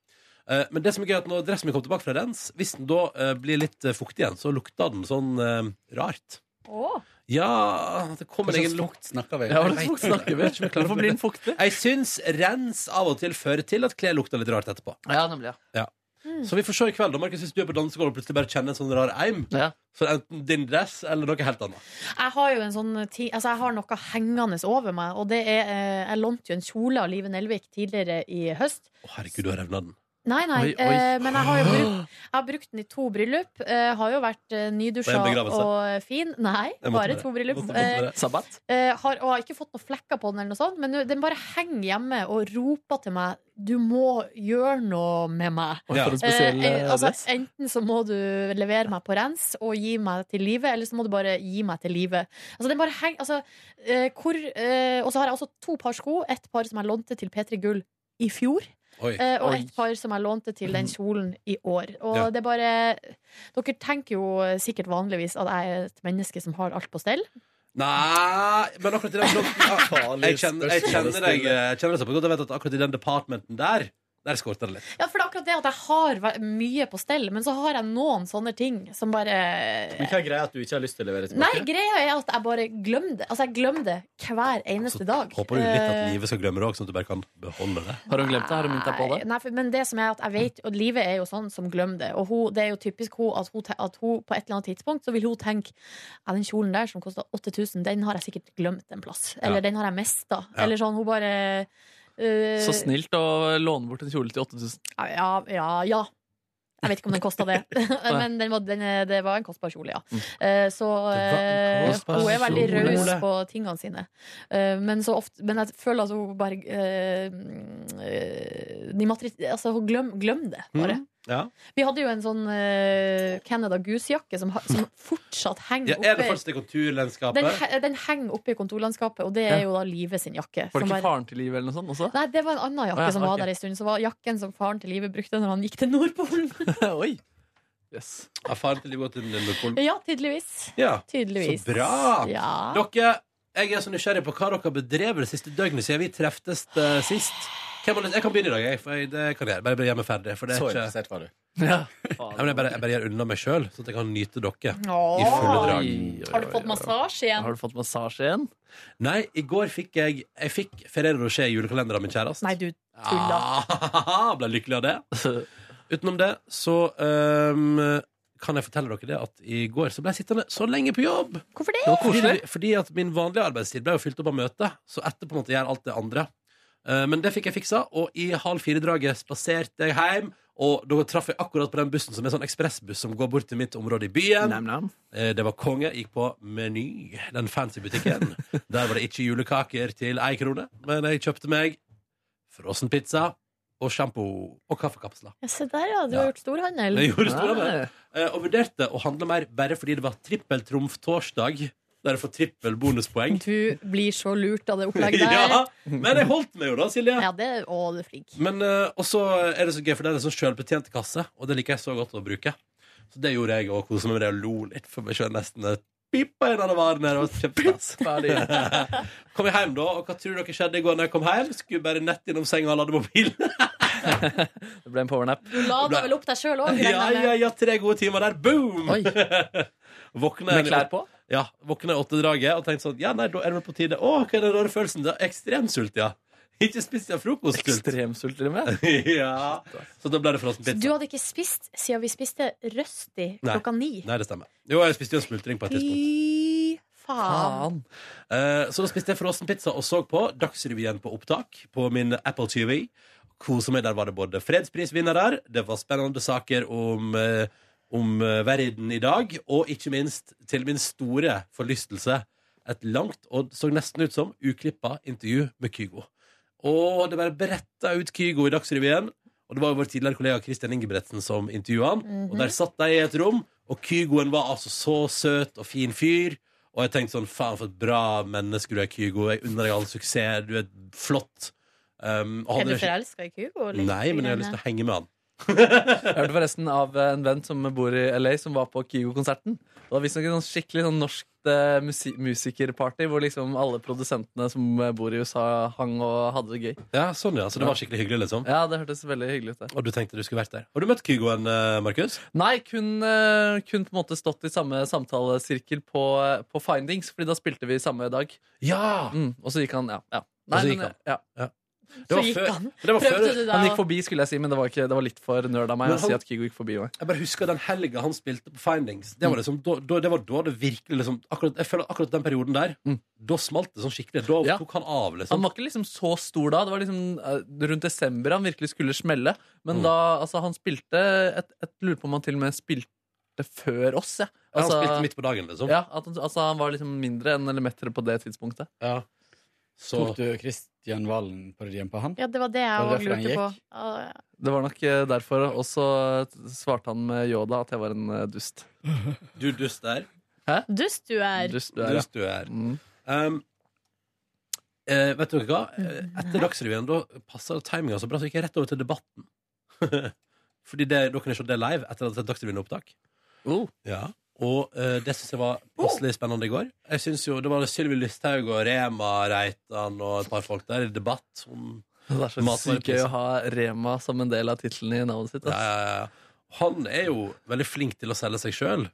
Eh, men det som er gøy er at når dressen min kom tilbake fra rens, hvis den da eh, blir litt eh, fuktig igjen, så lukta den sånn eh, rart. Ja det kommer Hva slags egen lukt. fukt snakker vi? Ja, hva slags fukt snakker vi? Jeg vet ikke om jeg klarer å Hvorfor blir den fuktig? Jeg syns rens av og til fører til at klær lukter litt rart etterpå. Ja, nemlig, ja. Ja. Så vi får se i kveld, da. Markus, hvis du er på dansegulvet og plutselig bare kjenner en sånn rar eim, så er det enten din dress eller noe helt annet. Jeg har jo en sånn ti, altså jeg har noe hengende over meg, og det er eh, Jeg lånte jo en kjole av Live Nelvik tidligere i høst. Å, herregud, du har revna den. Nei, Oi, nei, oi. Eh, men jeg har jo brukt, jeg har brukt den i to bryllup. Eh, har jo vært eh, Og nydusja en begravelse. og eh, fin. Nei, Jeg måtte med bare det. to bryllup. Måtte- måtte Eh, med det. Sabbat? eh, har, og har ikke fått noen flekker på den, eller noe sånt, men nå- den bare henger hjemme og roper til meg Du må gjøre noe med meg. Oi, for en spesiell, eh, eh, altså, dress. enten så må du levere meg på rens og gi meg til live, eller så må du bare gi meg til live. Altså, den bare henger altså, eh, hvor, eh, Og så har jeg også to par sko. Ett par som jeg lånte til P3 Gull i fjor. Oi. Eh, og Oi. ett par som jeg lånte til den kjolen i år. Og Ja. det er bare Dere tenker jo sikkert vanligvis at jeg er et menneske som har alt på stell. Nei, men akkurat i den bloggen jeg, kjenner, jeg kjenner deg jeg kjenner deg såpass godt. Jeg vet at akkurat i den departmenten der, der skorter det litt. Ja, for det er akkurat det at jeg har ve- mye på stell, men så har jeg noen sånne ting som bare Men hva er greia at du ikke har lyst til å levere Nei, tilbake? greia er at jeg bare glemmer det. Altså, jeg glemmer det hver eneste dag. Altså, Håper du litt at Eh, livet skal glemme det òg, sånn at du bare kan beholde det. Har hun glemt det? Har hun minnet deg på det? Nei, for, men det som er at jeg vet Og livet er jo sånn som glemmer det. Og hun, det er jo typisk hun at, hun te- at hun på et eller annet tidspunkt Så vil hun tenke Ja, den kjolen der som kosta 8000, den har jeg sikkert glemt en plass. Eller Ja. den har jeg mista. Ja. Eller sånn. Hun bare eh, Så snilt å låne bort en kjole til 8000. Ja, ja, ja. Jeg vet ikke om den kosta det, men den var, den, er- det var en kostbar kjole, ja. Eh, Så eh, Det var en hun er kostbar veldig raus kjole. på tingene sine. Eh, Men, så ofte, men jeg føler at hun bare eh, eh, de matri- altså, hun glem, glem det, bare. Ja. Vi hadde jo en sånn eh, Canada Goose-jakke som, ha- som fortsatt henger Ja, er det oppe. fortsatt i konturlandskapet? Den, he- den henger oppe i kontorlandskapet, og det Ja. er jo da Live sin jakke. Var det som ikke bare- faren til livet eller noe sånt også? Nei, det var en annen jakke Å ja, som var ok. der en stund. Som var jakken som faren til Live brukte når han gikk til Nordpolen. Oi. Yes. Ja, faren til livet til Liverpool. ja, tydeligvis. Ja. Tydeligvis. Så bra! Ja. Dere, jeg er så nysgjerrig på hva dere har bedrevet det siste døgnet siden vi treftes eh, sist. Hvem har lyst- Jeg kan begynne i dag, jeg. For jeg det kan jeg gjøre. Bare bli hjemme ferdig. For det er Så ikke... interessert var du. Ja. Ja, men jeg, bare, jeg bare gjør unna meg sjøl, sånn at jeg kan nyte dere Åh. i fulle drag. Har du fått massasje igjen? Har du fått massasje igjen? Nei, i går fikk jeg Jeg fikk Ferrero Rocher i julekalenderen av min kjæreste. Nei, du tulla. Ah, ble lykkelig av det. Utenom det så ehm, kan jeg fortelle dere det at i går så ble jeg sittende så lenge på jobb. Hvorfor det? Det var koselig. Fordi, fordi at min vanlige arbeidstid ble jo fylt opp av møte, så etterpå måtte jeg gjøre alt det andre. Eh, Men det fikk jeg fiksa, og i halv fire-draget spaserte jeg hjem. Og da traff jeg akkurat på den bussen som er sånn ekspressbuss som går bort til mitt område i byen. Eh, Det var konge. Gikk på Meny, den fancy butikken. Der var det ikke julekaker til ei krone, men jeg kjøpte meg frossen pizza og sjampo og kaffekapsler. Ja, se der, ja. Du har gjort storhandel. Jeg gjorde store med Ah, Ja. det. Eh, Og vurderte å handle mer bare fordi det var trippeltrumf torsdag. Der jeg får trippel bonuspoeng. Du blir så lurt av det opplegget der. Ja, men jeg holdt meg jo da, Silje. Ja, det, å, du er flink. Men eh, også er det så gøy, for det er en sånn selvbetjent kasse, og det liker jeg så godt å bruke. Så det gjorde jeg og koset meg med det og lo litt, for meg selv nesten eh, pipa inn alle varene. Det var kjempestas. kom jeg hjem da, og hva tror dere skjedde i går når jeg kom hjem? Skulle bare nett innom senga og lade mobilen. Det ble en powernap. Du la da vel opp deg sjøl òg? Ja, ja, ja, tre gode timer der. Boom! Våkna Med klær på? Ja, våkna i åttedraget og tenkte sånn Ja, nei, da er det vel på tide. Å, hva er den rare følelsen? Det er ekstrem sult, ja. Ikke spist jeg frokostkult. Ekstremsult, til og med. ja. Så da ble det frossen pizza. Du hadde ikke spist siden vi spiste Røsti Nei. klokka ni. Nei, det stemmer. Jo, jeg spiste jo en smultring på et tidspunkt. Fy Ah. faen. Eh, så da spiste jeg frossen pizza og så på Dagsrevyen på opptak på min Apple TV. Kosa meg. Der var det både fredsprisvinnere, det var spennende saker om, eh, om eh, verden i dag, og ikke minst, til min store forlystelse, et langt og så nesten ut som uklippa intervju med Kygo. Og det bare bretta ut Kygo i Dagsrevyen. Og det var jo vår tidligere kollega Christian Ingebretsen som intervjua han. Og der satt de i et rom, og Kygoen var altså så søt og fin fyr. Og jeg tenkte sånn, faen for et bra menneske du er, Kygo. Jeg unner deg all suksess. Du er flott. Um, og Er hadde du det ikke- forelska i Kygo? eller? Nei, men jeg har lyst til å henge med han. Jeg hørte forresten av en venn som bor i LA, som var på Kygo-konserten. Det var visstnok en sånn skikkelig sånn norsk eh, musi musikerparty hvor liksom alle produsentene som eh, bor i USA, hang og hadde det gøy. Ja, sånn ja, Så det var skikkelig hyggelig, liksom? Ja, det hørtes veldig hyggelig ut. det. Og du tenkte du skulle vært der. Har du møtt Kygoen, eh, Markus? Nei, kun, eh, kun på en måte stått i samme samtalesirkel på, eh, på Findings, fordi da spilte vi samme dag. Ja! Mm, og så gikk han, ja. ja. Og så gikk men, han. eh, Ja. Det var gikk før- han. det var Prøvde før- du da Han å- gikk forbi, skulle jeg si, men det var, ikke, det var litt for nerd av meg Men å si han- at Kygo gikk forbi meg. Jeg bare husker den helga han spilte på Findings. Det var, liksom, da, da, det var da det virkelig liksom, akkurat, Jeg føler akkurat den perioden der, da smalt det sånn skikkelig. Da tok Mm. han av, liksom. Han var ikke liksom så stor da. Det var liksom eh, rundt desember han virkelig skulle smelle. Men da, altså, han spilte et, et Lurer på om han til og med spilte før oss, jeg. Ja, han spilte midt på dagen, liksom. Ja, at, han- altså, han var liksom mindre enn Lemeter på det tidspunktet. Tok du Kristian Valen-parodien på han? Ja, det var det jeg Var det òg derfor han lurte på. gikk? Ah, ja. Det var nok eh, derfor. Og så eh, svarte han med Yoda at jeg var en eh, dust. Du dust der. Hæ? Dust du er. Dust du er, ja. Mm. Dust du er. Um, eh, vet dere hva? Eh, Etter Dagsrevyen da passa timinga så bra, så gikk jeg rett over til debatten. Fordi det, da kunne jeg se det live etter at Dagsrevyen er opptak. Oh. Ja. Og eh, det syns jeg var passelig spennende i går. Jeg synes jo, Det var Sylvi Lysthaug og Rema Reitan og et par folk der i debatt om Det er så sykt gøy å ha Rema som en del av tittelen i navnet sitt. ass. Ja, ja, ja. Han er jo veldig flink til å selge seg sjøl.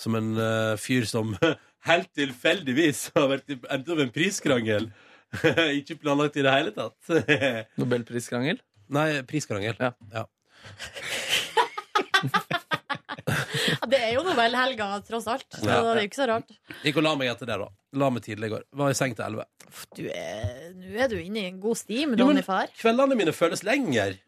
Som en eh, fyr som helt tilfeldigvis har vært i, endt opp i en priskrangel. Ikke planlagt i det hele tatt. Nobelpriskrangel? Nei, priskrangel. Ja. Ja, det er jo Nobelhelga, tross alt. Så Ja. det er jo ikke så rart. Gikk og la meg etter det, da. La meg tidlig i går. Var i seng til elleve. Du er, nå er du inne i en god stim, Jo, men- Ronny Far. Kveldene mine føles lenger.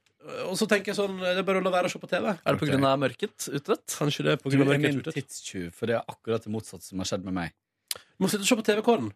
Og så tenker jeg sånn Det er bare å la være å se på TV. Er det på grunn av mørket ute? Kanskje det er på Du grunn av er mørket min ute. tidstyv, for det er akkurat det motsatte som har skjedd med meg. Du må sitte og se på TV-kåren.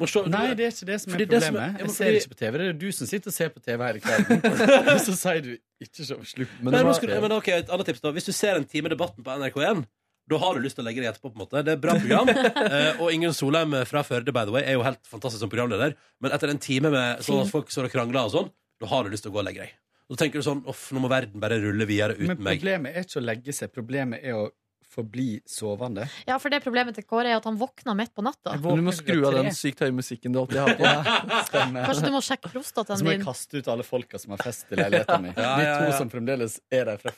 Nei, det er ikke det som er Fordi det som er- Ja, problemet. men Jeg ser fordi- ikke på TV. Det er jo du som sitter og ser på TV hele kvelden. Og så sier du ikke så slutt. Nei, nå skal du- men ok, et annet tips da Hvis du ser en time Debatten på NRK1 Da har du lyst til å legge deg etterpå på en måte Det er et bra program eh, Og Ingen Solheim fra Førde by the way Er jo helt fantastisk som programleder Men etter en time med sånn at folk står og krangler og sånn Da har du lyst til å gå og legge deg Da tenker du sånn Uff, nå må verden bare rulle videre uten Men meg problemet er ikke å legge seg, problemet er å forbli sovende. Ja, for det problemet til Kåre er at han våkner midt på natta. Men du må skru av den sykt høye musikken du alltid har på. Kanskje du må sjekke prostataen Så eh, må jeg din. kaste ut alle folka som har fest i leiligheten min. Ja, ja, De ja. to som fremdeles er der fra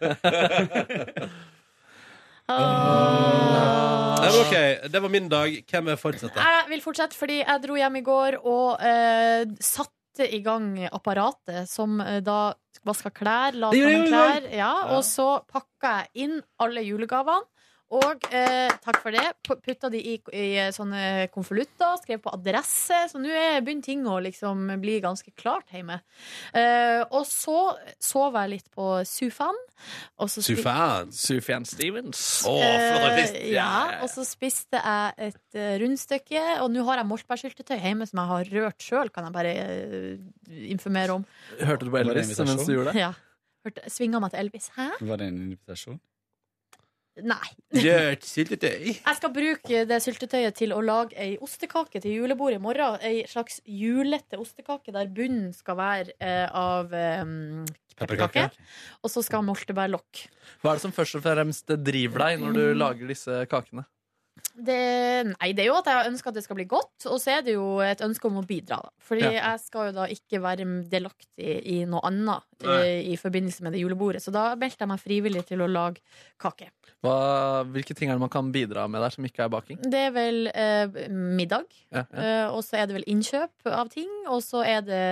vorspielet. Ah. Nei, men ok Det var min dag Hvem er fortsetter? Jeg vil fortsette, fordi jeg dro hjem i går og eh, satte i gang apparatet som eh, da vaska klær, la Det gjorde jeg jo sammen i klær, dag. ja, Ja. og så pakka jeg inn alle julegavene. Og eh, takk for det. pu- Putta de i, i eh, sånne konvolutter, skrev på adresse. Så nå er- begynner ting å liksom bli ganske klart hjemme. Eh, og så sov jeg litt på sofaen. og så spil- Sufan Sufan Stevens Eh, Ja, og så spiste jeg et eh, rundstykke, og nå har jeg moldbærsyltetøy hjemme som jeg har rørt sjøl, kan jeg bare eh, informere om. Hørte du på Var det Elvis en invitasjon? mens du gjorde det? Ja. Hørte, svinga meg til Elvis. Hæ? Var det en invitasjon? Nei. Rørt syltetøy Jeg skal bruke det syltetøyet til å lage ei ostekake til julebordet i morgen. Ei slags julete ostekake der bunnen skal være eh, av um, pepperkake. Og så skal moltebærlokk. Hva er det som først og fremst driver deg når du lager disse kakene? Det, nei, det er jo at jeg ønsker at det skal bli godt, og så er det jo et ønske om å bidra. Da. Fordi Ja. jeg skal jo da ikke være delaktig i noe annet Nei. eh, i forbindelse med det julebordet, så da meldte jeg meg frivillig til å lage kake. Hva, hvilke ting er det man kan bidra med der som ikke er baking? Det er vel eh, middag, Ja, ja. eh, og så er det vel innkjøp av ting, og så er det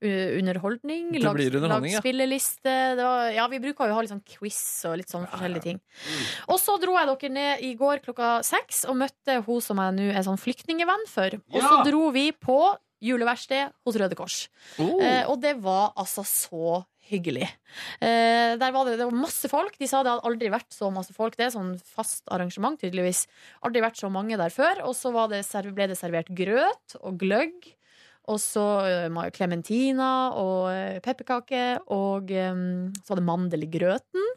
eh, underholdning. Det lag- blir underholdning, lag ja. spilleliste. Det var, ja, vi bruker jo å ha litt sånn quiz og litt sånn forskjellige ting. Mm. Og så dro jeg dere ned i går klokka seks og møtte hun som jeg nå er sånn flyktningevenn for. Og så Ja! dro vi på juleverksted hos Røde Kors. Oh. Eh, og det var altså så hyggelig. Eh, der var det, det var masse folk. De sa det hadde aldri vært så masse folk. Det er sånn fast arrangement, tydeligvis. Aldri vært så mange der før. Og så var det, serv- ble det servert grøt og gløgg. Og så klementina og eh, pepperkake, og eh, så var det mandel i grøten.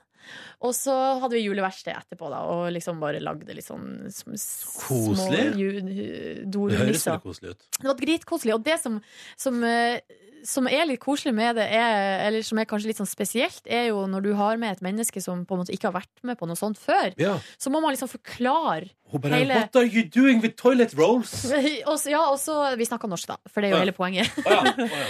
Og så hadde vi juleverksted etterpå, da, og liksom bare lagde litt sånn sm små Koselig. ju- Det høres dorunisser. veldig koselig ut Det var dritkoselig. Og det som, som, eh, som er litt koselig med det, er, eller som er kanskje litt sånn spesielt, er jo når du har med et menneske som på en måte ikke har vært med på noe sånt før. Ja. Så må man liksom forklare Hun bare What are you doing with toilet rolls? og, så- ja, og så Vi snakka norsk, da, for det er jo Å ja. hele poenget.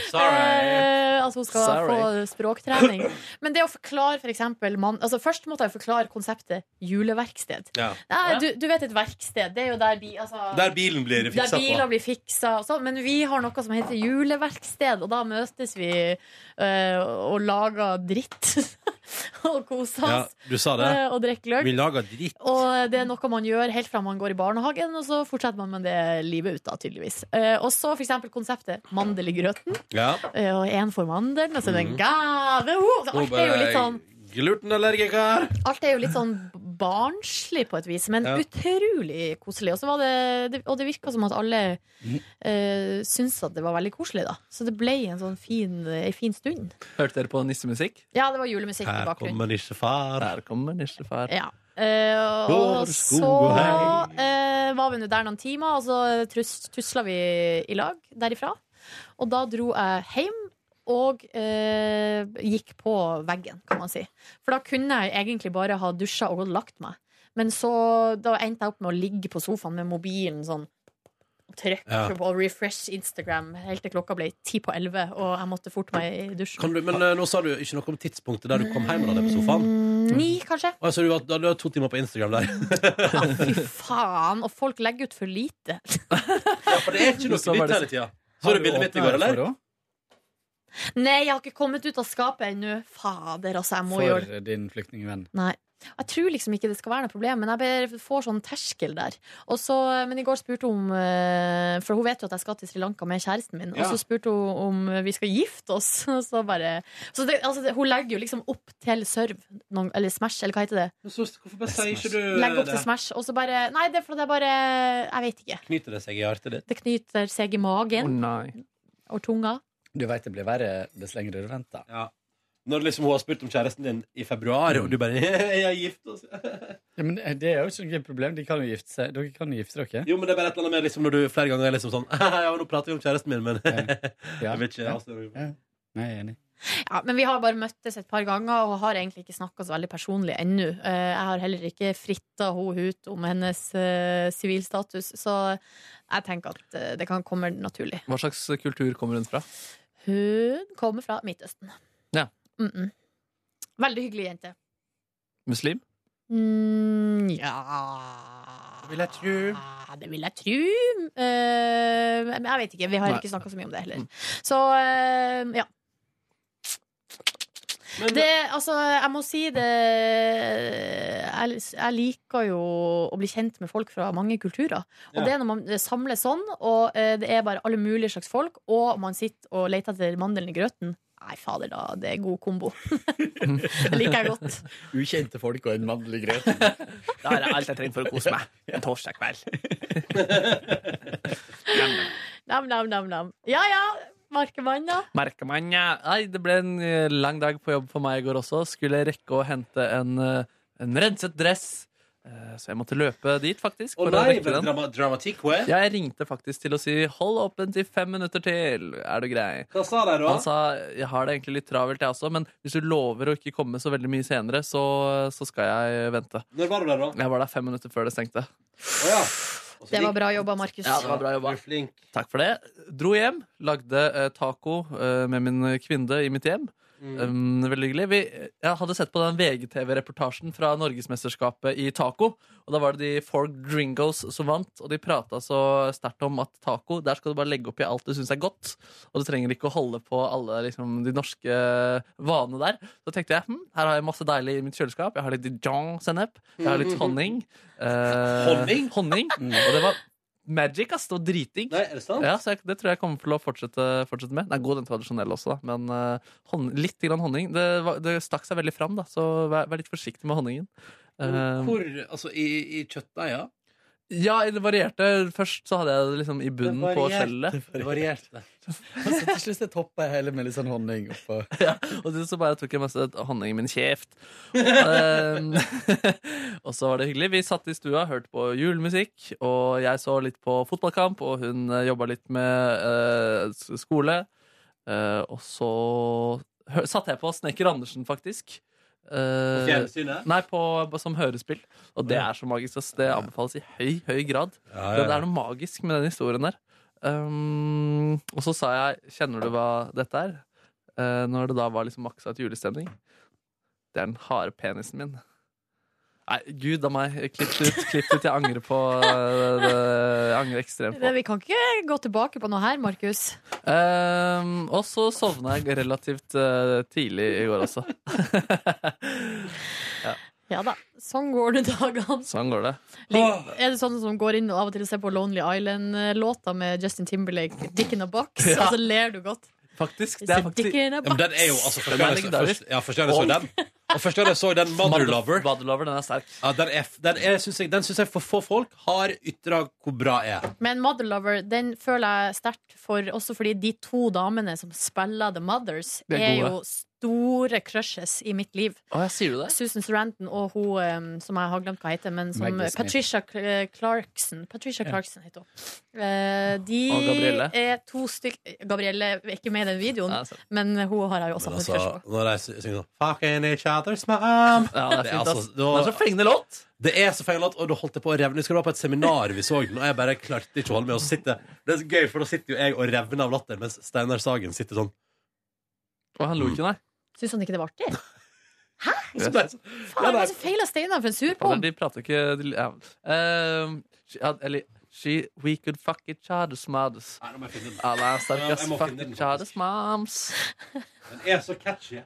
Sorry Eh, at hun skal Sorry. få språktrening. Men det å forklare for eksempel man, altså Først måtte jeg forklare konseptet juleverksted. Ja. Nei, du, du vet et verksted. Det er jo der, bi, altså, Der bilen blir fikset Der biler på. blir fiksa og sånn. Men vi har noe som heter juleverksted, og da møtes vi eh, og lager dritt. og koser Ja, oss. du sa det eh, og drikker gløgg. Vi lager dritt Og det er noe man gjør helt fra man går i barnehagen, og så fortsetter man med det livet ut, da, tydeligvis. Eh, og så for eksempel konseptet mandel i grøten. Ja eh, Og én for mandelen, og så er det Mhm. en gave! Oh, så alt er jo litt sånn Glutenallergiker! Alt er jo litt sånn barnslig på et vis, men Ja. utrolig koselig. Og, så var det, det, og det virka som at alle eh, syntes at det var veldig koselig, da. Så det ble en sånn fin, ei fin stund. Hørte dere på nissemusikk? Ja, det var julemusikk i bakgrunnen. nissefar. Her kommer nissefar. Ja. Eh, Går og skog så og eh, var vi nå der noen timer, og så trus- tusla vi i lag derifra. Og da dro jeg hjem og eh, gikk på veggen, kan man si. For da kunne jeg egentlig bare ha dusja og gått og lagt meg. Men så da endte jeg opp med å ligge på sofaen med mobilen sånn og Trykke Ja. på refresh Instagram helt til klokka ble ti på elleve, og jeg måtte forte meg i dusjen. Kan du, men eh, nå sa du ikke noe om tidspunktet der du kom hjem da, det på sofaen. Mm, Ni, kanskje? Å, så du var, da- du har to timer på Instagram der. Faen! Og folk legger ut for lite. For det er ikke noe Så nytt var det- hele tida. Så du bildet mitt i går, eller? Nei, jeg har ikke kommet ut av skapet ennå. Fader, altså. Jeg må gjøre det. For din flyktningvenn. Nei. Jeg tror liksom ikke det skal være noe problem, men jeg bare får sånn terskel der. Og så, men i går spurte hun eh, For hun vet jo at jeg skal til Sri Lanka med kjæresten min. Ja. Og så spurte hun om vi skal gifte oss. Og så bare Så det, altså, det, hun legger jo liksom opp til serve, noen, eller Smash, eller hva heter det? Hvorfor bare sier ikke du eh, Legger opp det? til Smash, og så bare Nei, det er fordi jeg bare Jeg vet ikke. Knyter det seg i hjertet ditt? Det knyter seg i magen og tunga. Du veit det blir verre dess lenger du venter. Når liksom hun har spurt om kjæresten din i februar, og du bare Jeg er gift. Og så. Ja, men eh, det er jo ikke noe problem. De kan jo gifte seg. Dere kan jo gifte dere. Jo, men det er bare et eller annet med liksom, når du flere ganger er liksom sånn Ja, nå prater vi om kjæresten min, men Ja. Jeg vet ikke. Ja. altså, Ja. Nei, jeg er enig. Ja, men vi har bare møttes et par ganger og har egentlig ikke snakka så veldig personlig ennå. Eh, Jeg har heller ikke fritta hun ut om hennes eh, sivilstatus, så jeg tenker at eh, det kan komme naturlig. Hva slags kultur kommer hun fra? Hun kommer fra Midtøsten. Ja. Mm -mm. Veldig hyggelig jente. Muslim? Mm, ja Vil jeg tru. Ah, Det vil jeg tru. Eh, Men jeg vet ikke. Vi har Nei. ikke snakka så mye om det heller. Så eh, ja. det, altså, jeg må si det jeg, jeg liker jo å bli kjent med folk fra mange kulturer. Og Ja. det er når man samles sånn, og eh, det er bare alle mulige slags folk, og man sitter og leter etter mandelen i grøten. Nei, fader, da. Det er god kombo. det liker jeg godt. Ukjente folk og en mandel i grøt. Da er det alt jeg trenger for å kose meg. En torsdag kveld. Nam-nam-nam. Ja ja, Markemann, da. Merkemann, ja. Nei, det ble en eh, lang dag på jobb for meg i går også. Skulle jeg rekke å hente en, eh, en renset dress. Eh, Så jeg måtte løpe dit, faktisk. Å for å nei, rekke ble det den. drama dramatikk, hva? Jeg ringte faktisk til å si 'hold åpent i fem minutter til'. Er du grei? Hva sa de da? Han sa 'jeg har det egentlig litt travelt, jeg også', men hvis du lover å ikke komme så veldig mye senere, så, så skal jeg vente. Når var du der, da? Altså, Jeg var der fem minutter før det stengte. Det var bra jobba, Markus. Ja, det var bra jobba. Flink. Takk for det. Dro hjem, lagde eh, taco eh, med min kvinne i mitt hjem. Mm. Um, veldig hyggelig. Vi, jeg hadde sett på den VGTV-reportasjen fra Norgesmesterskapet i taco. Og Da var det de Four Gringos som vant, og de prata så sterkt om at taco der skal du bare legge oppi alt du syns er godt, og du trenger ikke å holde på alle liksom, de norske vanene der. Så tenkte jeg hm, her har jeg masse deilig i mitt kjøleskap. Jeg har litt Dijon-sennep, jeg har litt honning. eh, Honning? Mm. honning. Og det var Magic, ass. Det var dritdigg. Nei, er det sant? Ja, så jeg, det tror jeg kommer til å fortsette, fortsette med. Den er god, den tradisjonelle også, da. Men eh, hon, litt grann honning. Det, var- det stakk seg veldig fram, da, så vær, vær litt forsiktig med honningen. Eh, Hvor Altså, i, i kjøttdeiga? Ja, det varierte. Først så hadde jeg det liksom i bunnen Det på varierte, skjellet. det varierte. Altså, til slutt jeg toppa jeg hele med litt sånn honning oppå. Ja, og så bare tok jeg masse honning i min kjeft. Um, og så var det hyggelig. Vi satt i stua, hørte på julemusikk, og jeg så litt på fotballkamp, og hun jobba litt med eh, s- skole. Eh, og så hø satte jeg på Snekker Andersen, faktisk. Eh, På fjernsynet? Nei, på, som hørespill. Og det er så magisk. ass. Det anbefales i høy, høy grad. Ja, ja, ja. Det er noe magisk med den historien der. Um, og så sa jeg 'Kjenner du hva dette er?' Eh, når det da var liksom maksa et julestemning. Det er den harde penisen min. Nei, gud a meg. Klipp det ut. Klipp det ut. Jeg angrer på eh, det. Jeg angrer ekstremt på Men Vi kan ikke gå tilbake på noe her, Markus. Ehm, og så sovna jeg relativt eh, tidlig i går også. ja, Ja da. Sånn går det dagene. sånn går det. Lik- Er det sånne som går inn og av og til ser på Lonely Island-låta med Justin Timberlake, 'Dick in a Box', Ja. og så ler du godt? Faktisk. det er It's a faktisk- dick in a ja, men Den er jo altså Første gang jeg så- først- ja, første gang jeg så den. Og første gang jeg så den, Mother Lover. den er sterk. Ja, den er, f- den er, syns jeg, den syns jeg for få folk har ytra hvor bra er. Men Mother Lover den føler jeg sterkt for, også fordi de to damene som spiller The Mothers, De er, er gode. jo s- store crushes i mitt liv. Å, jeg sier du det? Susan Sarandon og hun eh, som jeg har glemt hva heter, men som Maggie Smith. Patricia Cl- Clarkson. Patricia Ja. Clarkson heter hun. Eh, de Og Gabrielle. er to stykk Gabrielle er ikke med i den videoen, Nei, sant. men hun har jeg jo også Men hatt et altså, crush på. når jeg sy- synger sånn Fucking each other's mom Ja, det er fint, ass. Det er så fengende låt. Det er så fengende låt, og da holdt jeg på å revne. Jeg husker det var på et seminar vi så den, og jeg bare klarte ikke å holde meg. Og så sitter, det er så gøy, for da sitter jo jeg og revner av latter, mens Steinar Sagen sitter sånn. Og han lo ikke, nei. Syns han ikke det var artig? Så ble jeg sånn, Faen, hva er det som feiler Steinar for en Fader, surpom? Altså, de prater ikke de, ja. Ehm, she, ja, Eller she, We could fuck each other's mothers. Nei, nå må jeg finne den. Alle er sterke, Ja, ass. jeg må Fuck finne den, each other's moms. Den er så catchy. Ja,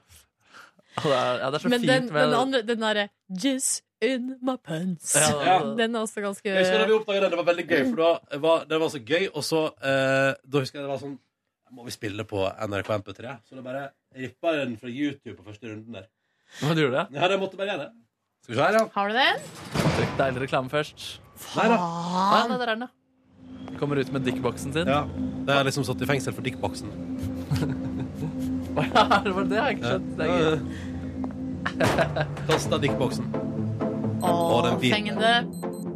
det er, ja, det er så Men fint den, med den andre, den derre Jizz in my pants. Ja. Den er også ganske Jeg husker da vi oppdaget den, det var veldig gøy, for da var, det var så gøy, og så eh, Da husker jeg det var sånn Må vi spille på NRK MP3? Så da bare rippa jeg den fra YouTube på første runden der. Hva du gjorde? Ja, det måtte bare gjøre det. Skal vi se her, ja. Har du den? Trykk deilig reklame først. Nei da. Nei, nei, der er den, ja. Kommer ut med dickboksen sin. Ja. Det er liksom satt i fengsel for dickboksen. Hva er det? Det har jeg ikke skjønt. Det er gøy. Kasta dickboksen. Åh, den hvil- fengende.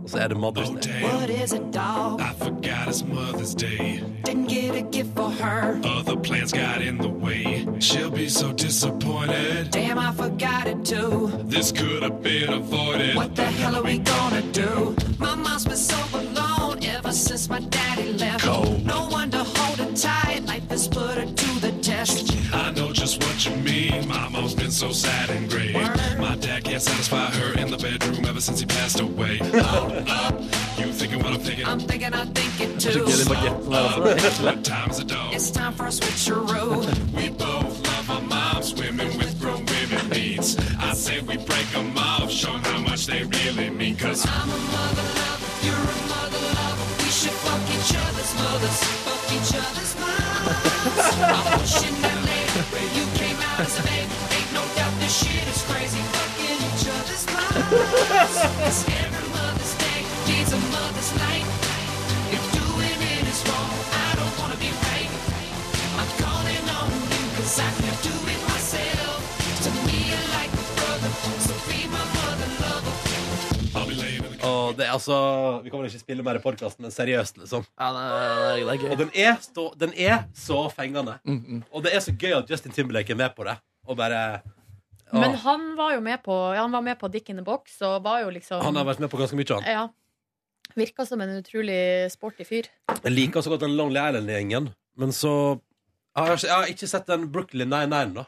Og så er det Mother's Day. What is a dog? I forgot it's Mother's Day. Didn't get a gift for her. Other plans got in the way. She'll be so disappointed. Damn, I forgot it too. This could have been avoided. What the hell are we gonna do? My mom's been so alone ever since my daddy left. Cold. No one to hold her tight. Life has put her to the test. I know just what you mean. My mom's been so sad and gray. My dad can't satisfy her in the bedroom ever since he passed away. Oh, oh, you thinking what I'm thinking? I'm thinking I think it Too too. slow. What time's a dog? It's time for a switcheroo. We both love our moms, women with grown women needs. I say we break them off, show 'em how much they really mean. Cause I'm a mother lover, you're a mother lover. We should fuck each other's mothers, fuck each other's moms. I'm pushing that lady where you came out as a baby. Ain't no doubt this shit is crazy. Fucking each other's moms. It's every Mother's Day, needs a mother's night. If doing it is wrong, I don't wanna be right. I'm calling on you 'cause I can't do it myself. To me, you're like a brother, so be my mother lover. Og det er altså Vi kan vel ikke spille mer i podkasten, men seriøst, liksom. Og den er, stå, den er så fengende. Mm, Og det er så gøy at Justin Timberlake er med på det. Og bare Åh. Men han var jo med på, ja, han var med på Dick in the Box, og var jo liksom Han har vært med på ganske mye, han. Ja. Virka som en utrolig sporty fyr. Jeg liker så godt den Lonely Island-gjengen, men så jeg har, ikke- jeg har ikke sett den Brooklyn 99, da.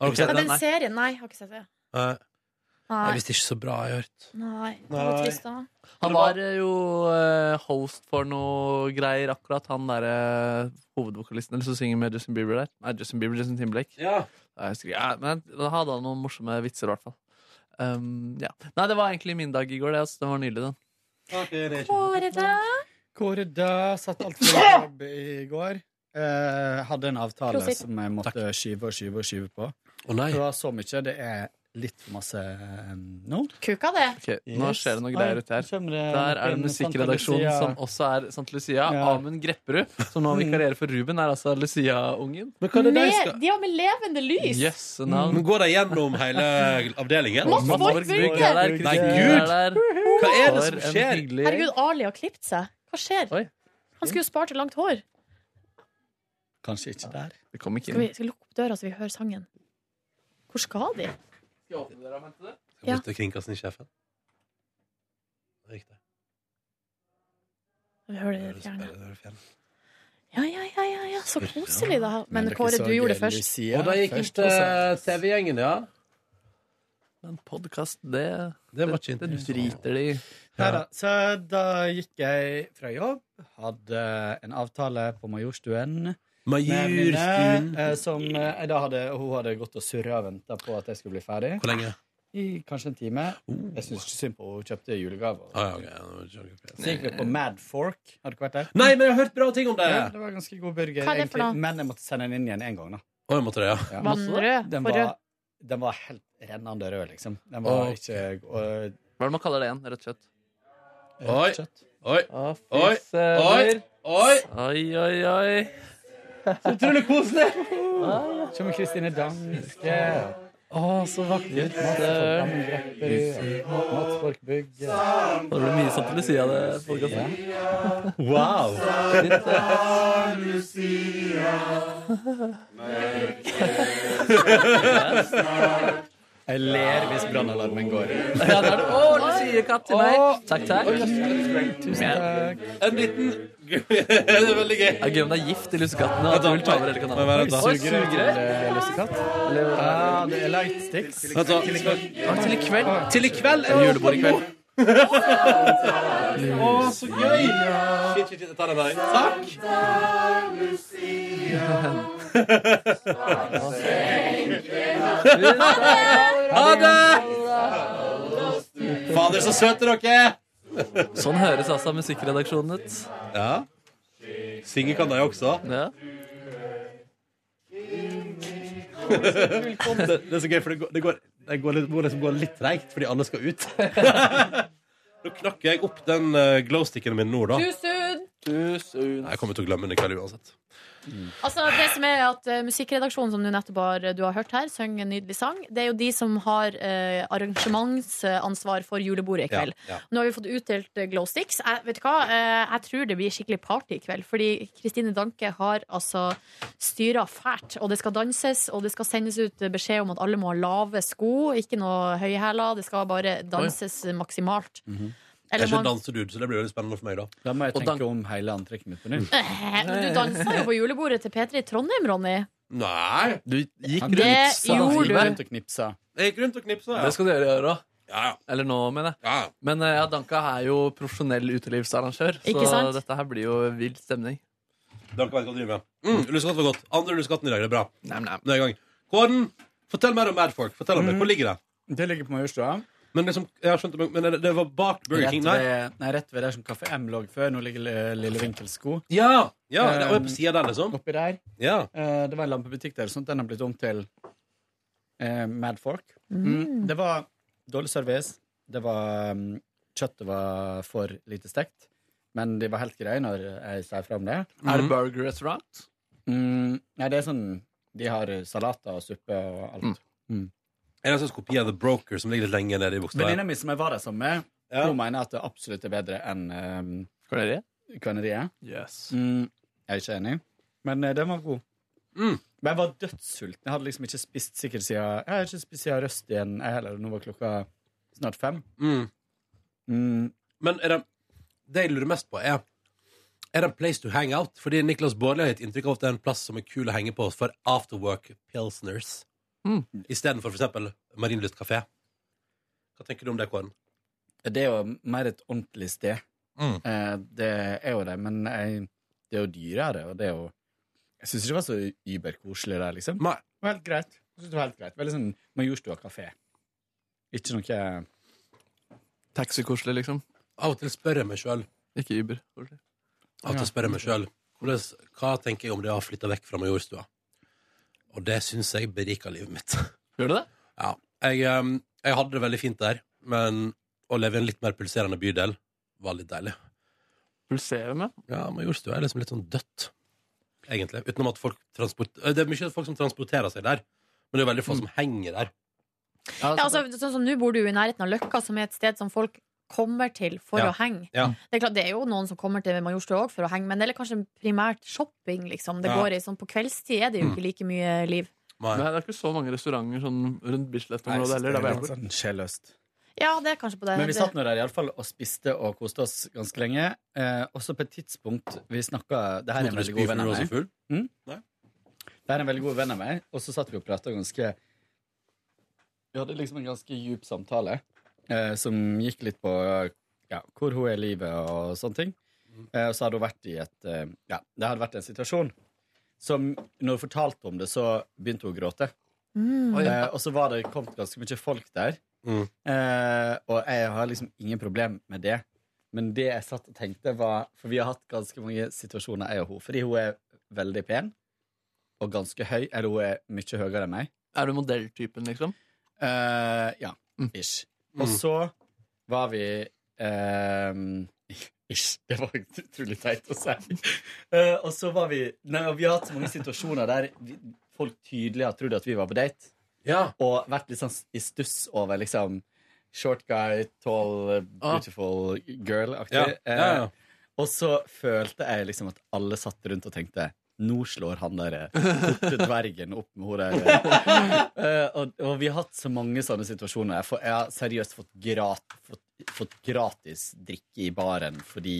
Har dere Ja, sett den? den serien, nei, jeg har ikke sett det. Nei. Nei. Jeg visste ikke så bra jeg har hørt. Nei, det var Nei. trist da. Han var eh, jo eh, host for noe greier, akkurat han derre hovedvokalisten eller som synger med Justin Bieber der. Nei, Justin Bieber, Justin Timberlake. Ja. Jeg husker, ikke. ja, men da hadde han noen morsomme vitser, i hvert fall. Um, ja. Nei, det var egentlig min dag i går, det. Altså. Den var nydelig, den. Kåre, da? Kåre Dø satt altfor mye på jobb i går. Eh, hadde en avtale Prosit. som jeg måtte skyve og skyve og skyve på. Det var så mye. Det er litt for masse eh, nå. Kuka det. Ok, Nå Yes. skjer det noe Oi, greier ute her. nå kommer det Der er det noen musikkredaksjonen Santa Lucia. Mm. som også er St. Lucia. Amund Grepperud, som nå vikarierer for Ruben, er altså Lucia-ungen. Med, de var med levende lys! Jøss, navn. Men går de gjennom hele avdelingen? Mats Borg Burger. er der, Nei, Kristin gud! er der. Hva er det som For en skjer? hyggelig gjeng. Herregud, Ali har klippet seg. Hva skjer? Han skulle jo spart til langt hår. Kanskje ikke der. Det kom ikke Skal vi, skal vi lukke opp døra så vi hører sangen? Hvor skal de? Skal bort til kringkastingssjefen. Det gikk det. Vi hører det i det Det fjerne. er det fjerne. Ja, ja, ja, ja, ja. så koselig, da. Men Kåre, du gjorde det først. Og da gikk først, først, til TV-gjengen, ja. Men podkast, det Det var ikke det driter de i. Neida, Så da gikk jeg fra jobb, hadde en avtale på Majorstuen. med en venninne, Majorstuen. eh, Som eh, jeg da hadde, hun hadde gått og surra og venta på at jeg skulle bli ferdig. Hvor lenge? I kanskje en time. Oh. Jeg syns ikke synd på henne. Hun kjøpte julegave. Så gikk vi på Mad Fork. Har du ikke vært der? Nei, men jeg har hørt bra ting om det! Ja, det var ganske god burger, Hva er det for egentlig. noe? Men jeg måtte sende den inn igjen én gang, da. Å, jeg måtte det, ja. Ja. Var den rød? Den For var, rød? den var helt rennende rød, liksom. Den Å. var ikke og, Hva er det man kaller det igjen? Rødt kjøtt? Rødt Oi, oi, Å, fy oi, søren. oi, oi. Oi, oi, oi. Så utrolig koselig! Kommer Kristine Danske. Å, så vakkert. Mats Forkam Grepperud. Mats Borch Bugge. Og Det ble mye sant til Lucia, det podkastet. Wow. Litt, eh, Jeg ler hvis brannalarmen går. Ja, det er det. Å, Lucia-katt til meg. Takk, takk. Tusen takk. En liten Det er veldig gøy. Det er gøy om det er gift i lussekattene. At du vil ta over hele kanalen. Vent, da. Oi, Sugerør til eh, lussekatt? Eller ah, det er lightsticks? Vent, da. Ja, Til i kveld. Til i kveld er det julebord i kveld. Å, så gøy! Shit, shit, shit, jeg tar den der. Takk! Ha det! Fader, så søte dere! Sånn høres altså musikkredaksjonen ut. Ja. Synge kan de også. det, det er så gøy, for det går, det går, det går, litt, bordet som går litt treigt fordi alle skal ut. Nå knakk jeg opp den eh, glowsticken min nå, da. Tusen! Nei, Jeg kommer til å glemme den i kveld uansett. Altså, det som er at eh, Musikkredaksjonen som du nettopp har, du har hørt her, synger en nydelig sang. Det er jo de som har eh, arrangementsansvar for julebordet i kveld. Ja, ja. Nå har vi fått utdelt eh, glow sticks. Jeg, vet du hva? Eh, jeg tror det blir skikkelig party i kveld. Fordi Kristine Danke har altså styra fælt. Og det skal danses, og det skal sendes ut beskjed om at alle må ha lave sko, ikke noe høye hæler. Det skal bare danses maksimalt. Jeg Eller er ikke man- dansedude, så det blir veldig spennende for meg, da. Da må jeg Og tenke om hele antrekket mitt på nytt. Eh, Men du dansa jo på julebordet til P3 i Trondheim, Ronny. Nei! Du gikk rundt- Det gjorde gikk du. rundt og knipsa. Jeg gikk rundt og knipsa, ja. Det skal du gjøre i år òg. Ja. Eller nå, mener jeg. Men eh, ja, Danka er jo profesjonell utelivsarrangør, Ikke så sant? dette her blir jo vill stemning. Dere vet hva dere driver med. Mm, lussekatt var godt. Andre lussekatten i dag, det er bra. Nå er jeg i gang. Kåren, fortell mer om Mad Fork. Fortell om det. Hvor ligger det? Det ligger på Majorstua. Men, liksom, jeg har skjønt, det, men det, det var bak Burger Rett King, nei? ved, nei, rett ved der som Kaffe M lå før. Nå ligger eh, Lille Vinkelsko. Ja, ja, det er på siden der, liksom. Oppi der. Ja. Eh, det var en lampebutikk der, sånn at den har blitt om til eh, Mad Fork. Mm. Mm. Det var dårlig service. Det var mm, Kjøttet var for lite stekt. Men de var helt greie når jeg sa fra om det. Er det burger restaurant? Mm, nei, det er sånn De har salater og suppe og alt. Er det en slags kopi av The Broker som ligger litt lenger nede i bokstaven? Venninna mi som jeg var der sammen med, hun mener at det absolutt er bedre enn um, Kvarneriet. Yes. Mm, jeg er ikke enig, men eh, den var god. Men jeg var dødssulten. Jeg hadde liksom ikke spist sikkert siden Jeg har ikke spist siden Røst igjen, jeg heller. Nå var klokka snart fem. Mm. Men er det, det jeg lurer mest på, er Er det en place to hang out? Fordi Niklas Baarli har gitt inntrykk av at det er en plass som er kul å henge på for afterwork pilsners. Mm. Istedenfor f.eks. Marienlyst kafé. Hva tenker du om det, Kåren? Det er jo mer et ordentlig sted. Eh, det er jo det, men jeg, det er jo dyrere, og det er jo Jeg syns ikke det var så überkoselig der, liksom. Det var helt greit. Jeg synes det var helt greit. Veldig sånn Majorstua kafé. Ikke noe Taxikoselig, liksom. Av og til spør jeg meg sjøl. Ikke Uber. Av og til spør jeg meg sjøl hva tenker jeg om det har flytta vekk fra Majorstua. Og det syns jeg beriker livet mitt. Gjør det det? Ja. Jeg, ehm, jeg hadde det veldig fint der, men å leve i en litt mer pulserende bydel var litt deilig. Pulserende? Ja, Majorstua er liksom litt sånn dødt, egentlig. Utenom at folk transport... Eh, Det er mye folk som transporterer seg der, men det er veldig få Mm. som henger der. Ja, altså, sånn som Nå bor du jo i nærheten av Løkka, som er et sted som folk kommer til for Ja. å henge. Ja. Det er klart, det er jo noen som kommer til Majorstua òg for å henge, men det er kanskje primært shopping. liksom Det Ja. går i sånn På kveldstid er det jo ikke like mye liv. Nei. det er ikke så mange restauranter sånn rundt Bislett-området heller. der hvor jeg bor. sånn sjelløst. Ja, det er kanskje på det. Men vi det- satt nå der i alle fall og spiste og koste oss ganske lenge. Eh, også på et tidspunkt vi snakka Det her er Måtte en du veldig spy god for venn du av var så meg. full? Mm? Nei. Det her er en veldig god venn av meg, og så satt vi og prata ganske Vi hadde liksom en ganske djup samtale eh, som gikk litt på ja, hvor hun er i livet og sånne ting. Eh, og så hadde hun vært i et eh, Ja, det hadde vært en situasjon som Når hun fortalte om det, så begynte hun å gråte. Mm. Oi. Eh, og så var det kommet ganske mye folk der. Eh, og jeg har liksom ingen problem med det. Men det jeg satt og tenkte, var For vi har hatt ganske mange situasjoner, jeg og hun. Fordi hun er veldig pen og ganske høy. Eller hun er mye høyere enn meg. Er du modelltypen, liksom? Mm. Eh, ja. Ish. Og så var vi eh, Ish, det var utrolig teit å si. Eh, og så var vi nei, og Vi har hatt så mange situasjoner der vi, folk tydelig har trodd at vi var på date, og vært litt sånn i stuss over liksom Short guy, tall, Ah. beautiful girl-aktig. Ja, ja, ja. Eh, og så følte jeg liksom at alle satt rundt og tenkte nå slår han der eh, korte dvergen opp med hun der. Eh, og, og vi har hatt så mange sånne situasjoner. Jeg, får, jeg har seriøst fått, grat, fått, fått gratis drikke i baren fordi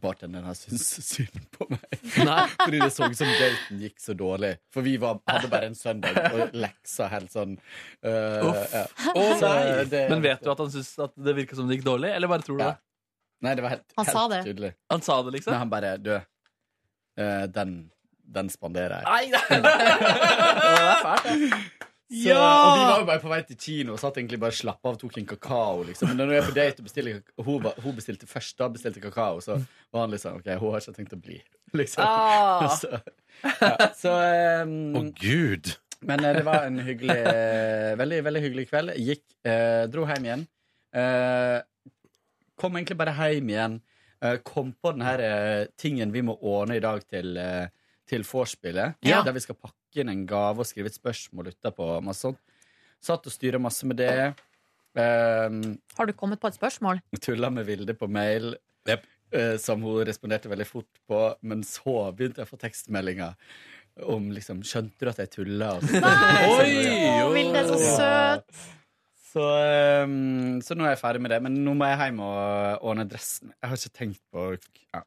bartenderen har syntes synd på meg. Nei. Fordi det så ut som daten gikk så dårlig. For vi var, hadde bare en søndag og leksa helt sånn. eh, ja. Å, Så, nei. eh, det- Men vet du at han syntes at det virka som det gikk dårlig, eller bare tror du det? Nei, det var helt, Han helt sa det. tydelig. Han sa det, liksom? Nei, han bare Du, eh, den, den spanderer jeg. Nei, nei, Så, Og vi var jo bare på vei til kino og satt egentlig bare og slapp av og tok en kakao. Liksom. Men når jeg er på date og bestiller kak- og hun, ba- hun bestilte først, da bestilte kakao, så var han liksom OK, hun har ikke tenkt å bli. Liksom. Ah. Så, ja, så ehm, Gud. Men eh, det var en hyggelig eh, veldig, veldig hyggelig kveld. Gikk, eh, dro hjem igjen. Eh, kom egentlig bare hjem igjen. Eh, kom på den her eh, tingen vi må ordne i dag til, eh, til vorspielet. Ja. Der vi skal pakke inn en gave og skrive et spørsmål utapå. og Masse sånt. Satt og styra masse med det. Eh, Har du kommet på et spørsmål? tulla med Vilde på mail. eh, Som hun responderte veldig fort på, men så begynte jeg å få tekstmeldinger om liksom Skjønte du at jeg tulla? Og så- Å, Vilde er så søt. Så, eh, så nå er jeg ferdig med det. Men nå må jeg hjem og ordne dressen. Jeg har ikke tenkt på ja.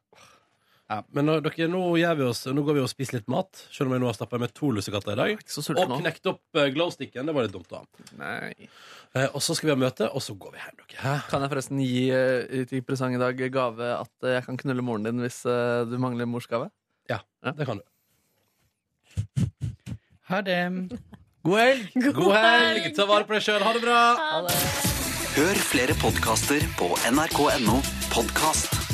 Men nå, dere, nå, gjør vi oss, nå går vi og spiser litt mat, selv om jeg nå har stappa i meg to lussekatter i dag. Og nå. knekt opp eh, glowsticken. Det var litt dumt, da. Eh, og så skal vi ha møte, og så går vi hjem. dere. Kan jeg forresten gi eh, til presang i dag gave at eh, jeg kan knulle moren din hvis eh, du mangler morsgave? Ja, det kan du. Ha det. God helg! God helg! Ta vare på deg sjøl. Ha det bra. Hør flere podkaster på nrk.no podkast.